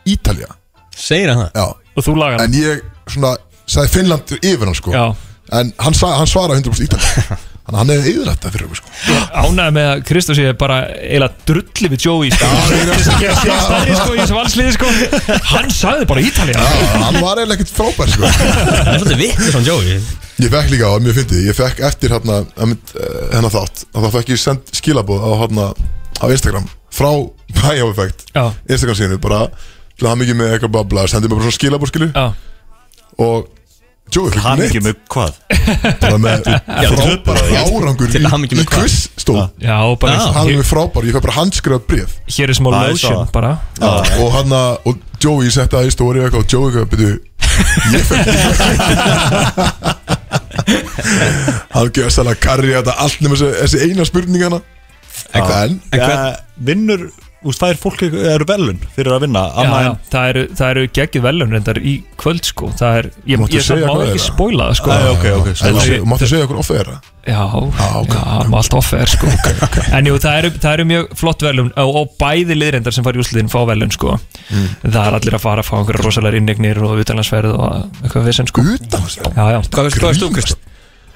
[SPEAKER 1] Ítalja
[SPEAKER 2] Segir hann það?
[SPEAKER 1] já.
[SPEAKER 8] Og þú lagar
[SPEAKER 1] en ég svona, sagði Finnland yfir hann sko.
[SPEAKER 8] Já.
[SPEAKER 1] en hann, sag, hann svaraði 100% Ítalja Þannig að hann hefði yðrætt það fyrir okkur sko
[SPEAKER 8] Ánægði með að Kristóf sé bara eiginlega drulli við Joey sko. Ég sé stærri sko í þessu valsliði sko Hann sagði bara Ítalja
[SPEAKER 1] Já, Hann var eiginlega ekkert frábær sko
[SPEAKER 2] Það er svolítið vittu svona Joey
[SPEAKER 1] Ég fekk líka á, mjög fyndið, ég fekk eftir hérna, einmitt, eh, hennar þátt að þá fekk ég send skilabóð á, hérna, á Instagram frá High How Effect
[SPEAKER 8] Já.
[SPEAKER 1] Instagram síðan bara til að hafa mikið með eitthvað babla sendið mér bara svona skilabóð skilu
[SPEAKER 8] Já,
[SPEAKER 1] og Jói fyrir
[SPEAKER 3] Hann ekki
[SPEAKER 1] neitt
[SPEAKER 3] með hvað
[SPEAKER 1] bara með frábæra árangur
[SPEAKER 2] Til hamingju með
[SPEAKER 1] í
[SPEAKER 2] hvað?
[SPEAKER 1] quizstól
[SPEAKER 8] já og bara
[SPEAKER 2] Já.
[SPEAKER 1] hann er
[SPEAKER 8] hér,
[SPEAKER 1] mér frábær, ég fæ bara handskrifað bréf
[SPEAKER 8] hér er smá
[SPEAKER 3] Það er
[SPEAKER 8] lotion
[SPEAKER 3] svo.
[SPEAKER 8] bara
[SPEAKER 1] og hann að, og Jói setti það í stóri eitthvað og Jói eitthvað, byrju ég fekk hann gefur sæla karri þetta allt nema þessi, þessi eina spurning hérna. hana en
[SPEAKER 2] En
[SPEAKER 3] ja,
[SPEAKER 2] hvern-
[SPEAKER 3] Eh, Vinnur, úst, það er fólk eru velun fyrir að vinna
[SPEAKER 8] Já,
[SPEAKER 3] annað
[SPEAKER 8] já,
[SPEAKER 3] en
[SPEAKER 8] það eru, það eru geggið velun reyndar í kvöld sko Það er, ég,
[SPEAKER 1] Máttu
[SPEAKER 8] ég samt
[SPEAKER 1] segja
[SPEAKER 8] má
[SPEAKER 1] hvað er
[SPEAKER 8] ekki
[SPEAKER 1] það?
[SPEAKER 8] spóila það sko
[SPEAKER 3] Æ, ok, ok,
[SPEAKER 1] En
[SPEAKER 3] svona.
[SPEAKER 1] sé- máttu segja okkur ofið þeirra
[SPEAKER 8] Já,
[SPEAKER 1] ok,
[SPEAKER 8] já, maður allt offer sko En jú, það eru, það eru mjög flott velun og, og bæði liðrendar sem fara í úrslitin fá velun sko
[SPEAKER 1] Mm.
[SPEAKER 8] Það er allir að fara að fá einhverja rosalega inneignir og utanlandsferð og eitthvað vissin sko
[SPEAKER 1] utan þessi
[SPEAKER 8] Já, já,
[SPEAKER 2] Hvað veist- hvað veist þú, Krist?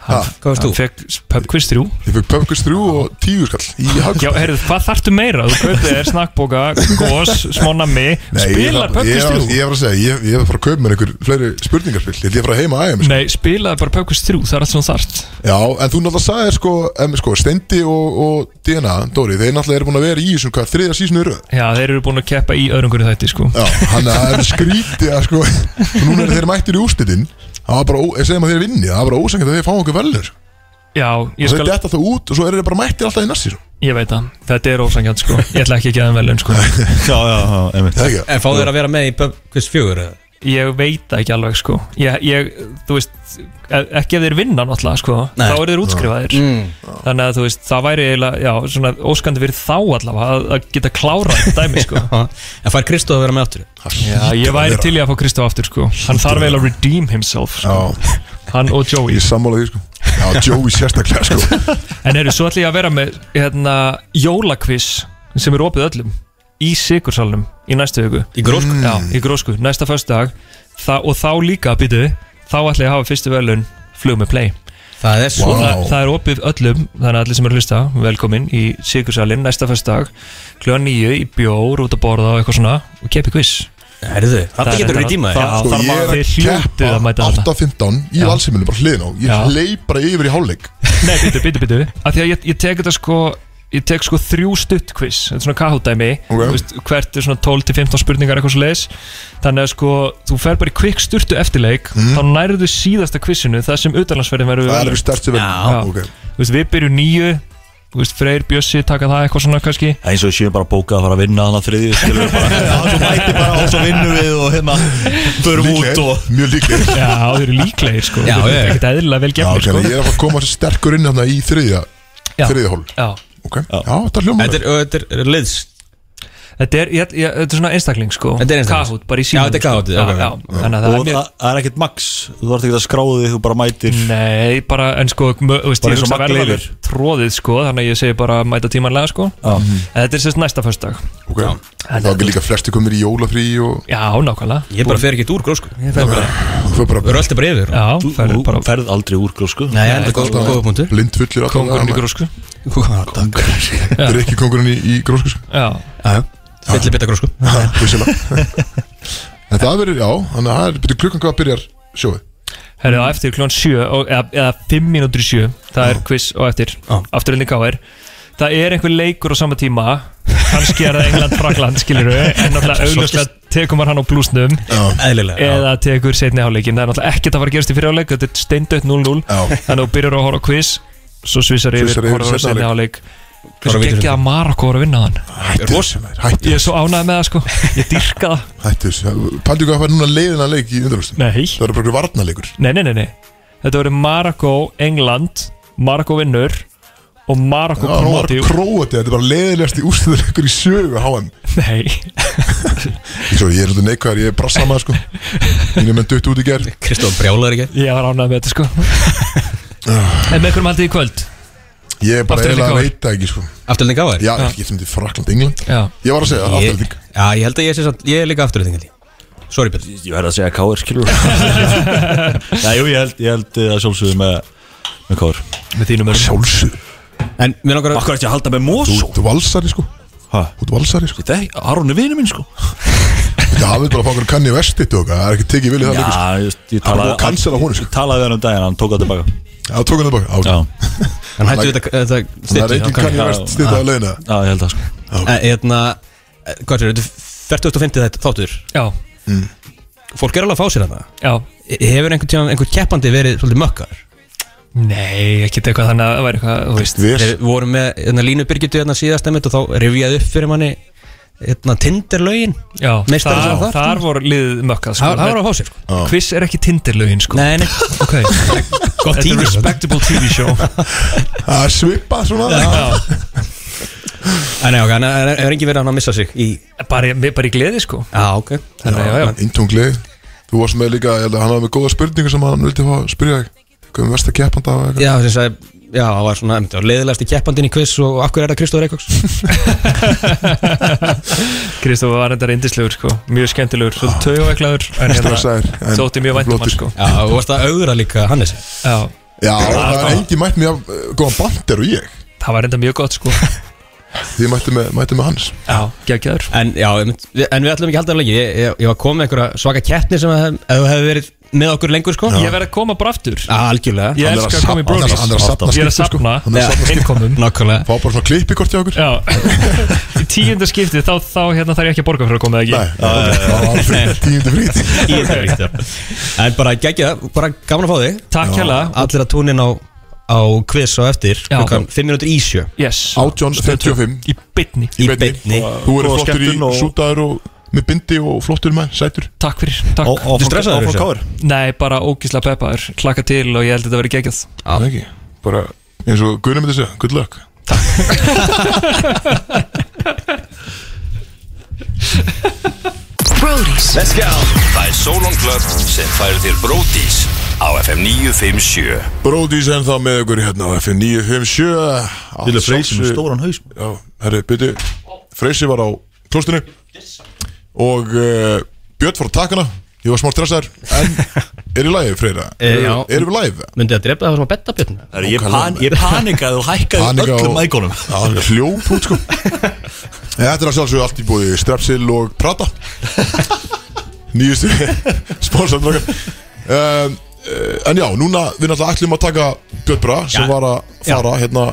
[SPEAKER 1] Ha?
[SPEAKER 2] Hvað veist þú?
[SPEAKER 8] hann fekk pub quiz 3
[SPEAKER 1] ég fekk pöpkust 3 og 10 skall í
[SPEAKER 8] Já,
[SPEAKER 1] hagkvæm
[SPEAKER 8] heyrðu, hvað þarftu meira? Þú kaupið þér snakkbóka, gós, smánami Spilaði pub
[SPEAKER 1] ég,
[SPEAKER 8] quiz
[SPEAKER 1] var-
[SPEAKER 8] 3
[SPEAKER 1] ég var að segja, ég, ég var að fara að kaupa mér einhver fleiri spurningarspill, ég ætla ég að fara heima að ægja mér sko.
[SPEAKER 8] Nei, spilaði bara pub quiz 3, það er allt sem þú þarft
[SPEAKER 1] Já, en þú náttúrulega sagðir sko, em, sko Stendi og, og DNA, Dóri, þeir náttúrulega eru búin að vera í þessum hvað, þriðja sísinu röð
[SPEAKER 8] Já, þeir eru búin að keppa í öðrungunni þætti sko
[SPEAKER 1] Já, hann er það er skrítið að sko Núna eru þeir mættir í úrslitin Það var bara, ó- ég segi maður þeir vinni, það var bara ósangið að þeir fá okkur velur
[SPEAKER 8] Já,
[SPEAKER 1] Þeir
[SPEAKER 8] ég skal,
[SPEAKER 1] detta það út og svo eru þeir bara mættir alltaf í nassi svo.
[SPEAKER 8] ég veit það, þetta er ósangjant sko Ég ætla ekki að geða þeim velun sko
[SPEAKER 3] Já, já, já, einmitt
[SPEAKER 1] Það er ekki,
[SPEAKER 2] En fá þeir að vera með í Pub Quiz 4 eða?
[SPEAKER 8] Ég veit það ekki alveg sko Ég, ég þú veist, e- ekki ef þeir vinna náttúrulega sko
[SPEAKER 2] Nei.
[SPEAKER 8] Þá eru þeir útskrifaðir Þannig að þú veist, það væri eiginlega, já, svona óskandi fyrir þá allavega að, að geta klárað þetta dæmi sko
[SPEAKER 2] Ha? En fær Kristó að vera með aftur?
[SPEAKER 1] það
[SPEAKER 8] Já,
[SPEAKER 1] hlýtur
[SPEAKER 8] ég
[SPEAKER 1] að
[SPEAKER 8] væri
[SPEAKER 1] vera.
[SPEAKER 8] til í að fá Kristof aftur sko Hann þarf eiginlega að redeem himself sko.
[SPEAKER 1] Já,
[SPEAKER 8] Hann og Joey
[SPEAKER 1] ég sammála því sko Já, Joey sérstaklega sko
[SPEAKER 8] En eru, svo ætla ég að vera með hérna, jólakviss sem er opið öllum í Sigursalnum í næstu viku
[SPEAKER 2] Í grósku?
[SPEAKER 8] Já,
[SPEAKER 1] Mm.
[SPEAKER 8] í grósku, næsta föstudag Þa, og þá líka, býtu, þá ætla ég að hafa fyrstu velun flug með play
[SPEAKER 2] Það er svo
[SPEAKER 1] Vá.
[SPEAKER 8] það, það er opið öllum, þannig að allir sem eru að hlusta velkomin í Sigursalinn næsta föstudag kljóðan nýju í bjór út að borða og eitthvað svona og kepi kviss
[SPEAKER 2] Herðu, þetta
[SPEAKER 8] Það er
[SPEAKER 2] getur verið
[SPEAKER 8] reyndar-
[SPEAKER 2] tíma
[SPEAKER 8] það-
[SPEAKER 1] Sko,
[SPEAKER 8] þarf
[SPEAKER 1] ég
[SPEAKER 8] að-
[SPEAKER 1] er
[SPEAKER 8] þeir
[SPEAKER 1] að
[SPEAKER 8] hljótið að
[SPEAKER 1] keppa
[SPEAKER 8] mæta þarna.
[SPEAKER 1] 8.15 í
[SPEAKER 8] Já.
[SPEAKER 1] valsimilinu, bara hliðin á
[SPEAKER 8] Já.
[SPEAKER 1] Ég hleyp bara yfir í hálfleik
[SPEAKER 8] Nei, býtu, býtu, býtu Af því að ég, ég tek þetta sko Ég tek sko þrjú stutt quiz Þetta er svona kahúdæmi
[SPEAKER 1] Ok.
[SPEAKER 8] veist, Hvert er svona 12-15 spurningar eitthvað svo leis Þannig að sko Þú fer bara í kvikk sturtu eftirleik Þá nærðu þú síðasta quizinu Það sem utanlandsferðin verður
[SPEAKER 1] Mhm. Það er
[SPEAKER 8] valin.
[SPEAKER 1] við stærsti vel
[SPEAKER 2] Já.
[SPEAKER 1] okay.
[SPEAKER 8] Þú veist, Við byrjum nýju Þú veist, Freyr, Bjössi taka það eitthvað svona kannski
[SPEAKER 3] Það er eins og við séum bara bókað að fara að vinna þannig að þriðju skilur við bara Já, svo mæti bara og svo vinnum við og hérna Förum út
[SPEAKER 1] Líklegir,
[SPEAKER 3] og
[SPEAKER 1] Mjög líklegir
[SPEAKER 8] Já, þeir eru líklegir sko
[SPEAKER 2] Já,
[SPEAKER 8] Þeir
[SPEAKER 2] já,
[SPEAKER 8] eru
[SPEAKER 2] já.
[SPEAKER 8] ekkert eðlilega vel
[SPEAKER 1] Já,
[SPEAKER 8] gefnir
[SPEAKER 1] ok,
[SPEAKER 8] sko
[SPEAKER 1] Ég er að fara að koma sterkur inn hérna í þriðja
[SPEAKER 8] Já.
[SPEAKER 1] Þriðja hól
[SPEAKER 8] Já,
[SPEAKER 1] Ok, já, þetta er hljóma
[SPEAKER 2] Þetta er, og þetta er liðs
[SPEAKER 8] þetta er, ég, ég, þetta er svona einstakling sko
[SPEAKER 2] Þetta er einstakling.
[SPEAKER 8] Kahoot, bara í
[SPEAKER 2] Já,
[SPEAKER 8] símanum
[SPEAKER 2] þetta er
[SPEAKER 8] sko.
[SPEAKER 2] Kahoot,
[SPEAKER 8] Já,
[SPEAKER 2] ok, ok.
[SPEAKER 8] já, þannig að það
[SPEAKER 3] Og
[SPEAKER 8] er mjög-
[SPEAKER 3] það það er ekkert max Þú þarf ekki að skráði því þú bara mætir
[SPEAKER 8] Nei, bara, en sko, mö- þú veist,
[SPEAKER 3] Bara
[SPEAKER 8] ég
[SPEAKER 3] eins og
[SPEAKER 8] hugsa
[SPEAKER 3] Maggi
[SPEAKER 8] verða
[SPEAKER 3] Leifur.
[SPEAKER 8] mér tróðið, sko, þannig að ég segi bara mæta tímanlega, sko.
[SPEAKER 3] Mhm.
[SPEAKER 8] En þetta er sérst næsta föstudag.
[SPEAKER 1] Ok, þá er líka flesti komir í jólafrí og
[SPEAKER 8] Já, nákvæmlega.
[SPEAKER 2] Ég bara fer ekki úr grósku Við
[SPEAKER 8] fer bara.
[SPEAKER 1] þau bara
[SPEAKER 2] röltum bara yfir
[SPEAKER 8] Já,
[SPEAKER 3] Þú
[SPEAKER 8] ferðu bara
[SPEAKER 3] þú ferð aldrei úr grósku
[SPEAKER 2] Nei, enda góð
[SPEAKER 1] alltaf
[SPEAKER 2] góð punktur
[SPEAKER 1] blind fullir alltaf
[SPEAKER 8] kongurinn í grósku.
[SPEAKER 1] Það er ekki kongurinn í, í grósku sko.
[SPEAKER 8] Já,
[SPEAKER 2] Fyllir bita grósku
[SPEAKER 1] Vissulega. En það verður, já, þannig að það er byrju klukkan hvað byrjar sjóið
[SPEAKER 8] herrið á eftir klón 7, og, eða, eða 5 mínútur í 7, það er quiz og eftir,
[SPEAKER 2] Já.
[SPEAKER 8] afturöldin K.R. Það er einhver leikur á sama tíma, kannski er það England-Frakland, skilur við, en náttúrulega augljóslega tekum maður hann á blúsnum.
[SPEAKER 2] Eðlilega já.
[SPEAKER 8] eða tekur setni háleikin það er náttúrulega ekkert að fara að gerast í fyrir háleik þetta er steindött 0-0
[SPEAKER 1] Já.
[SPEAKER 8] þannig að þú byrjar að horfa á quiz svo svísar yfir,
[SPEAKER 1] Svissar yfir
[SPEAKER 8] horfar á
[SPEAKER 1] seinni
[SPEAKER 8] setni háleik
[SPEAKER 2] Bara
[SPEAKER 8] hversu
[SPEAKER 2] vitur
[SPEAKER 8] geggja að Marokko voru að vinna þann
[SPEAKER 1] Hættu þessu, maður, hættu
[SPEAKER 8] ég er
[SPEAKER 1] þessu
[SPEAKER 8] svo ánægð með það sko Ah, ég dyrka það
[SPEAKER 1] Hættu þessu, pældu hvað það er núna leiðina leik í undanlustum
[SPEAKER 8] nei
[SPEAKER 1] Það eru bara einhver varnarleikur
[SPEAKER 8] nei nei nei, nei. þetta voru Marokko, England Marokko vinnur og Ah, Marokko
[SPEAKER 1] Það var
[SPEAKER 8] Kroati
[SPEAKER 1] króati, þetta er bara leiðilegast í úrstöðuleikur í sögu HM
[SPEAKER 8] nei
[SPEAKER 1] Ég svo, ég er svolítið neikvæðar, ég er brassa maður sko Mínu menn dutt út í ger
[SPEAKER 2] Kristóf brjálar ekki
[SPEAKER 8] ég var ánægð með þetta sko en með hverjum haldið í kvöld
[SPEAKER 1] Ég er bara
[SPEAKER 8] Afturhalding
[SPEAKER 1] eiginlega að
[SPEAKER 8] KR.
[SPEAKER 1] veita ekki sko
[SPEAKER 2] Afturlending á þér
[SPEAKER 1] Já, ég getum þetta Frakland, England
[SPEAKER 8] já
[SPEAKER 1] Ég var að segja,
[SPEAKER 2] Ég-
[SPEAKER 1] afturhalding
[SPEAKER 2] Já, ég held að ég sé satt Ég er líka afturlending held ég Sorry Björn
[SPEAKER 3] Ég verð að segja K.R. skilur Já, jú, ég held, ég held að eh, sjálfsögðu með með kóður
[SPEAKER 8] með þínum örnum
[SPEAKER 1] Sjálfsög
[SPEAKER 2] En mér langar að
[SPEAKER 3] Akkur eftir að halda með
[SPEAKER 1] Þú
[SPEAKER 3] Mosó
[SPEAKER 1] ert valsari sko
[SPEAKER 3] Ha?
[SPEAKER 1] Þú ert valsari sko
[SPEAKER 3] Þetta er Aron er vinur minn sko
[SPEAKER 1] Þetta hafði bara að fá okkur kanni vesti tóka Það er ekki tekið vilja það líka sko.
[SPEAKER 3] Já, ég,
[SPEAKER 1] Hann er búið
[SPEAKER 3] ég talaði
[SPEAKER 1] að cancela honum, sko.
[SPEAKER 3] Ég talaði við hann um daginn, hann tók það tilbaka
[SPEAKER 1] Já, tók hann það baka
[SPEAKER 3] Já,
[SPEAKER 1] Já
[SPEAKER 2] Hann hættu þetta,
[SPEAKER 1] Það
[SPEAKER 2] þetta
[SPEAKER 1] er
[SPEAKER 2] stittu
[SPEAKER 1] engin kanni vest stýta að leina
[SPEAKER 3] já, ég held það sko
[SPEAKER 2] Hérna, eh, hvað sér, þetta er 4050 þetta þáttur
[SPEAKER 8] Já,
[SPEAKER 2] Fólk er alveg að fá sér hana
[SPEAKER 8] já
[SPEAKER 2] Hefur einhvern tíma, einhver keppandi verið svolítið mökkar?
[SPEAKER 8] Nei, ekki eitthvað þannig að það væri eitthvað, þú veist
[SPEAKER 1] Við
[SPEAKER 2] Þeir voru með hérna, Línu Birgitu hérna síðast emitt og þá rifjaði upp fyrir manni hérna Tinder-lögin
[SPEAKER 8] Já,
[SPEAKER 2] Meistari sem
[SPEAKER 8] þar,
[SPEAKER 2] þar.
[SPEAKER 8] þar voru liðið mökkað sko.
[SPEAKER 2] Það það var að fá sér sko
[SPEAKER 8] Quiz er ekki tindirlögin sko
[SPEAKER 2] Nei, nei,
[SPEAKER 8] Ok,
[SPEAKER 2] gott
[SPEAKER 8] þetta er
[SPEAKER 2] tími sko.
[SPEAKER 8] respectable TV show
[SPEAKER 1] Það er svipað svona
[SPEAKER 8] Ah.
[SPEAKER 1] Já.
[SPEAKER 2] Æ, Nei, ok, en það er engin verið að missa sig í
[SPEAKER 8] bara, í- bara í gleði sko
[SPEAKER 2] Já, ok
[SPEAKER 8] Þannig, já, já
[SPEAKER 1] Intunglið Þú varst með líka, ég held að hann hafði með góða spurningu sem hann vildi fá að spyrja þig Hvað er versta keppanda og eitthvað?
[SPEAKER 2] Já, sem sagði, já, það var svona einmitt, leðilegasti keppandinn í quiz og af hverju er það Kristóður Eikoks?
[SPEAKER 8] Kristof var þetta reyndislegur sko Mjög skemmtilegur, svolítið tögjóveklaður En hérna
[SPEAKER 1] Stressaður, en
[SPEAKER 8] þótti mjög væntum
[SPEAKER 1] flottur.
[SPEAKER 8] hann sko
[SPEAKER 2] Já, þú varst að augra líka Hannes
[SPEAKER 8] Já,
[SPEAKER 1] Já, það er engi mætt mér af góðan bandir og ég
[SPEAKER 8] það var reynda mjög gott sko
[SPEAKER 1] Því mætti með, mætti með hans
[SPEAKER 8] Já, geggjaður
[SPEAKER 2] En já, einmitt, við- en við ætlum ekki að halda það lengi Ég, ég, ég var komið með einhverja svaka keppni sem að, ef þú hefði verið með okkur lengur sko
[SPEAKER 8] Ég verð að koma bara aftur
[SPEAKER 2] Já, Algjörlega
[SPEAKER 8] Ég
[SPEAKER 1] Hann er
[SPEAKER 8] elska
[SPEAKER 1] að
[SPEAKER 8] að koma í
[SPEAKER 1] safna-
[SPEAKER 8] Brodies
[SPEAKER 1] hann er að safna
[SPEAKER 8] Ég er að
[SPEAKER 1] skiptum, sko.
[SPEAKER 8] safna
[SPEAKER 1] Hann er að safna
[SPEAKER 8] innkomum
[SPEAKER 2] Nákvæmlega
[SPEAKER 1] Fá bara svona klippikort hjá okkur
[SPEAKER 8] Já Í tíunda skipti þá, þá hérna, þarf ég ekki að borga fyrir að koma eða
[SPEAKER 1] Nei,
[SPEAKER 8] ekki
[SPEAKER 1] það var alveg frí- tíundu frít
[SPEAKER 2] Í þetta víst, já. En bara geggja, bara gaman að fá þig
[SPEAKER 8] Takk hella
[SPEAKER 2] Allir að túnin á, á quiz á eftir
[SPEAKER 8] Já.
[SPEAKER 2] klukkan 5 minútur í sjö
[SPEAKER 8] Yes
[SPEAKER 1] Átjón 55
[SPEAKER 8] Í bytni
[SPEAKER 2] Í
[SPEAKER 1] beinni.
[SPEAKER 2] beinni
[SPEAKER 1] Þú eru
[SPEAKER 3] Góða
[SPEAKER 1] flottur í
[SPEAKER 3] skemmtun og-
[SPEAKER 1] sútaður og með bindi og flottur með sætur
[SPEAKER 8] Takk fyrir Takk
[SPEAKER 3] Og- og-
[SPEAKER 2] Þú stressaður
[SPEAKER 3] Áfram
[SPEAKER 2] þessu?
[SPEAKER 3] káður
[SPEAKER 8] Nei, bara ógísla peppaður Klaka til og ég held að þetta verið geggjað
[SPEAKER 2] Já.
[SPEAKER 1] Það ekki, bara eins og Guðnum myndi segja, good luck
[SPEAKER 4] Brody's.
[SPEAKER 5] Let's go Það er Solon Club sem færir þér Bródís á FM 957
[SPEAKER 1] Bróðís en þá með ykkur hérna á FM 957
[SPEAKER 3] Til að freysa með stóran haus
[SPEAKER 1] Já, herri, byrju Freysi var á klostinu Og uh, Björn fór að taka hana Ég var smá stressaður En er í lagi, Freyra?
[SPEAKER 2] Eh, já.
[SPEAKER 1] Erum við live?
[SPEAKER 2] Myndi það drepa það sem að betta björn
[SPEAKER 3] Herru, Ég, pan, ég panikaði og hækkaði
[SPEAKER 1] Panika
[SPEAKER 3] öllum
[SPEAKER 1] og-
[SPEAKER 3] ægónum
[SPEAKER 1] Já, hann hljóp út sko En Þetta er að sjálfsögðu allt í búið Strepsil og Prata Nýjustu Sponsorn okkar um, uh, En já, núna við náttúrulega ætlum að taka Björn Bra sem
[SPEAKER 2] Já.
[SPEAKER 1] var að fara hérna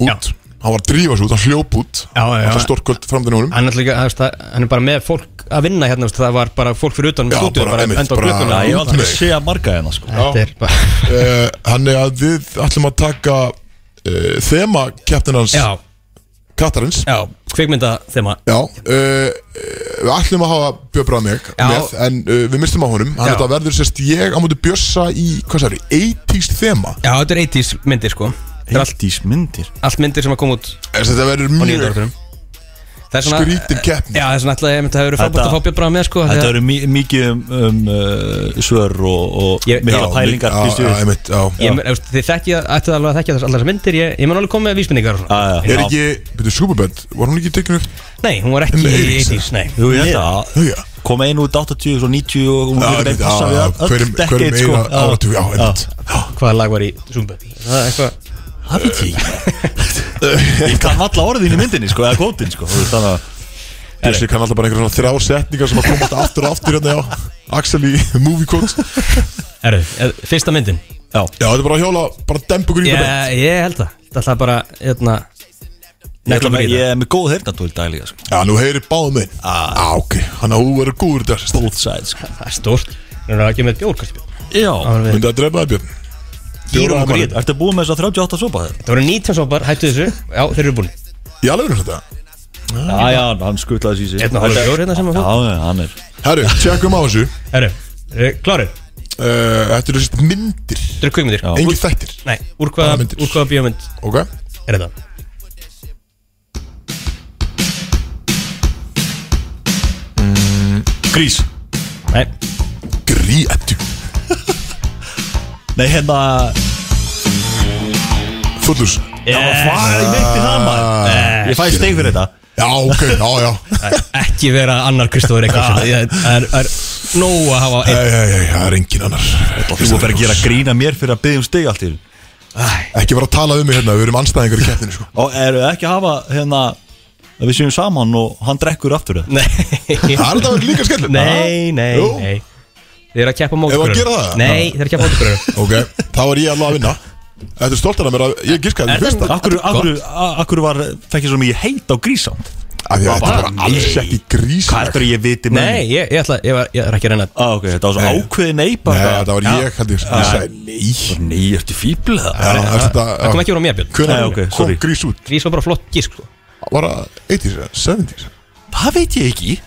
[SPEAKER 1] út
[SPEAKER 2] Já.
[SPEAKER 1] Hann var að drífa svo út, hann hljóp út
[SPEAKER 2] Já, já, já.
[SPEAKER 1] Það stórkvöld framdinn honum
[SPEAKER 2] Hann er, líka, hann, það, hann er bara með fólk að vinna hérna þú veist, Það var bara fólk fyrir utan
[SPEAKER 1] Já,
[SPEAKER 2] með stúdíu
[SPEAKER 1] bara
[SPEAKER 2] bara
[SPEAKER 1] einmitt,
[SPEAKER 2] enda á
[SPEAKER 1] bara-
[SPEAKER 2] glögguna
[SPEAKER 3] Já, ég var aldrei
[SPEAKER 1] Nei.
[SPEAKER 3] að segja marga hérna sko
[SPEAKER 1] Já.
[SPEAKER 2] Þetta er bara
[SPEAKER 1] uh, Hann er að við ætlum að taka uh, Þema keppninans
[SPEAKER 2] Já,
[SPEAKER 1] Katarins
[SPEAKER 2] já, kvikmynda þema
[SPEAKER 1] Já, uh, við ætlum að hafa Björn Braga með,
[SPEAKER 2] Já.
[SPEAKER 1] með en uh, við mistum á honum hann
[SPEAKER 2] Já.
[SPEAKER 1] þetta verður sérst ég á móti Björsa í, hvað sagði, 80s þema
[SPEAKER 2] Já, þetta er 80s myndir sko Þetta er allt,
[SPEAKER 3] Heldís myndir
[SPEAKER 2] allt myndir sem að koma út
[SPEAKER 1] Þess
[SPEAKER 2] á
[SPEAKER 1] að þetta verður
[SPEAKER 2] nýjönda
[SPEAKER 1] mjög
[SPEAKER 2] áratunum Það er svona
[SPEAKER 1] skrítin keppni
[SPEAKER 2] Já, það er svona alltaf að það hefur verið frábært
[SPEAKER 3] Þetta-
[SPEAKER 2] að fá Björn Braga með sko
[SPEAKER 3] Þetta
[SPEAKER 2] því að-
[SPEAKER 3] eru mi- mikið um, um uh, svör og, og
[SPEAKER 2] Ég-
[SPEAKER 3] mikla
[SPEAKER 1] Já,
[SPEAKER 3] pælingar
[SPEAKER 1] já, já,
[SPEAKER 3] býstu við.
[SPEAKER 1] einmitt, já.
[SPEAKER 2] Ég, ef þið þekkja, ættu alveg að þekkja þess, allar þessar myndir Ég, ég mun alveg koma með vísmyndingar og svona.
[SPEAKER 3] Já, já.
[SPEAKER 1] Er ekki, betur Superband, var hún ekki tekinu upp?
[SPEAKER 2] Nei, hún var ekki
[SPEAKER 1] Nei,
[SPEAKER 2] í
[SPEAKER 1] Eiríks.
[SPEAKER 2] 80s, nei
[SPEAKER 3] Jú, ég held
[SPEAKER 1] Nú,
[SPEAKER 3] að
[SPEAKER 1] Já,
[SPEAKER 3] kom einu út 80 og svo 90 og hún
[SPEAKER 1] Já,
[SPEAKER 3] getur einn
[SPEAKER 1] einmitt,
[SPEAKER 3] passa
[SPEAKER 1] já,
[SPEAKER 3] við
[SPEAKER 1] já,
[SPEAKER 3] öll
[SPEAKER 1] hverjum-
[SPEAKER 3] dekkeið,
[SPEAKER 1] hverjum
[SPEAKER 3] sko.
[SPEAKER 1] eina
[SPEAKER 3] Já.
[SPEAKER 1] áratug, já, einmitt.
[SPEAKER 2] Hvaða lag var í Zoombubby? Það er eitthvað
[SPEAKER 3] Það veit ég ekki Ég kann alla orðin í myndinni sko, eða kótin sko þú veist, þannig að-
[SPEAKER 1] Björsi kann alltaf bara einhverja svona þrjá setningar sem að koma alltaf aftur og aftur hérna, já Axel í movie code Já,
[SPEAKER 2] Erðu, eh, fyrsta myndin
[SPEAKER 1] þetta er bara að hjóla, bara dempa ykkur í
[SPEAKER 2] Ég,
[SPEAKER 1] þetta
[SPEAKER 2] ég held það Það ætlaði bara, hérna
[SPEAKER 3] Ég ætla
[SPEAKER 2] Nefnum
[SPEAKER 3] með-
[SPEAKER 2] ekki
[SPEAKER 3] Ég
[SPEAKER 2] það
[SPEAKER 3] er með góð heyrnatúl daglega sko
[SPEAKER 1] Já, nú heyri báðum minn
[SPEAKER 3] Ah.
[SPEAKER 1] Já, ok, hann að hún verður góður í dag sérst.
[SPEAKER 3] Both sides sko
[SPEAKER 2] Það er stórt Það er ekki með bjór, kannski bjór.
[SPEAKER 3] Já
[SPEAKER 2] Það var-
[SPEAKER 1] Myndi að drepa það Björn
[SPEAKER 2] Dýrum
[SPEAKER 1] Fjóra
[SPEAKER 2] okkur í
[SPEAKER 1] mann.
[SPEAKER 2] þetta.
[SPEAKER 3] Ertu búin með þess að 38 sopa þér?
[SPEAKER 2] Það voru 19 sopar, hættu þessu Já, þeir eru búin
[SPEAKER 1] Í alveg þetta
[SPEAKER 3] Já, já, hann skutlaði sér sér
[SPEAKER 2] Hérna, hann er bjór hérna sem að fá
[SPEAKER 3] Já, já, hann er
[SPEAKER 1] Herru, tjekkum á þessu uh,
[SPEAKER 2] Erðu, kláru
[SPEAKER 1] Þetta eru sérst myndir
[SPEAKER 2] Þetta eru kvikmyndir
[SPEAKER 3] Já.
[SPEAKER 1] Engir þættir
[SPEAKER 2] Nei, úr
[SPEAKER 1] Hvaða
[SPEAKER 2] hvaða,
[SPEAKER 1] myndir?
[SPEAKER 2] úr hvaða bíómynd
[SPEAKER 1] Ok
[SPEAKER 2] er þetta?
[SPEAKER 3] Grís
[SPEAKER 2] Nei,
[SPEAKER 1] Gríættu
[SPEAKER 3] Nei, hérna
[SPEAKER 1] Fullus Ah.
[SPEAKER 3] Já,
[SPEAKER 2] Eh.
[SPEAKER 3] hvað, ég myndi það maður Eh. Ég fæ steig fyrir þetta
[SPEAKER 1] Já, ok, já, já
[SPEAKER 2] ekki vera annar Kristóður Eikvarsson Það er- það er nóg að hafa einn
[SPEAKER 1] Ei, ei, ei, það er engin annar
[SPEAKER 3] Þú verður að gera grína mér fyrir að byggja um steig allt í einu.
[SPEAKER 1] Ekki vera að tala um mig hérna, við erum anstæðingar í keppninu sko.
[SPEAKER 3] Og eru ekki að hafa hérna að við séum saman og hann drekkur aftur það
[SPEAKER 2] Nei
[SPEAKER 1] Það er þetta verið líka skellur
[SPEAKER 2] Nei, nei,
[SPEAKER 1] Jú.
[SPEAKER 2] nei Þeir eru að keppa móti
[SPEAKER 1] Eigum við að
[SPEAKER 2] hverjum.
[SPEAKER 1] gera það?
[SPEAKER 2] Nei, þeir eru að keppa móti hverjum.
[SPEAKER 1] Ah, Ok, þá er ég alveg að vinna Þetta er stoltan að mér að ég giskaði því fyrsta
[SPEAKER 3] Akkur, akkur, a- akkur var, fekk ég svo mikið heit á grísand
[SPEAKER 1] Af því að Þetta var alls ekki grís
[SPEAKER 3] Hvað er þetta ég viti með
[SPEAKER 2] Nei, ég, ég ætla, ég, var, ég er ekki að reyna
[SPEAKER 3] ah, okay, Þetta var svo ákveði nei
[SPEAKER 1] Nei,
[SPEAKER 3] bara
[SPEAKER 1] Eh, þetta var ég, held ég Ég sagði nei
[SPEAKER 3] Nei, ertu fíbl það?
[SPEAKER 1] Já, er þetta- já.
[SPEAKER 2] Það kom ekki úr á mér, Björn
[SPEAKER 1] Hvenær
[SPEAKER 3] Nei, ok,
[SPEAKER 1] kom
[SPEAKER 3] sorry.
[SPEAKER 1] grís út?
[SPEAKER 2] Grís var bara flott gísk sko.
[SPEAKER 1] Var það 80s, eða 70s?
[SPEAKER 3] Það veit ég ekki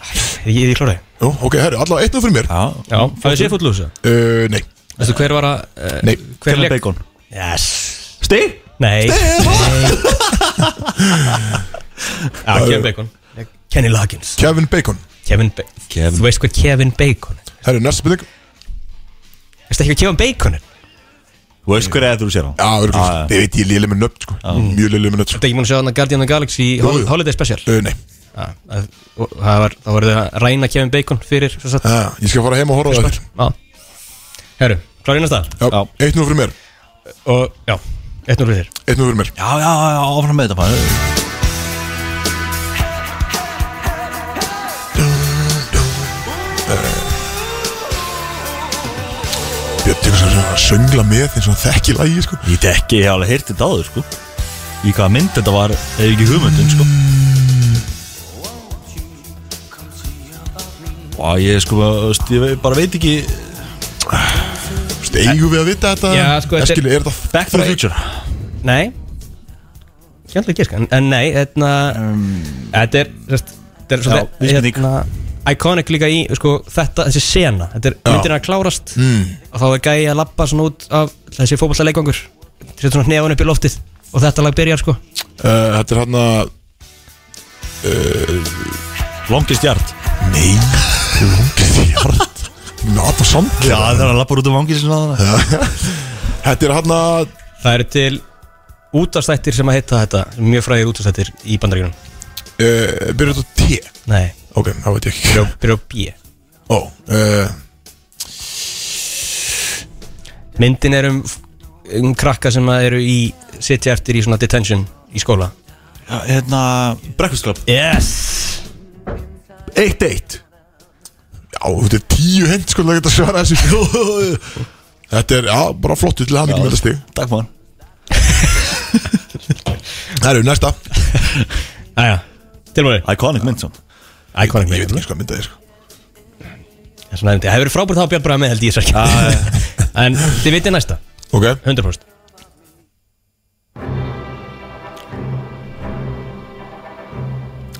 [SPEAKER 2] Ég, ég klára þig
[SPEAKER 1] Jú, ok, herru, allavega eitt og fyrir mér
[SPEAKER 3] Já,
[SPEAKER 2] Já, það er sér fútlúsa
[SPEAKER 1] Uh, Nei,
[SPEAKER 2] Veistu hver var að uh,
[SPEAKER 1] nei
[SPEAKER 2] Hver
[SPEAKER 3] Kevin
[SPEAKER 2] leik
[SPEAKER 3] Bacon
[SPEAKER 2] Yes
[SPEAKER 3] Stig?
[SPEAKER 2] Nei Já, Kevin Bacon Kenny Loggins
[SPEAKER 1] Kevin Bacon
[SPEAKER 2] Kevin Bacon
[SPEAKER 3] Kevin.
[SPEAKER 2] Þú veist hvað Kevin Bacon er
[SPEAKER 1] Herru, næsta spurning
[SPEAKER 2] Veistu ekki hvað Kevin Bacon er
[SPEAKER 3] Þú veist hver eða þú sér hann?
[SPEAKER 1] Já,
[SPEAKER 3] Já, Ah, já.
[SPEAKER 1] örgulega, þið veit ég lélega með nöfn sko Mjög lélega með nöfn sko
[SPEAKER 2] Þetta ekki múin að sjá þarna Guardian of the Galaxy
[SPEAKER 1] Jú, jú.
[SPEAKER 2] Holiday Special
[SPEAKER 1] Uh, Nei,
[SPEAKER 2] Já, að- og Það var, það voru þau að ræna Kevin Bacon fyrir sem sagt,
[SPEAKER 1] Já, ég skal fara heim og horfa á það eftir.
[SPEAKER 2] Já Herru, klára í næsta
[SPEAKER 1] Já, eitt nú fyrir mér
[SPEAKER 2] Og, já, eitt núr við þér
[SPEAKER 1] Eitt nú fyrir mér
[SPEAKER 3] Já, já, já, áfram með þetta maður.
[SPEAKER 1] Björn tekur svo að söngla með eins og hann þekki lagi sko
[SPEAKER 3] Ég get ekki, ég hef alveg heyrti þetta áður sko Í hvaða mynd þetta var, eða ekki hugmyndin sko Vá, ég sko, þú veist, ég bara veit ekki
[SPEAKER 1] Stegu við að vita þetta
[SPEAKER 2] Já, sko, þetta er-
[SPEAKER 1] Eskili, er þetta
[SPEAKER 3] Back to the Future
[SPEAKER 2] Nei Ég ætla ekki að skan En nei, þetta Þetta er sest, Þetta er hérna,
[SPEAKER 3] Já, vísbending.
[SPEAKER 2] Iconic líka í sko, Þetta, þessi sena Þetta er myndin að klárast mm. Og þá er gæi að labba svona út af Þessi fótballta leikvangur Setur svona hnefann upp í loftið Og þetta lag byrjar sko
[SPEAKER 1] Uh, Þetta er hann að
[SPEAKER 3] Longest Yard
[SPEAKER 1] Nei, lungið í hart Not a song
[SPEAKER 3] Já, það er að lappa út um vangi sinna þannig
[SPEAKER 1] Þetta er hann að
[SPEAKER 2] Það eru til Útastættir sem að heita þetta Mjög fræðir útastættir í bandaríkunum
[SPEAKER 1] uh, Byrjuð á T
[SPEAKER 2] Nei,
[SPEAKER 1] Ok, það veit ég ekki
[SPEAKER 2] byrja- byrja á B
[SPEAKER 1] Ó, uh,
[SPEAKER 2] Myndin er um, um krakka sem að eru í Sitja eftir í svona detention í skóla
[SPEAKER 3] Já, hérna, Breakfast Club
[SPEAKER 2] Yes
[SPEAKER 3] 1-1
[SPEAKER 1] Já, þetta er tíu hend sko Það geta að svara þessu Þetta er, já, bara flottu til hann ekki með þetta stig
[SPEAKER 3] Takk maður
[SPEAKER 1] Það eru næsta
[SPEAKER 2] Æja, tilbúinir
[SPEAKER 3] Iconic mynd samt
[SPEAKER 2] Iconic
[SPEAKER 1] Ég veit
[SPEAKER 2] mynd
[SPEAKER 1] ekki sko að mynda þér sko
[SPEAKER 2] Það er svona erindi. Það hefur verið frábært að hafa Björn Braga með held ég sér ekki En þið vitið næsta,
[SPEAKER 1] Ok,
[SPEAKER 2] 100%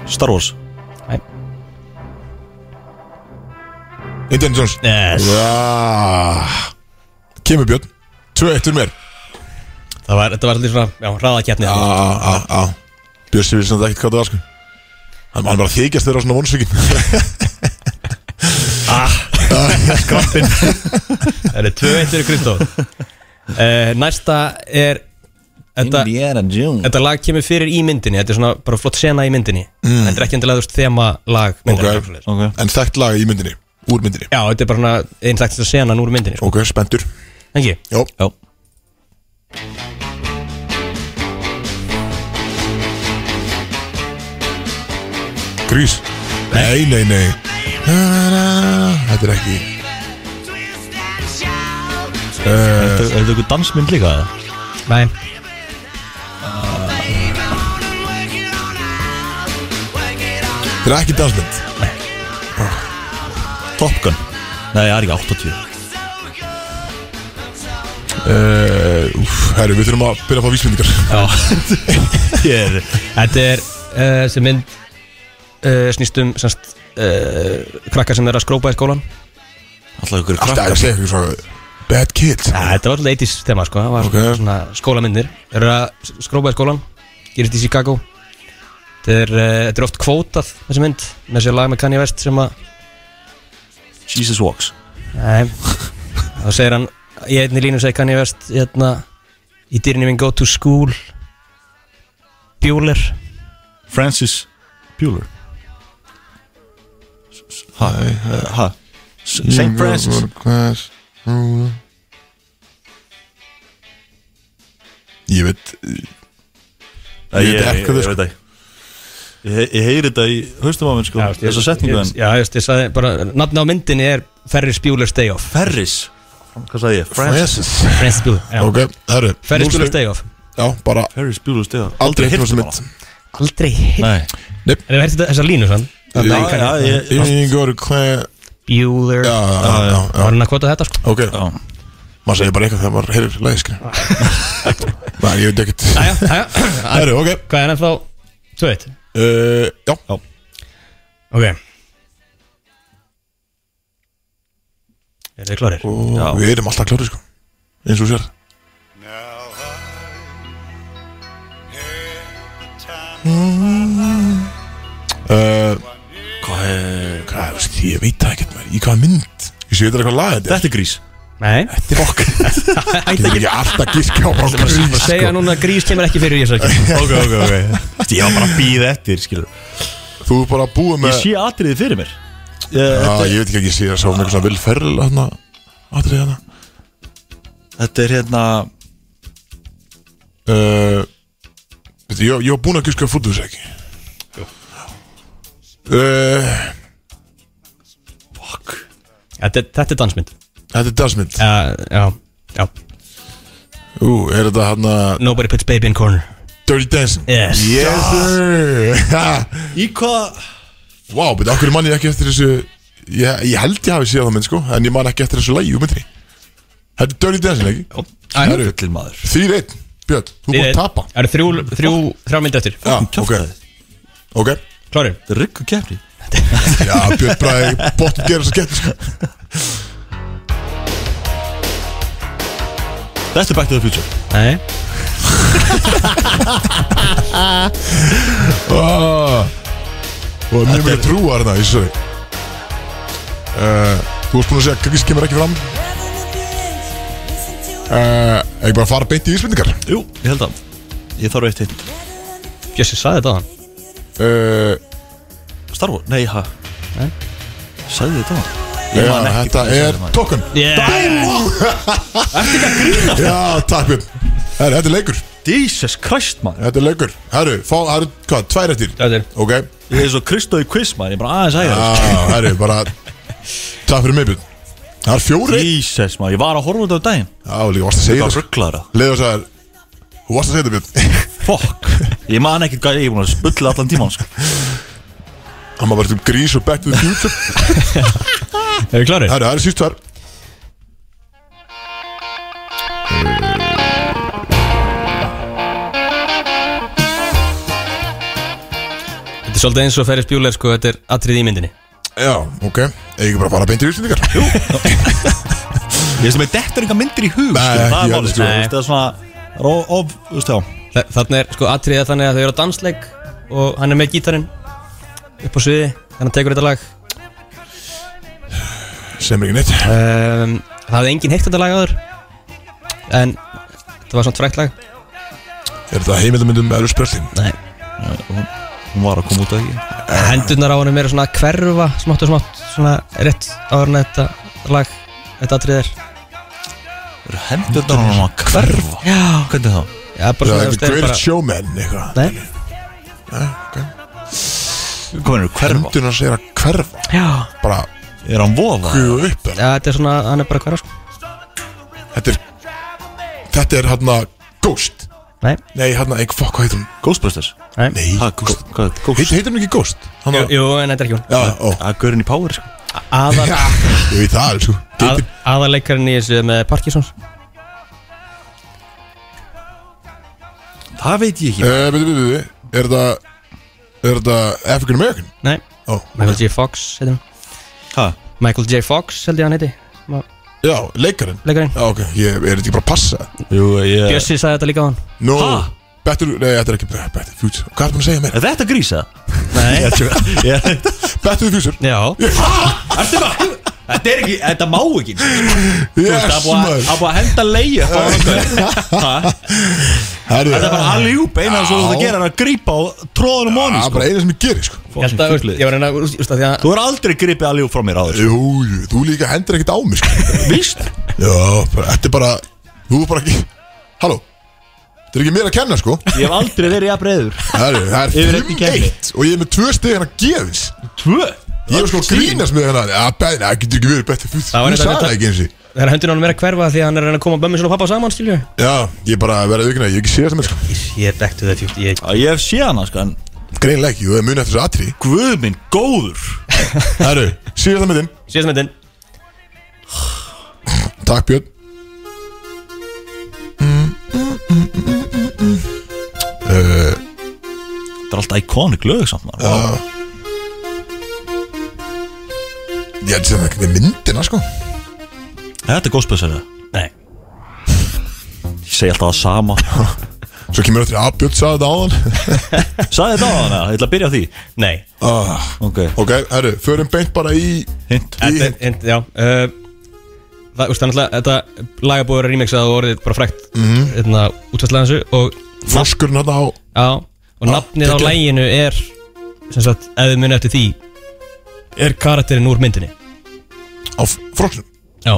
[SPEAKER 3] Star Wars
[SPEAKER 2] Nei.
[SPEAKER 1] Indiana Jones
[SPEAKER 2] Yes.
[SPEAKER 1] Já Kemur Björn Tvö eitt fyrir mér
[SPEAKER 2] Það var, þetta var alltaf svona, já, hraðakjarni
[SPEAKER 1] Á, á, á, á Björn sem við sem þetta ekkert hvað það var sko Hann hann bara þykjast þeirra á svona vonsvíkin
[SPEAKER 2] Það er 2-1 fyrir Kristóf uh, Næsta er þetta,
[SPEAKER 3] Indiana Jones
[SPEAKER 2] þetta lag kemur fyrir í myndinni Þetta er svona bara flott sena í myndinni Þetta er ekki endilega þú veist þema lag myndinni
[SPEAKER 1] Mm. Ok.
[SPEAKER 2] okay.
[SPEAKER 3] Ok
[SPEAKER 1] En þekkt lag í myndinni Úr myndinni
[SPEAKER 2] Já, þetta er bara svona einstaklega senan úr myndinni sko.
[SPEAKER 1] Ok, spenntur
[SPEAKER 2] Engi,
[SPEAKER 1] Jó
[SPEAKER 3] Já
[SPEAKER 1] Grís Nei, nei, nei Na, na, na, na. Þetta er ekki Eh,
[SPEAKER 3] Er þetta- er þetta eitthvað dansmynd líka eða?
[SPEAKER 2] næ
[SPEAKER 1] Þetta er ekki dansmynd
[SPEAKER 3] Top Gun Nei, það er ekki 80
[SPEAKER 1] uh, úf, Herru, við þurfum að byrja að fá vísmyndingar
[SPEAKER 3] Ég er
[SPEAKER 2] Þetta er uh, sem mynd uh, snýst um semst, uh, krakkar sem er að skrópa í skólan
[SPEAKER 3] alltaf ykkur
[SPEAKER 1] Alltaf er
[SPEAKER 3] krakkar
[SPEAKER 1] að segja eitthvað svona Bad kids
[SPEAKER 2] ja, Þetta var alltaf 80s tema sko, það var
[SPEAKER 1] Ok.
[SPEAKER 2] svona skólamyndir eru að skrópa í skólan gerist í Chicago Þetta er, uh, þetta er oft kvótað þessi mynd með þessi lag með Kanye West sem að
[SPEAKER 3] Jesus Walks
[SPEAKER 2] nei, þá segir hann í einni línu segir Kanye West hérna, í dyrinu minn go to school Bueller
[SPEAKER 3] Francis Bueller Ha, eh, ha S- St. Francis
[SPEAKER 1] Class ég veit
[SPEAKER 3] Ég,
[SPEAKER 1] veit ekki
[SPEAKER 3] ég, ég,
[SPEAKER 1] hvað það
[SPEAKER 3] ég
[SPEAKER 1] sko.
[SPEAKER 3] veit það ekki. Ég, ég heyri þetta í haustum á mér sko,
[SPEAKER 2] Já, veist, ég-
[SPEAKER 3] þessa setningu
[SPEAKER 2] ég-
[SPEAKER 3] en
[SPEAKER 2] Já, just, ég sagði bara Nafni á myndinni er Ferris Bueller's Day Off
[SPEAKER 3] Ferris, hvað sagði ég?
[SPEAKER 1] Francis
[SPEAKER 2] Ferris Bueller já.
[SPEAKER 1] Ok, herru
[SPEAKER 2] Ferris
[SPEAKER 1] nú
[SPEAKER 2] Bueller's
[SPEAKER 1] slum-
[SPEAKER 2] Day Off
[SPEAKER 1] Já, bara
[SPEAKER 3] Ferris Bueller's Day Off.
[SPEAKER 1] aldrei
[SPEAKER 3] heyrt
[SPEAKER 1] hitt
[SPEAKER 3] um
[SPEAKER 1] þessa
[SPEAKER 3] hana.
[SPEAKER 1] mynd
[SPEAKER 2] Aldrei hitt
[SPEAKER 3] Nei,
[SPEAKER 2] En við hættum þessa línu sann
[SPEAKER 3] já, já, ég,
[SPEAKER 1] Ég einhver hvað
[SPEAKER 2] Bueller
[SPEAKER 1] Já, já, já, já,
[SPEAKER 2] Það var hann að kvota þetta sko
[SPEAKER 1] Ok,
[SPEAKER 3] já.
[SPEAKER 1] maður segir bara eitthvað þegar maður heyrir lagi skri Nei, ég veit ekkert
[SPEAKER 2] Jæja, jæja.
[SPEAKER 1] Herru, ok
[SPEAKER 2] Hvað er ennþá? Þú veit
[SPEAKER 1] uh, Já,
[SPEAKER 2] Ok Er þið klárir?
[SPEAKER 1] og við erum alltaf klári sko eins og sér Uh, hvað er, hvað er, veist, ég veit það ekkert mér, í hvaða mynd Ég sé þetta er eitthvað lag þetta er
[SPEAKER 3] Þetta er grís
[SPEAKER 2] Nei
[SPEAKER 1] Fokk, ég er ekki alltaf gíska á bara grís
[SPEAKER 2] Segja
[SPEAKER 1] sko.
[SPEAKER 2] núna að grís kemur ekki fyrir í þessu ekki
[SPEAKER 3] Ok, ok, ok Ég var bara að býða eftir, skilur
[SPEAKER 1] Þú er bara að búa
[SPEAKER 3] Ég
[SPEAKER 1] með
[SPEAKER 3] sé atriðið fyrir mér ég,
[SPEAKER 1] Já,
[SPEAKER 3] þetta,
[SPEAKER 1] ég veit ekki að ég sé það sá með eitthvað vilferðil Þarna, aðrið hana
[SPEAKER 3] þetta er hérna
[SPEAKER 1] uh, veit, ég, ég var búin að gíska fútbúls ekki uh,
[SPEAKER 2] Þetta er- þetta er dansmynd
[SPEAKER 1] Þetta er dansmynd
[SPEAKER 2] Já, já, já
[SPEAKER 1] Ú, er þetta hann að
[SPEAKER 2] Nobody puts baby in corner
[SPEAKER 1] Dirty Dancing
[SPEAKER 2] Yes.
[SPEAKER 1] Yes sir Ha,
[SPEAKER 3] Í hvað
[SPEAKER 1] Vá, betur, okkur mann ég ekki eftir þessu Ég, ég held ég hafi séð það mynd sko En ég man ekki eftir þessu lægi, myndri Þetta er Dirty Dancing, ekki?
[SPEAKER 2] Það
[SPEAKER 1] Herru,
[SPEAKER 3] Fullin maður
[SPEAKER 1] Þýr einn, Björn, þú búið að tapa
[SPEAKER 2] Það eru þrjú, þrjú, þrjá myndi eftir
[SPEAKER 1] Já, ok,
[SPEAKER 3] Kjáftaði
[SPEAKER 1] ok
[SPEAKER 2] Klárir
[SPEAKER 3] Þetta er ryggu kefni
[SPEAKER 1] Já, Björn Bræði, bóttum gera þess að geta sko
[SPEAKER 3] Þetta er Back to the Future
[SPEAKER 2] Nei
[SPEAKER 1] Ah. Og mjög mikið trúa hérna, ég segi uh, Þú varst búin að segja að grís kemur ekki fram uh, Ekki bara fara beint í ísmyndingar
[SPEAKER 3] Jú, ég held að Ég þarf eitt hinn
[SPEAKER 2] Jössi, sagði þetta á hann
[SPEAKER 1] uh,
[SPEAKER 3] Star Wars? Nei, ha
[SPEAKER 2] Nei.
[SPEAKER 3] Sæði þetta á hann? Ég
[SPEAKER 1] já,
[SPEAKER 3] man ekki
[SPEAKER 1] Þetta
[SPEAKER 3] hvað ég
[SPEAKER 1] er
[SPEAKER 3] sagði, maður.
[SPEAKER 1] tókun
[SPEAKER 2] Yeah
[SPEAKER 1] Já, takk fyrir Herru, þetta er leikur
[SPEAKER 3] Jesus Christ, maður
[SPEAKER 1] Þetta er leikur Herru, fá, herru, hvað, tvær eftir
[SPEAKER 2] Þetta er
[SPEAKER 1] Ok,
[SPEAKER 3] Ég er svo Kristó í quiz, maður Ég er bara aðeins ægja
[SPEAKER 1] já, herru, bara Takk fyrir mig, Björn Það er fjóri
[SPEAKER 3] Jesus, maður Ég var að horfa út af daginn
[SPEAKER 1] Já, líka, varst að
[SPEAKER 3] Ég
[SPEAKER 1] segja
[SPEAKER 3] var
[SPEAKER 1] það
[SPEAKER 3] rugglaður að
[SPEAKER 1] Leðu þess að Þú varst að segja þetta, Björn
[SPEAKER 3] Fuck Ég man ekkert hvað ég er búin að spulla allan tíman sko.
[SPEAKER 1] Það maður verður grís og back to the future
[SPEAKER 2] Er þið klárir?
[SPEAKER 1] Herru, það er síst tvær
[SPEAKER 2] Þetta er svolítið eins og Ferris Bueller sko Þetta er atrið í myndinni
[SPEAKER 1] Já, ok Eða ekki bara að fara beint í útlendingar Jú
[SPEAKER 3] Ég veist að mér dettur enga myndir í hug
[SPEAKER 1] Nei,
[SPEAKER 3] skilur, Það
[SPEAKER 1] ekki
[SPEAKER 3] er
[SPEAKER 1] alveg,
[SPEAKER 3] málið sko.
[SPEAKER 1] sko.
[SPEAKER 3] Þú veist, Það er svona það er of- Of, þú veist það
[SPEAKER 2] Þa- Þarna er sko atriðið er þannig að þau eru á dansleik Og hann er með gítarinn Upp á sviði Þannig að hann tekur þetta lag
[SPEAKER 1] Sem er ekki neitt
[SPEAKER 2] um, Það hafði enginn heitt þetta lag áður En Þetta var svona frækt lag
[SPEAKER 1] Er þetta heimildamöndum með Elvis Presley?
[SPEAKER 2] Nei
[SPEAKER 3] Hún var að koma út af ekki
[SPEAKER 2] Hendurnar á honum eru svona að hverfa Smátt og smátt Svona rétt áður en þetta lag Þetta atrið er
[SPEAKER 3] Eru hendurnar hann að hverfa?
[SPEAKER 2] Já
[SPEAKER 3] Hvernig þá?
[SPEAKER 2] Já, bara
[SPEAKER 1] Það er
[SPEAKER 2] svona þú veist,
[SPEAKER 1] ekki
[SPEAKER 2] þeir
[SPEAKER 1] Greatest
[SPEAKER 2] bara-
[SPEAKER 1] Showman eitthvað
[SPEAKER 2] Nei
[SPEAKER 3] Hvernig er hverfa?
[SPEAKER 1] Hendurna segir að hverfa
[SPEAKER 2] Já
[SPEAKER 1] Bara
[SPEAKER 3] Er hann vofa?
[SPEAKER 1] guðu upp eða?
[SPEAKER 2] Já, þetta er svona, hann er bara hverja sko
[SPEAKER 1] Þetta er Þetta er hérna Ghost
[SPEAKER 2] Nei,
[SPEAKER 1] Nei, hérna, ekki, fuck, hvað heitir hún?
[SPEAKER 3] Ghostbusters?
[SPEAKER 2] nei
[SPEAKER 1] Nei,
[SPEAKER 3] Ha, ghost, hvað er ghost?
[SPEAKER 1] heit, heitir hún ekki Ghost? Hann
[SPEAKER 2] Jú, jú, en þetta er ekki hún
[SPEAKER 1] Já, ó
[SPEAKER 3] Það er gaurinn í power sko
[SPEAKER 2] Aðal,
[SPEAKER 1] Já, ég veit það, sko
[SPEAKER 2] að,
[SPEAKER 1] Geti
[SPEAKER 2] Aðaleikarinn í þessu með Parkinsons
[SPEAKER 3] Það veit ég ekki
[SPEAKER 1] Eh, Veitu, veitu, veitu Er þetta Er þetta African American?
[SPEAKER 2] Nei,
[SPEAKER 1] Ó
[SPEAKER 2] Michael J. Fox heitir hann
[SPEAKER 3] Ha?
[SPEAKER 2] Michael J. Fox held ég hann heiti sem að-
[SPEAKER 1] Já, leikarinn
[SPEAKER 2] Leikarinn
[SPEAKER 1] Já, ok, ég er þetta ekki bara að passa
[SPEAKER 3] Jú, ég
[SPEAKER 2] Bjössi sagði þetta líka á hann
[SPEAKER 1] No
[SPEAKER 3] Ha?
[SPEAKER 1] Better, nei, þetta er ekki Better Future Hvað er það að segja mér?
[SPEAKER 3] Er þetta grís eða?
[SPEAKER 2] Nei
[SPEAKER 3] Ég-
[SPEAKER 1] Better Future
[SPEAKER 2] Já
[SPEAKER 3] Ertu bara Þetta er ekki, þetta má ekki Það er
[SPEAKER 1] Yes,
[SPEAKER 3] búið að-
[SPEAKER 1] maður
[SPEAKER 3] það er búið að henda leiði
[SPEAKER 1] Herðu,
[SPEAKER 3] Þetta er bara allir úp Einar svo þú ert að gera er að grípa á tróðunum
[SPEAKER 1] Það
[SPEAKER 3] móni
[SPEAKER 1] er
[SPEAKER 3] sko
[SPEAKER 1] bara eina sem ég gerir sko
[SPEAKER 2] Ég held að, þú veist, ég var reyna að, þú veist að því að
[SPEAKER 3] Þú er aldrei gripið allir úp frá mér á þessu
[SPEAKER 1] Jú, jú, þú líka hendur ekkert á mig sko
[SPEAKER 3] Vist?
[SPEAKER 1] Já, bara, þetta er bara Þú er bara ekki Halló Þetta er ekki mér að kenna sko
[SPEAKER 3] Ég hef aldrei verið jafn reyður
[SPEAKER 1] Herru, Það
[SPEAKER 3] Yfir
[SPEAKER 1] er
[SPEAKER 3] einn í keppni.
[SPEAKER 1] 5-1 og ég er með tvö stig hérna gefins
[SPEAKER 3] Tvö
[SPEAKER 1] Ég er sko að grínast með hérna Já, bæði, það getur ekki verið betur fyrir Þú
[SPEAKER 2] var þetta-
[SPEAKER 1] sagði það ekki eins og
[SPEAKER 2] Það er höndin á hann verið að hverfa því að hann er að reyna að koma bömmi svona pappa saman, skilju
[SPEAKER 1] Já, ég bara verði aukna, ég hef ekki séð það með sko
[SPEAKER 2] Ég er back to the 50 ég...
[SPEAKER 3] Ég hef séð hana sko en
[SPEAKER 1] Greinlega ekki, þú hefði munið eftir þessu atri
[SPEAKER 3] Guð minn góður
[SPEAKER 1] Herru, séð það með þinn
[SPEAKER 2] Síðast myndin
[SPEAKER 1] Takk Björn Uh,
[SPEAKER 3] Þetta er alltaf iconic lög samt maður wow.
[SPEAKER 1] ég held sem það ekki með myndina sko
[SPEAKER 3] Þetta er góðspessari
[SPEAKER 2] Nei
[SPEAKER 3] Ég segi alltaf það sama
[SPEAKER 1] Svo kemur þetta að Björn sagði þetta áðan
[SPEAKER 3] Sæði þetta á hana, ég ætla að byrja á því
[SPEAKER 2] Nei
[SPEAKER 1] ah,
[SPEAKER 3] Ok,
[SPEAKER 1] Ok, herru, förum beint bara í,
[SPEAKER 3] hint
[SPEAKER 1] í
[SPEAKER 2] Þetta er, já uh, Það, úst, þannig að þetta lagabúið er remixað og orðið bara frækt mm -hmm. Þetta útfæstlega þessu og
[SPEAKER 1] Froskurinn hérna á
[SPEAKER 2] Já Og nafnið á
[SPEAKER 1] geggjað.
[SPEAKER 2] læginu er Sem sagt, ef þið munið eftir því Er karakterinn úr myndinni
[SPEAKER 1] á froskurinn
[SPEAKER 2] Já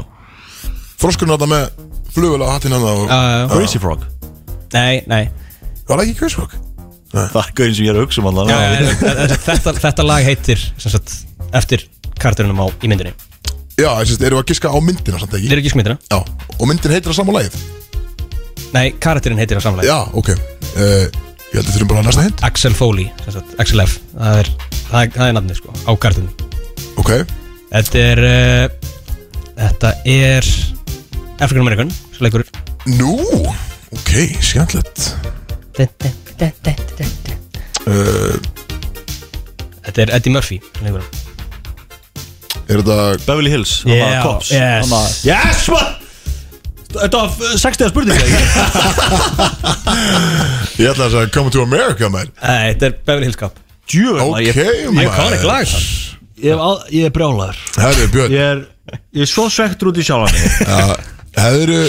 [SPEAKER 1] Froskurinn hérna með flugvöla hattinn hérna og
[SPEAKER 2] Ah, Já, já.
[SPEAKER 3] Crazy Frog
[SPEAKER 2] Nei, nei
[SPEAKER 1] Var það ekki kveðsfrok?
[SPEAKER 3] Það er gauðin sem ég er að hugsa um allan
[SPEAKER 2] Já, en- en- en þetta, þetta lag heitir sem sagt, eftir karakterinum á í myndinni
[SPEAKER 1] Já, ég syns, erum við að giska á myndina samt
[SPEAKER 2] Þeir
[SPEAKER 1] ekki?
[SPEAKER 2] eru ekki myndina
[SPEAKER 1] Já, og myndin heitir það saman lagið
[SPEAKER 2] Nei, karakterin heitir á samlega
[SPEAKER 1] Já, ok uh, Ég held að þurfum bara að næsta hint
[SPEAKER 2] Axel Foley, sem sagt, Axel F Það er, það er, það er nafnið sko, á kartinu
[SPEAKER 1] Ok,
[SPEAKER 2] Þetta er uh, Þetta er African American, sem leikur
[SPEAKER 1] nú Ok, skemmtilegt Eh. uh,
[SPEAKER 2] Þetta er Eddie Murphy, sem leikur hann.
[SPEAKER 1] Er þetta
[SPEAKER 3] Beverly Hills, hann
[SPEAKER 2] Já,
[SPEAKER 3] var Cops
[SPEAKER 2] yes.
[SPEAKER 3] hann var- Yes, man Þetta var 60 spurning ekki?
[SPEAKER 1] Ég ætla að segja Come to America, mær
[SPEAKER 2] Nei, Þetta er Beverly Hills Cop
[SPEAKER 3] Djöfull, maður,
[SPEAKER 1] Ok,
[SPEAKER 3] ég,
[SPEAKER 1] mær
[SPEAKER 2] Iconic lag það.
[SPEAKER 3] ég, hef al- ég er brjálaður
[SPEAKER 1] Herru, Björn
[SPEAKER 3] Ég er, ég er svo svektur út í sjálfan mig.
[SPEAKER 1] ja, Hefðu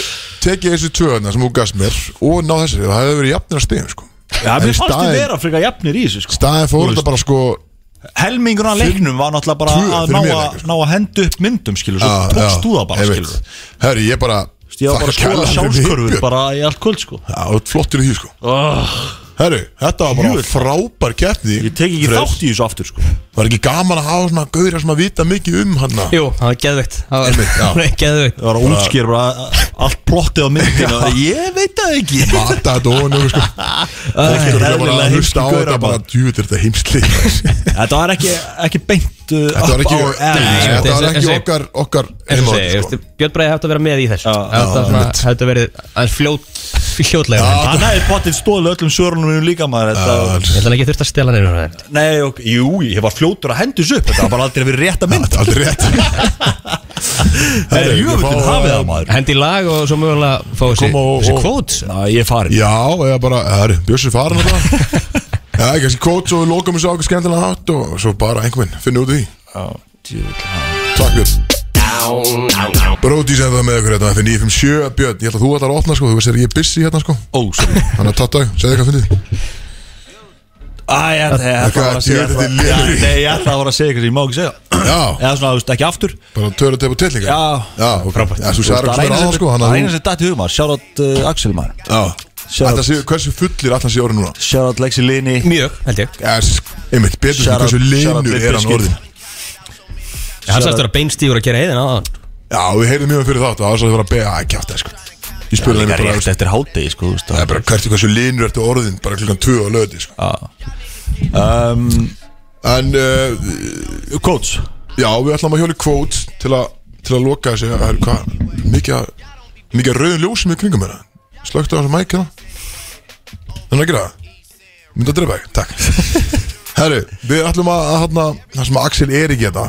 [SPEAKER 1] tekið þessu tvöðna sem þú gafst mér og náð þessu, það hefðu verið jafnir að stegum sko.
[SPEAKER 3] Já,
[SPEAKER 1] En
[SPEAKER 3] mér
[SPEAKER 1] í
[SPEAKER 3] fannst þið
[SPEAKER 1] staðinn-
[SPEAKER 3] vera frekar jafnir í þessu sko.
[SPEAKER 1] Staðin fór þetta bara sko
[SPEAKER 3] Helmingurinn að leiknum var náttúrulega bara
[SPEAKER 1] Tvö,
[SPEAKER 3] að
[SPEAKER 1] fyrir
[SPEAKER 3] ná,
[SPEAKER 1] mér
[SPEAKER 3] a,
[SPEAKER 1] ekki, sko.
[SPEAKER 3] ná að henda upp myndum skilur Svo
[SPEAKER 1] Já, já,
[SPEAKER 3] tókst þú það bara
[SPEAKER 1] ég veit.
[SPEAKER 3] skilur
[SPEAKER 1] Herru, ég bara
[SPEAKER 3] Ég var bara að
[SPEAKER 1] þakka
[SPEAKER 3] skoða
[SPEAKER 1] kærlega fyrir mig,
[SPEAKER 3] sjálfskörfur
[SPEAKER 1] Björn.
[SPEAKER 3] bara í allt kvöld sko
[SPEAKER 1] Já, þú ert flottur í því sko
[SPEAKER 3] Ah.
[SPEAKER 1] Herru, þetta var bara
[SPEAKER 3] Jöfull.
[SPEAKER 1] frábær keppni
[SPEAKER 3] Ég tek ekki
[SPEAKER 1] Freyr.
[SPEAKER 3] þátt í þessu aftur sko
[SPEAKER 1] Var ekki gaman að hafa svona gauðra sem að vita mikið um hann
[SPEAKER 2] Jú, það var geðveikt Það var-
[SPEAKER 1] já.
[SPEAKER 2] það var geðveikt
[SPEAKER 3] Það var að útskýr bara allt plottið á myndinu Ég veit það ekki
[SPEAKER 1] Mata þetta ofan yfir sko Það
[SPEAKER 3] er
[SPEAKER 1] getur ekki bara
[SPEAKER 3] eðlilega
[SPEAKER 1] að hlusta á
[SPEAKER 3] heimsku
[SPEAKER 1] þetta
[SPEAKER 3] gaurar,
[SPEAKER 1] bara
[SPEAKER 3] bara.
[SPEAKER 1] Djúvitt er þetta heimsli Þetta
[SPEAKER 3] Þetta var ekki, ekki beint uh,
[SPEAKER 1] var
[SPEAKER 3] up
[SPEAKER 1] ekki,
[SPEAKER 3] our alley,
[SPEAKER 1] nei,
[SPEAKER 3] sko.
[SPEAKER 1] þetta
[SPEAKER 2] þessi-
[SPEAKER 1] var ekki
[SPEAKER 2] þessi-
[SPEAKER 1] okkar, okkar
[SPEAKER 2] En svo
[SPEAKER 1] heimavalli,
[SPEAKER 2] segi,
[SPEAKER 1] sko.
[SPEAKER 2] sko. Björn Bræði hefði átt að vera með í þessu
[SPEAKER 3] Já,
[SPEAKER 2] Þetta
[SPEAKER 1] já,
[SPEAKER 2] svona-
[SPEAKER 1] einmitt.
[SPEAKER 2] hefði verið aðeins fljót, fljótlega
[SPEAKER 1] Já.
[SPEAKER 3] Hann hefði potið stóðið öllum svörunum mínum líka maður
[SPEAKER 1] Já,
[SPEAKER 3] þetta,
[SPEAKER 2] Ég held að ekki þurft að stela nefnir hann
[SPEAKER 3] Nei, ok, jú, ég var fljótur að hendu þessu upp Þetta var bara aldrei verið rétt
[SPEAKER 1] Þetta
[SPEAKER 3] að mynd
[SPEAKER 1] er aldrei rétt
[SPEAKER 3] Það er
[SPEAKER 1] Herri, ég
[SPEAKER 3] jöfullin
[SPEAKER 1] fá,
[SPEAKER 3] hafið
[SPEAKER 1] uh,
[SPEAKER 3] það maður
[SPEAKER 2] Hendi í lag og svo mögulega fá þessi,
[SPEAKER 1] Koma og-
[SPEAKER 2] þessi
[SPEAKER 1] og-
[SPEAKER 2] quotes
[SPEAKER 3] Ná, ég er farin
[SPEAKER 1] Já, eða bara, herru, Bjössi farin að það Já, kannski kóts og við lokum þessu ákveð skemmtilega hátt og svo bara einhvern veginn, finnum út í því Takk Björn Bróti sem það með okkur hérna fyrir 957 Björn, ég held að þú ætlar að opna sko, þú veist að ég er busy hérna sko
[SPEAKER 3] Ó, sorry
[SPEAKER 1] Þannig að tatt dag, segðu eitthvað fyndið
[SPEAKER 3] Æ, ég ætla ég ætla að voru að segja
[SPEAKER 1] Þetta er
[SPEAKER 3] eitthvað
[SPEAKER 1] lélegur.
[SPEAKER 3] Já, Nei, ég ætla að voru að segja eitthvað sem ég má ekki segja
[SPEAKER 1] Já,
[SPEAKER 3] Eða svona, þú veist, ekki aftur
[SPEAKER 1] bara törut upp á tillingar
[SPEAKER 3] Já.
[SPEAKER 1] já, ok. Já, þú sagði ekki mér
[SPEAKER 3] Það er eina
[SPEAKER 1] aðan
[SPEAKER 3] sem-
[SPEAKER 1] sko
[SPEAKER 3] það
[SPEAKER 1] Þannig
[SPEAKER 3] er
[SPEAKER 1] að
[SPEAKER 3] eina
[SPEAKER 1] þú-
[SPEAKER 3] sem dætti hugum maður Sjárat uh, Axel maður
[SPEAKER 1] Já.
[SPEAKER 3] Shout
[SPEAKER 1] Þetta séu, hversu fullir allan séu orðin núna?
[SPEAKER 3] Sjárat Lexi Lini
[SPEAKER 2] Mjög, held ég
[SPEAKER 1] Já, s- einmitt, betur sem
[SPEAKER 3] Shout out-
[SPEAKER 1] hversu
[SPEAKER 3] shout out
[SPEAKER 1] linur
[SPEAKER 3] Big
[SPEAKER 1] er hann
[SPEAKER 3] Biscuit.
[SPEAKER 1] orðin
[SPEAKER 2] Hann sagðist að vera beinstífur að gera heiðin á hann
[SPEAKER 1] Já, við heyrðum mjög fyrir þátt og það var svo að vera að bega að kjáta sko Ég spurði
[SPEAKER 3] Líka
[SPEAKER 1] henni bara,
[SPEAKER 3] rétt eftir hátegi, sko, þú veist
[SPEAKER 1] það er bara hversu hversu linur ertu orðin bara klukkan 2 á löði sko
[SPEAKER 3] um,
[SPEAKER 1] En, uh,
[SPEAKER 3] Coach
[SPEAKER 1] já, við ætlum að hjóli kvót til að, til að loka þessi Það er hvað, mikið að- mikið að rauðin ljósum í kringum hérna Slögt á þessu mæk hérna Þannig að gera það Mynda að drepa þig, takk Herru, við ætlum að, að hana, það sem að Axel er ekki þetta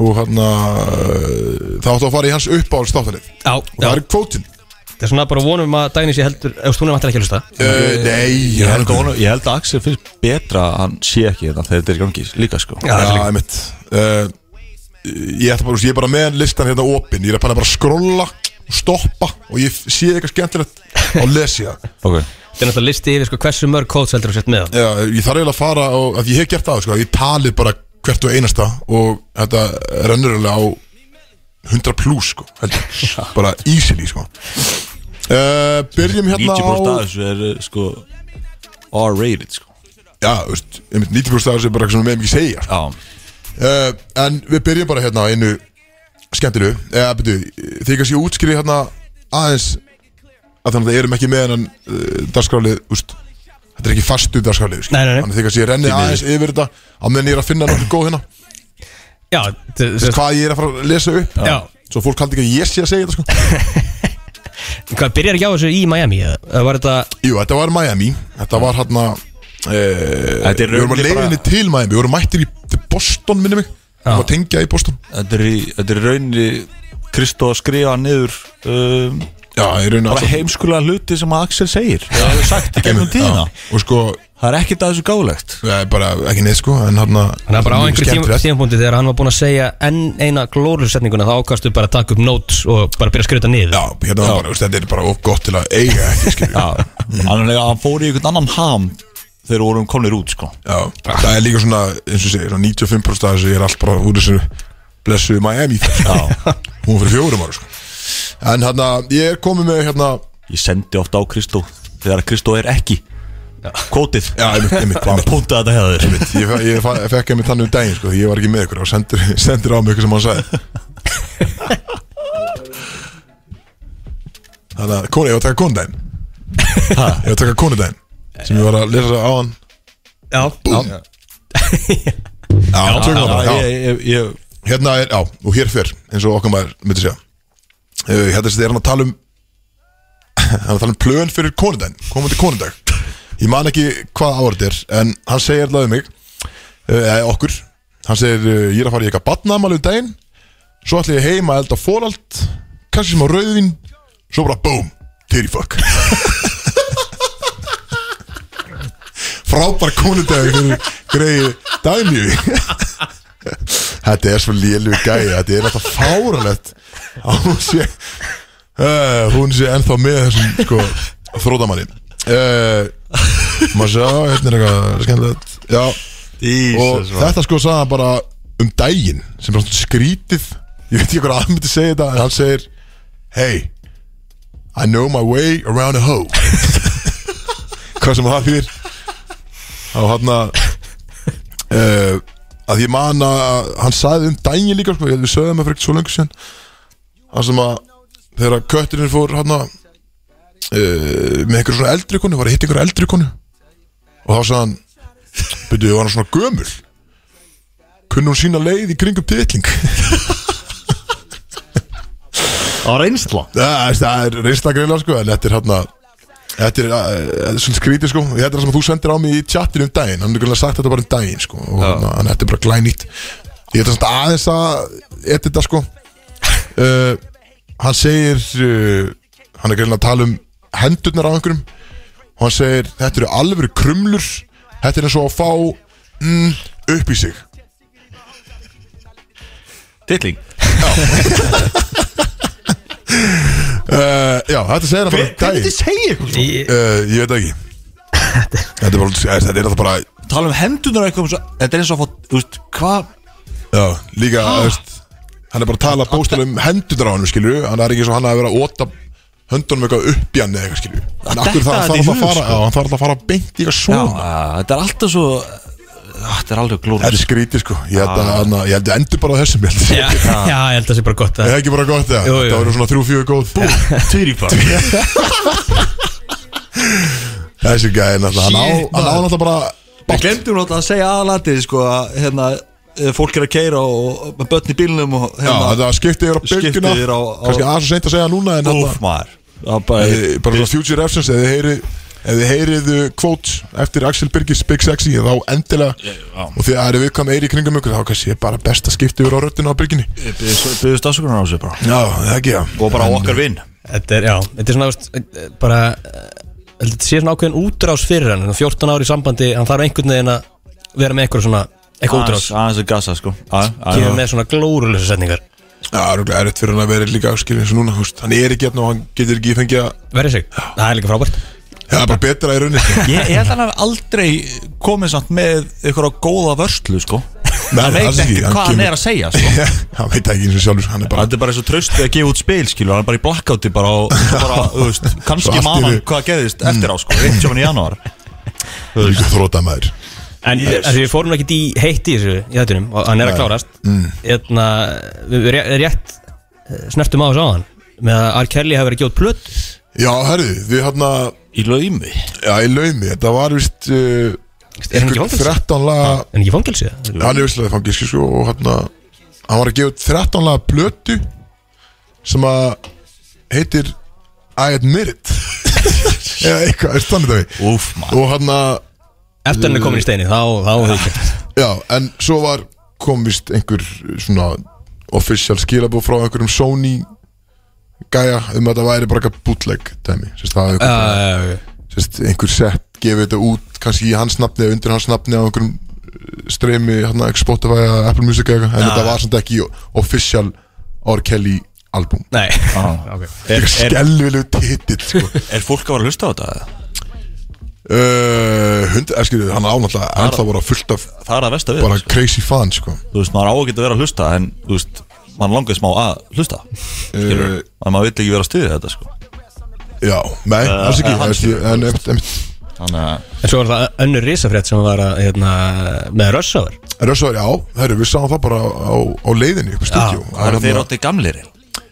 [SPEAKER 1] og hérna uh, það áttu að fara í hans uppáhalds þáttalið og
[SPEAKER 2] Já, já,
[SPEAKER 1] það er kvótinn
[SPEAKER 2] það er svona bara vonum að Dagnis ég heldur Ef hún er vantilega ekki að hlusta
[SPEAKER 1] Uh, nei,
[SPEAKER 3] Ég
[SPEAKER 1] hann
[SPEAKER 3] held,
[SPEAKER 1] er
[SPEAKER 3] að, ég held að Axel finnst betra að hann sé ekki þetta þegar þetta er í gangi líka sko
[SPEAKER 1] Já, það er mitt uh, Ég ætla bara, ég er bara með listan hérna opinn Ég er bara bara að skrolla og stoppa og ég sé eitthvað skemmtilegt og les ég það
[SPEAKER 3] Ok
[SPEAKER 2] Þetta er náttúrulega listi yfir sko, hversu mörg quotes heldur að sett með það
[SPEAKER 1] Já, Ég þarf eiginlega að fara og að ég hef gert það sko, að ég talið bara hvert og einasta og þetta rennur alveg á 100 plus sko, heldur, bara easily sko. uh, Byrjum hérna
[SPEAKER 3] 90% af
[SPEAKER 1] á
[SPEAKER 3] þessu er uh, sko R-rated sko
[SPEAKER 1] Já, þú veist, einmitt 90% af þessu er bara eitthvað sem við meðum ekki segja
[SPEAKER 3] Já,
[SPEAKER 1] uh, En við byrjum bara hérna á einu skemmtilu Eða, byrju, þið kannski útskýri hérna aðeins að þannig að það erum ekki með hennan uh, dagskrálið, úst Þetta er ekki fastu dagskrálið, skilur.
[SPEAKER 2] Nei, nei, nei.
[SPEAKER 1] Þannig að þið kannski renni
[SPEAKER 3] miður.
[SPEAKER 1] aðeins yfir þetta á meðan ég er að finna nokkuð góð hérna
[SPEAKER 2] Já, þú
[SPEAKER 1] Þess
[SPEAKER 2] veist
[SPEAKER 1] hvað ég er að fara að lesa upp
[SPEAKER 2] Já.
[SPEAKER 1] Svo fólk haldi ekki að ég sé að segja þetta sko
[SPEAKER 2] Hvað, byrjar ekki á þessu í Miami? eða? Eða var þetta
[SPEAKER 1] Jú, þetta var Miami Þetta var hérna e, Við vorum
[SPEAKER 3] Þetta er
[SPEAKER 1] að
[SPEAKER 3] raunverulega
[SPEAKER 1] leiðinni
[SPEAKER 3] bara-
[SPEAKER 1] til Miami Við vorum mættir í til Boston minni mig Við vorum að tengja í Boston
[SPEAKER 3] þetta er, í- þetta er í rauninni Kristó að skrifa niður um,
[SPEAKER 1] Já, ég raunin
[SPEAKER 3] bara heimskulega hluti sem að Axel segir Það hefur sagt í gegnum tíðina
[SPEAKER 1] Og sko,
[SPEAKER 3] Það er ekkert að þessu gálegt
[SPEAKER 1] það er bara ekki neitt sko En hérna
[SPEAKER 2] Þannig að bara á
[SPEAKER 1] mjög
[SPEAKER 2] einhverjum tíma,
[SPEAKER 1] skemmtilegt.
[SPEAKER 2] tímapunkti þegar hann var búinn að segja enn eina glórusetninguna þá ákastu bara að taka upp notes og bara byrja að skrifa þetta niður
[SPEAKER 1] Já, hérna var bara, veist, þetta er bara of gott til að eiga ekki skilur Já,
[SPEAKER 3] Þannig að hann fór í einhvern annan ham þegar vorum komnir út sko
[SPEAKER 1] það er líka svona, eins og segir, svona 95% af þessu er allt bara úr þessu blessuðu Miami sko. Hún var fyrir fjórum ára sko. En hérna, ég er komið með hérna
[SPEAKER 3] Ég sendi ofta á Kristó þegar Kristó er ekki Kótið
[SPEAKER 1] Já, einmitt, einmitt,
[SPEAKER 3] Hann
[SPEAKER 1] einmitt.
[SPEAKER 3] púntaði þetta hefðir
[SPEAKER 1] Ég, fe- ég fe- fekk einmitt þannig um daginn sko, því ég var ekki með ykkur og sendir, sendir á mig ykkur sem hann sagði Þannig að konu, ég var að taka konudaginn Ég var að taka konudaginn sem ég var að lesa á hann
[SPEAKER 2] Já,
[SPEAKER 1] Já, já tökum það bara, já.
[SPEAKER 3] Ég, ég, ég
[SPEAKER 1] Hérna er, já, og hér fyrr eins og okkar maður myndi segja Eh, Hérna er hann að tala um hann er að tala um plön fyrir konudaginn komandi konudag Ég man ekki hvað ára þetta er en hann segir alltaf um mig eða okkur hann segir uh, ég er að fara í eitthvað batnaðamæli um daginn svo ætla ég heima að elda fórald kannski sem á rauðvin svo bara boom, titty fuck frábær konudagur fyrir greiði dagníu þetta er svo lélu gæja þetta er alltaf fáralegt að hún sé uh, hún sé ennþá með þessum sko, þrótamanni uh, maður sé að hérna er eitthvað skemmtilegt já og þetta sko sagði hann bara um daginn sem er svona skrítið ég veit ekki hvað hann myndi segja þetta en hann segir hey I know my way around a hoe hvað sem það fyrir og hann að uh, að ég man að hann sagði um daginn líka sko, ég held við sögðum það fyrir ekkert svo lengur sér hann sem að þegar kötturinn fór hann að uh, með einhver svona eldri konu var að hitta einhver eldri konu og þá sagði hann Byrju, var hann svona gömul Kunni hún sína leið í kringum titling
[SPEAKER 3] Það var einsla
[SPEAKER 1] Það veist, það er reynsta greila sko En þetta er hérna Þetta er, uh, þetta er svona skrítið sko Þetta er það sem þú sendir á mig í chatinu um daginn Hann er greinlega sagt þetta bara um daginn sko Og hérna, hann þetta er bara glænýtt Ég ætla samt aðeins að Þetta þetta sko uh, Hann segir uh, Hann er greinlega að tala um hendurnar á einhverjum Og hann segir Þetta eru alveg krumlur Þetta er eins og að fá mm, upp í sig
[SPEAKER 3] Tittling
[SPEAKER 1] Uh, já, þetta segir hann bara um daginn
[SPEAKER 3] segja eitthvað
[SPEAKER 2] Ég-
[SPEAKER 1] uh, Ég veit það ekki Þetta er bara, þetta er alltaf bara
[SPEAKER 3] Tala um hendunar eitthvað um svo- Þetta er eins og að fá Þú veist, hvað
[SPEAKER 1] Já, líka, þú veist Hann er bara að tala bóstil um hendunar á hann, skilju Hann er ekki svo hann að vera að óta höndunum eitthvað upp í hann eða eitthvað, skilju En
[SPEAKER 3] Að
[SPEAKER 1] akkur það, það
[SPEAKER 3] detta þetta
[SPEAKER 1] þarf að
[SPEAKER 3] í hug,
[SPEAKER 1] fara
[SPEAKER 3] sko.
[SPEAKER 1] Já, hann þarf að fara beint í eitthvað
[SPEAKER 3] Já,
[SPEAKER 1] svona
[SPEAKER 3] þetta er alltaf svo Þetta er alveg glóð
[SPEAKER 1] Þetta er skrítið, sko Ég held
[SPEAKER 3] Ah.
[SPEAKER 1] að, hann að- ég held að endur bara á þessum, ég held að
[SPEAKER 2] já, já, ég held að það sé bara gott
[SPEAKER 1] Það
[SPEAKER 2] að
[SPEAKER 1] er ekki bara gott það,
[SPEAKER 2] Jú, jú.
[SPEAKER 1] þetta voru svona þrjú, fjögur góð Bú,
[SPEAKER 3] Tvírífar
[SPEAKER 1] þessi gæði náttúrulega Hann á
[SPEAKER 3] Shit,
[SPEAKER 1] hann á
[SPEAKER 3] maður.
[SPEAKER 1] náttúrulega bara
[SPEAKER 3] Við glemdum náttúrulega að segja aðalatið sko að hérna eh, fólk er að keira og og með börn í bílnum og
[SPEAKER 1] Já,
[SPEAKER 3] hérna
[SPEAKER 1] þetta skipti yfir á
[SPEAKER 3] Skipti
[SPEAKER 1] bylgjuna
[SPEAKER 3] yfir á- á-
[SPEAKER 1] Kannski aðeins og seint að segja núna en þarna-
[SPEAKER 3] Úf maður Það er bara,
[SPEAKER 1] Eh, bara svona future reference ef þið heyrið ef þið heyrið kvót eftir Axel Birgis Big Sexy þá endilega og því að það eru viðkvæm eiri kringum ykkur þá kannski er bara best að skipta yfir á röddina á Birginni
[SPEAKER 3] byggðist afsökunar á þessu bara
[SPEAKER 1] já, það ekki það
[SPEAKER 3] Og bara á okkar vinn
[SPEAKER 2] þetta er, já, þetta er svona veist, eh, bara, eh, held að þetta sé svona ákveðin útrás fyrir hann, 14 ári í sambandi hann þarf einhvern veginn að vera með eitthvað svona eitthvað útrás,
[SPEAKER 3] Aðeins að gasa sko
[SPEAKER 2] kemur
[SPEAKER 3] Kemur
[SPEAKER 2] með svona glórulösa setningar,
[SPEAKER 1] já, það er rétt fyrir hann að vera líka afskil eins og núna húst. hann er ekki hérna og hann getur ekki fengið að
[SPEAKER 2] verið sig það er líka frábært
[SPEAKER 1] það er bara betra í rauninni sko.
[SPEAKER 3] Ég, ég held að hann hafi aldrei komið samt með ykkur á góða vörslu sko
[SPEAKER 1] Nei,
[SPEAKER 9] hann
[SPEAKER 1] alls
[SPEAKER 9] veit
[SPEAKER 1] ekki,
[SPEAKER 9] ekkert
[SPEAKER 1] hann
[SPEAKER 9] hvað hann
[SPEAKER 1] kemur-
[SPEAKER 9] er að segja sko.
[SPEAKER 1] hann veit það ekki eins og sjálfur hann er bara
[SPEAKER 3] Þetta er bara eins og tröst að gefa út spil, skilur, hann er bara í blackouti bara og svo bara, þú veist,
[SPEAKER 1] Svo
[SPEAKER 3] kannski
[SPEAKER 1] allt í
[SPEAKER 3] man hann
[SPEAKER 1] einu-
[SPEAKER 3] hvað gerðist eftir á, sko, 17. janúar
[SPEAKER 1] líka þróta maður
[SPEAKER 2] En yes. við fórum ekkert í heitt í þessu í þettunum og hann er að
[SPEAKER 1] Nei.
[SPEAKER 2] klárast Hérna, við við ré- rétt eh, snertum á þessu áðan með að R. Kelly hafi verið að gefa út plöt
[SPEAKER 1] já, herðu, við hann að
[SPEAKER 3] Í laumi
[SPEAKER 1] já, í laumi, þetta var vist uh,
[SPEAKER 2] Er hann
[SPEAKER 1] einhver
[SPEAKER 2] ekki í fangelsi?
[SPEAKER 1] 13 laga
[SPEAKER 2] En ekki í fangelsi?
[SPEAKER 1] hann er visslega fangilski sko og hann að hann var að gefa út 13 laga plötu sem að heitir I admit it eða eitthvað, er þannig það við
[SPEAKER 3] Úf, maður
[SPEAKER 1] og hérna, hann að,
[SPEAKER 2] Eftir hann er komin í steini, þá, þá
[SPEAKER 1] já, en svo var komist einhver svona official skilabóð frá einhverjum Sony gæja um að það væri bara eitthvað bootleg dæmi, sérst það hefur
[SPEAKER 2] uh,
[SPEAKER 1] sérst, einhver sett gefið þetta út kannski í hans nafni eða undir hans nafni á einhverjum uh, streymi, hérna, ekki Spotify eða Apple Music eða eitthvað, en þetta var samt ekki official R. Kelly album
[SPEAKER 2] Nei
[SPEAKER 3] er, er,
[SPEAKER 1] skelvilegu titill sko.
[SPEAKER 3] Ah. er fólk að vera að hlusta á þetta?
[SPEAKER 1] uh, hund, er skiljið, hann ánáttúrulega hann það voru fullt af
[SPEAKER 3] Það er að versta við
[SPEAKER 1] bara
[SPEAKER 3] sko.
[SPEAKER 1] crazy fan sko.
[SPEAKER 3] Þú veist, maður á að geta verið að hlusta en, þú veist, maður langar smá að hlusta skilur,
[SPEAKER 1] uh,
[SPEAKER 3] en maður vill ekki vera að stuðið þetta, sko
[SPEAKER 1] já, nei, alls ekki
[SPEAKER 3] eh, hann
[SPEAKER 1] uh, stu, en einmitt, einmitt
[SPEAKER 3] Þannig að,
[SPEAKER 2] En svo var það önnur risafrétt sem var að, hérna, með rössáður
[SPEAKER 1] Rössaður, já, herru, við sáum það bara á, á leiðinni upp í stúdíu
[SPEAKER 3] það eru þeir átti gamlir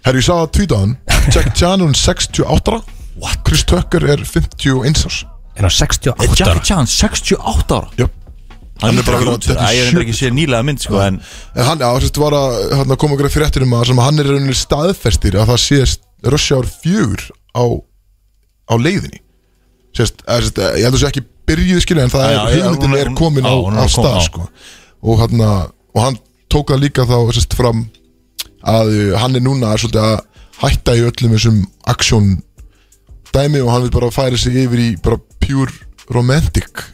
[SPEAKER 1] Herru, ég sá það tvítaðan Jack Channon 68 What? Chris Tucker er 51 árs
[SPEAKER 2] En á 68 ára
[SPEAKER 3] Chan, 68 ára
[SPEAKER 1] Jöp
[SPEAKER 3] Hann er bara
[SPEAKER 1] að vera
[SPEAKER 3] út fyrir,
[SPEAKER 1] 77.
[SPEAKER 3] Æ, ég er ekki séð nýlega mynd, sko En
[SPEAKER 1] En hann, já, sérst, var að hann, koma okkur að fréttir um að sem hann er rauninni staðfestir að það sést Rushhour 4 á, á leiðinni sérst, að, sérst, ég heldur sé ekki byrjuð skilja en það
[SPEAKER 3] Já,
[SPEAKER 1] er,
[SPEAKER 3] já, hún
[SPEAKER 1] hugmyndin
[SPEAKER 3] er-
[SPEAKER 1] er komin á,
[SPEAKER 3] já, hún
[SPEAKER 1] á
[SPEAKER 3] er komin,
[SPEAKER 1] stað
[SPEAKER 3] já.
[SPEAKER 1] sko. og, hann, og hann tók það líka þá sérst, fram að uh, hann er núna svolítið að hætta í öllum þessum aksjón dæmi og hann vil bara færa sig yfir í bara pure romantic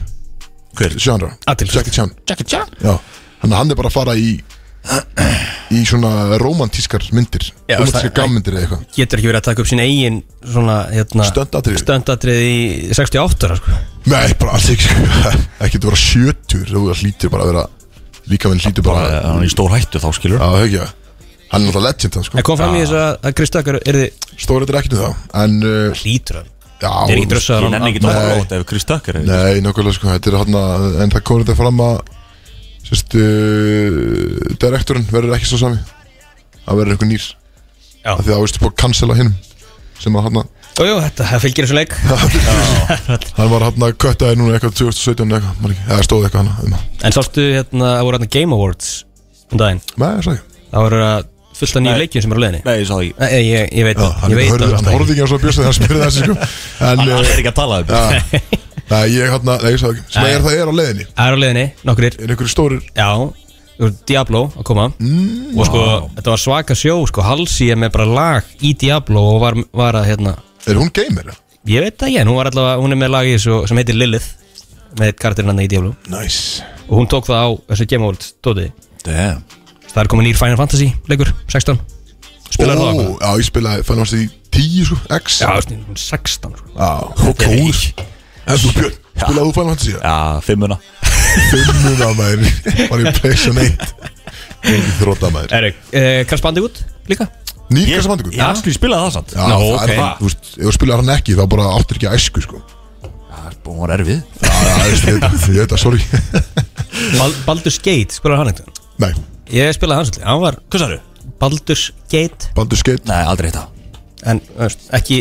[SPEAKER 3] Hver?
[SPEAKER 1] genre,
[SPEAKER 2] Athyglisvert.
[SPEAKER 1] Jackie Chan
[SPEAKER 3] Jackie Chan
[SPEAKER 1] Já, hann, hann er bara að fara í í svona romantískar myndir
[SPEAKER 2] Já,
[SPEAKER 1] romantískar
[SPEAKER 2] það-
[SPEAKER 1] gammyndir eða eitthvað
[SPEAKER 2] Getur ekki verið að taka upp sín eigin svona, hérna
[SPEAKER 1] Stundatriði.
[SPEAKER 2] Stöndatrið í 68 ára, sko
[SPEAKER 1] Nei, bara alls ekki ekki að vera sjötur þú hlýtir bara að vera líka minn hlýtir bara
[SPEAKER 3] Bara,
[SPEAKER 1] Já,
[SPEAKER 3] hann er í stór hættu þá, skilur
[SPEAKER 1] það er ekki að hann er náttúrulega legend hann,
[SPEAKER 2] En
[SPEAKER 1] sko.
[SPEAKER 2] kom fram í þessu að að Chris Tucker er þið
[SPEAKER 1] Stórið er ekkert um það En, uh,
[SPEAKER 2] Lítur hann
[SPEAKER 1] já
[SPEAKER 2] Er ekki
[SPEAKER 3] Ég
[SPEAKER 2] drössaður
[SPEAKER 3] nenni ekki
[SPEAKER 1] Nei.
[SPEAKER 3] tóra út ef Chris Tucker er
[SPEAKER 1] Nei, nákvæmlega sko, þetta er hann að En það komur þetta fram að Sérst, uh, direktorinn verður ekki svo sami Það verður einhver nýr
[SPEAKER 2] Já.
[SPEAKER 1] Af Því að það veistu búið að cancela hinum Sem að hann að
[SPEAKER 2] Jújú, þetta það fylgir þessu leik
[SPEAKER 1] Hann var hann að kötta þér núna eitthvað 2017 eða eitthvað, maður ekki, eða stóð eitthvað hann um það.
[SPEAKER 2] En sástu hérna, það voru hérna Game Awards um daginn
[SPEAKER 1] Nei, það sagði ég.
[SPEAKER 2] Það voru að fullta nýju leikjum sem eru á leiðinni
[SPEAKER 3] Nei, ég sá það ekki
[SPEAKER 2] Nei, ég, ég, ég veit
[SPEAKER 1] Já,
[SPEAKER 2] það,
[SPEAKER 1] hann
[SPEAKER 2] ég veit
[SPEAKER 1] horfði-
[SPEAKER 2] það
[SPEAKER 1] Hann horfði ekki á svo björsið, hann spyrir þessi sko. En,
[SPEAKER 3] Hann hann
[SPEAKER 1] eh,
[SPEAKER 3] er ekki að tala um
[SPEAKER 1] já, nei, ég hann að, nei, ég sagði ekki. Sem að ég er það er á leiðinni,
[SPEAKER 2] Það er á leiðinni, nokkurir
[SPEAKER 1] er einhverju stórir,
[SPEAKER 2] Já, þú voru Diablo að koma
[SPEAKER 1] Mm,
[SPEAKER 2] Og sko, þetta var svaka sjó sko, Halsi er með bara lag í Diablo Og var, var að, hérna
[SPEAKER 1] er hún gamer? eða?
[SPEAKER 2] Ég veit það, ég, en hún var allavega, hún er með lag í þessu Sem heitir Lilith Með karakterinn hann í Diablo
[SPEAKER 1] Nice.
[SPEAKER 2] Og hún tók það á þessu Game Awards dóti
[SPEAKER 3] Damn
[SPEAKER 2] Það er komin nýr Final Fantasy leikur, 16 Spilar það á hvað?
[SPEAKER 1] Ó, já, ég spilaði, fann hans í 10 sko, X.
[SPEAKER 2] Já, þú veist, hún er 16 sko.
[SPEAKER 1] Já, og kóður. En þú Björn, spilaði þú fann hans í það?
[SPEAKER 3] Já, fimmuna
[SPEAKER 1] Fimmuna maður, var ég pleysan eitt. Þróta maður.
[SPEAKER 2] Erik, eh, Crash Bandicoot líka
[SPEAKER 1] Nýr kassa vandikur?
[SPEAKER 3] Ég actually spilaði það samt
[SPEAKER 1] Já,
[SPEAKER 2] Nó,
[SPEAKER 1] það
[SPEAKER 2] ok.
[SPEAKER 1] er, þú veist, ef þú spilar hann ekki, þá bara áttur ekki að æsku sko.
[SPEAKER 3] Hún var erfið
[SPEAKER 1] Já, já, þú veist, ég- ég veit það, sorry.
[SPEAKER 2] Bal- Baldur's Gate, spilar hann eitthvað
[SPEAKER 1] Nei,
[SPEAKER 2] Ég spilaði hans alltaf, hann var
[SPEAKER 3] Hvað sagðu?
[SPEAKER 2] Baldur's Gate
[SPEAKER 1] Baldur Skeitt
[SPEAKER 3] Nei, aldrei þetta
[SPEAKER 2] en þú veist, ekki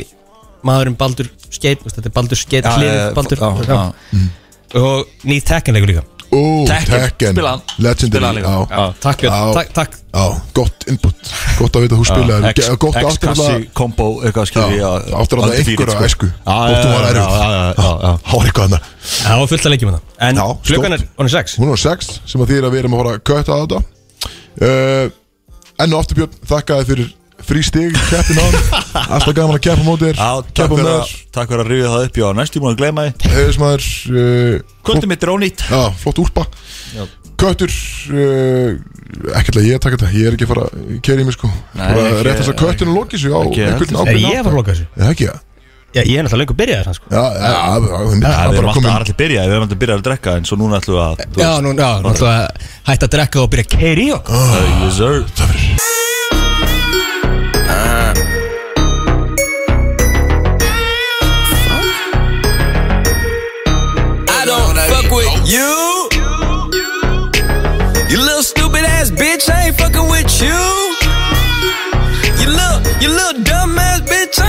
[SPEAKER 2] maðurinn Baldur Skeit þú veist, þetta er Baldur Skeit
[SPEAKER 3] eh,
[SPEAKER 2] hliðið Baldur
[SPEAKER 3] já,
[SPEAKER 2] já. og nýð Tekken leikur líka
[SPEAKER 1] Ó,
[SPEAKER 3] Tekken,
[SPEAKER 1] Tekken
[SPEAKER 3] spila hann. Spila hann
[SPEAKER 1] Legendary
[SPEAKER 3] líka.
[SPEAKER 1] Já,
[SPEAKER 2] já. takk
[SPEAKER 1] Já.
[SPEAKER 2] Björn, takk, takk
[SPEAKER 1] já, gott input Gott að vita að þú spilaði
[SPEAKER 3] X-
[SPEAKER 1] Ge- Gott aftur að
[SPEAKER 3] X-kassi kombo eitthvað skilji
[SPEAKER 1] Já, aftur að það einhverja
[SPEAKER 3] sko.
[SPEAKER 1] æsku Gott að hún var erfið Há er eitthvað hann
[SPEAKER 2] það var fullt að leikjum það en
[SPEAKER 1] Já,
[SPEAKER 2] klukkan er
[SPEAKER 1] stórt.
[SPEAKER 2] onir 6
[SPEAKER 1] Sko- Hún var sex sem að þýðir að við erum að fara að kötta á þetta uh, Enn og aftur Björn Þakkaði fyrir frí stig Keppin á Alltaf gaman að keppa móti
[SPEAKER 3] Já,
[SPEAKER 1] þér
[SPEAKER 3] takk
[SPEAKER 1] Keppa
[SPEAKER 3] fyrir
[SPEAKER 1] með
[SPEAKER 3] að-
[SPEAKER 1] þér
[SPEAKER 3] takk fyrir að ríða það upp Já, næstu búin að gleyma þið
[SPEAKER 1] Heiðismæður
[SPEAKER 3] Kvöldum mitt er ónýtt
[SPEAKER 1] eh, Já, flott úrpa Köttur uh, Ekkert að ég taka þetta Ég er ekki að fara Keri í mig sko
[SPEAKER 3] Nei,
[SPEAKER 1] Bara
[SPEAKER 3] ekki-
[SPEAKER 1] Rétt þess að köttinu lóki sig á
[SPEAKER 3] ekki-
[SPEAKER 1] einhvern
[SPEAKER 3] ekki-
[SPEAKER 2] er
[SPEAKER 1] ákveðinn
[SPEAKER 2] ég að fara að loka þessu
[SPEAKER 1] Er Það ekki það?
[SPEAKER 2] Já, ég er náttúrulega lengur byrjaði þess sko.
[SPEAKER 1] Já, já, það er
[SPEAKER 3] Við erum
[SPEAKER 1] bara
[SPEAKER 3] alltaf
[SPEAKER 1] komið
[SPEAKER 3] allir byrjaði, við erum alltaf byrjaði að drekka En svo núna ætlum við að þú
[SPEAKER 2] Já,
[SPEAKER 3] veist,
[SPEAKER 2] nú, já, náttúrulega hætti að drekka og byrja að keiri og
[SPEAKER 3] uh, yes, sir.
[SPEAKER 9] I don't fuck with you. You little stupid ass bitch, I ain't fucking with you. You little, you little dumb ass bitch, I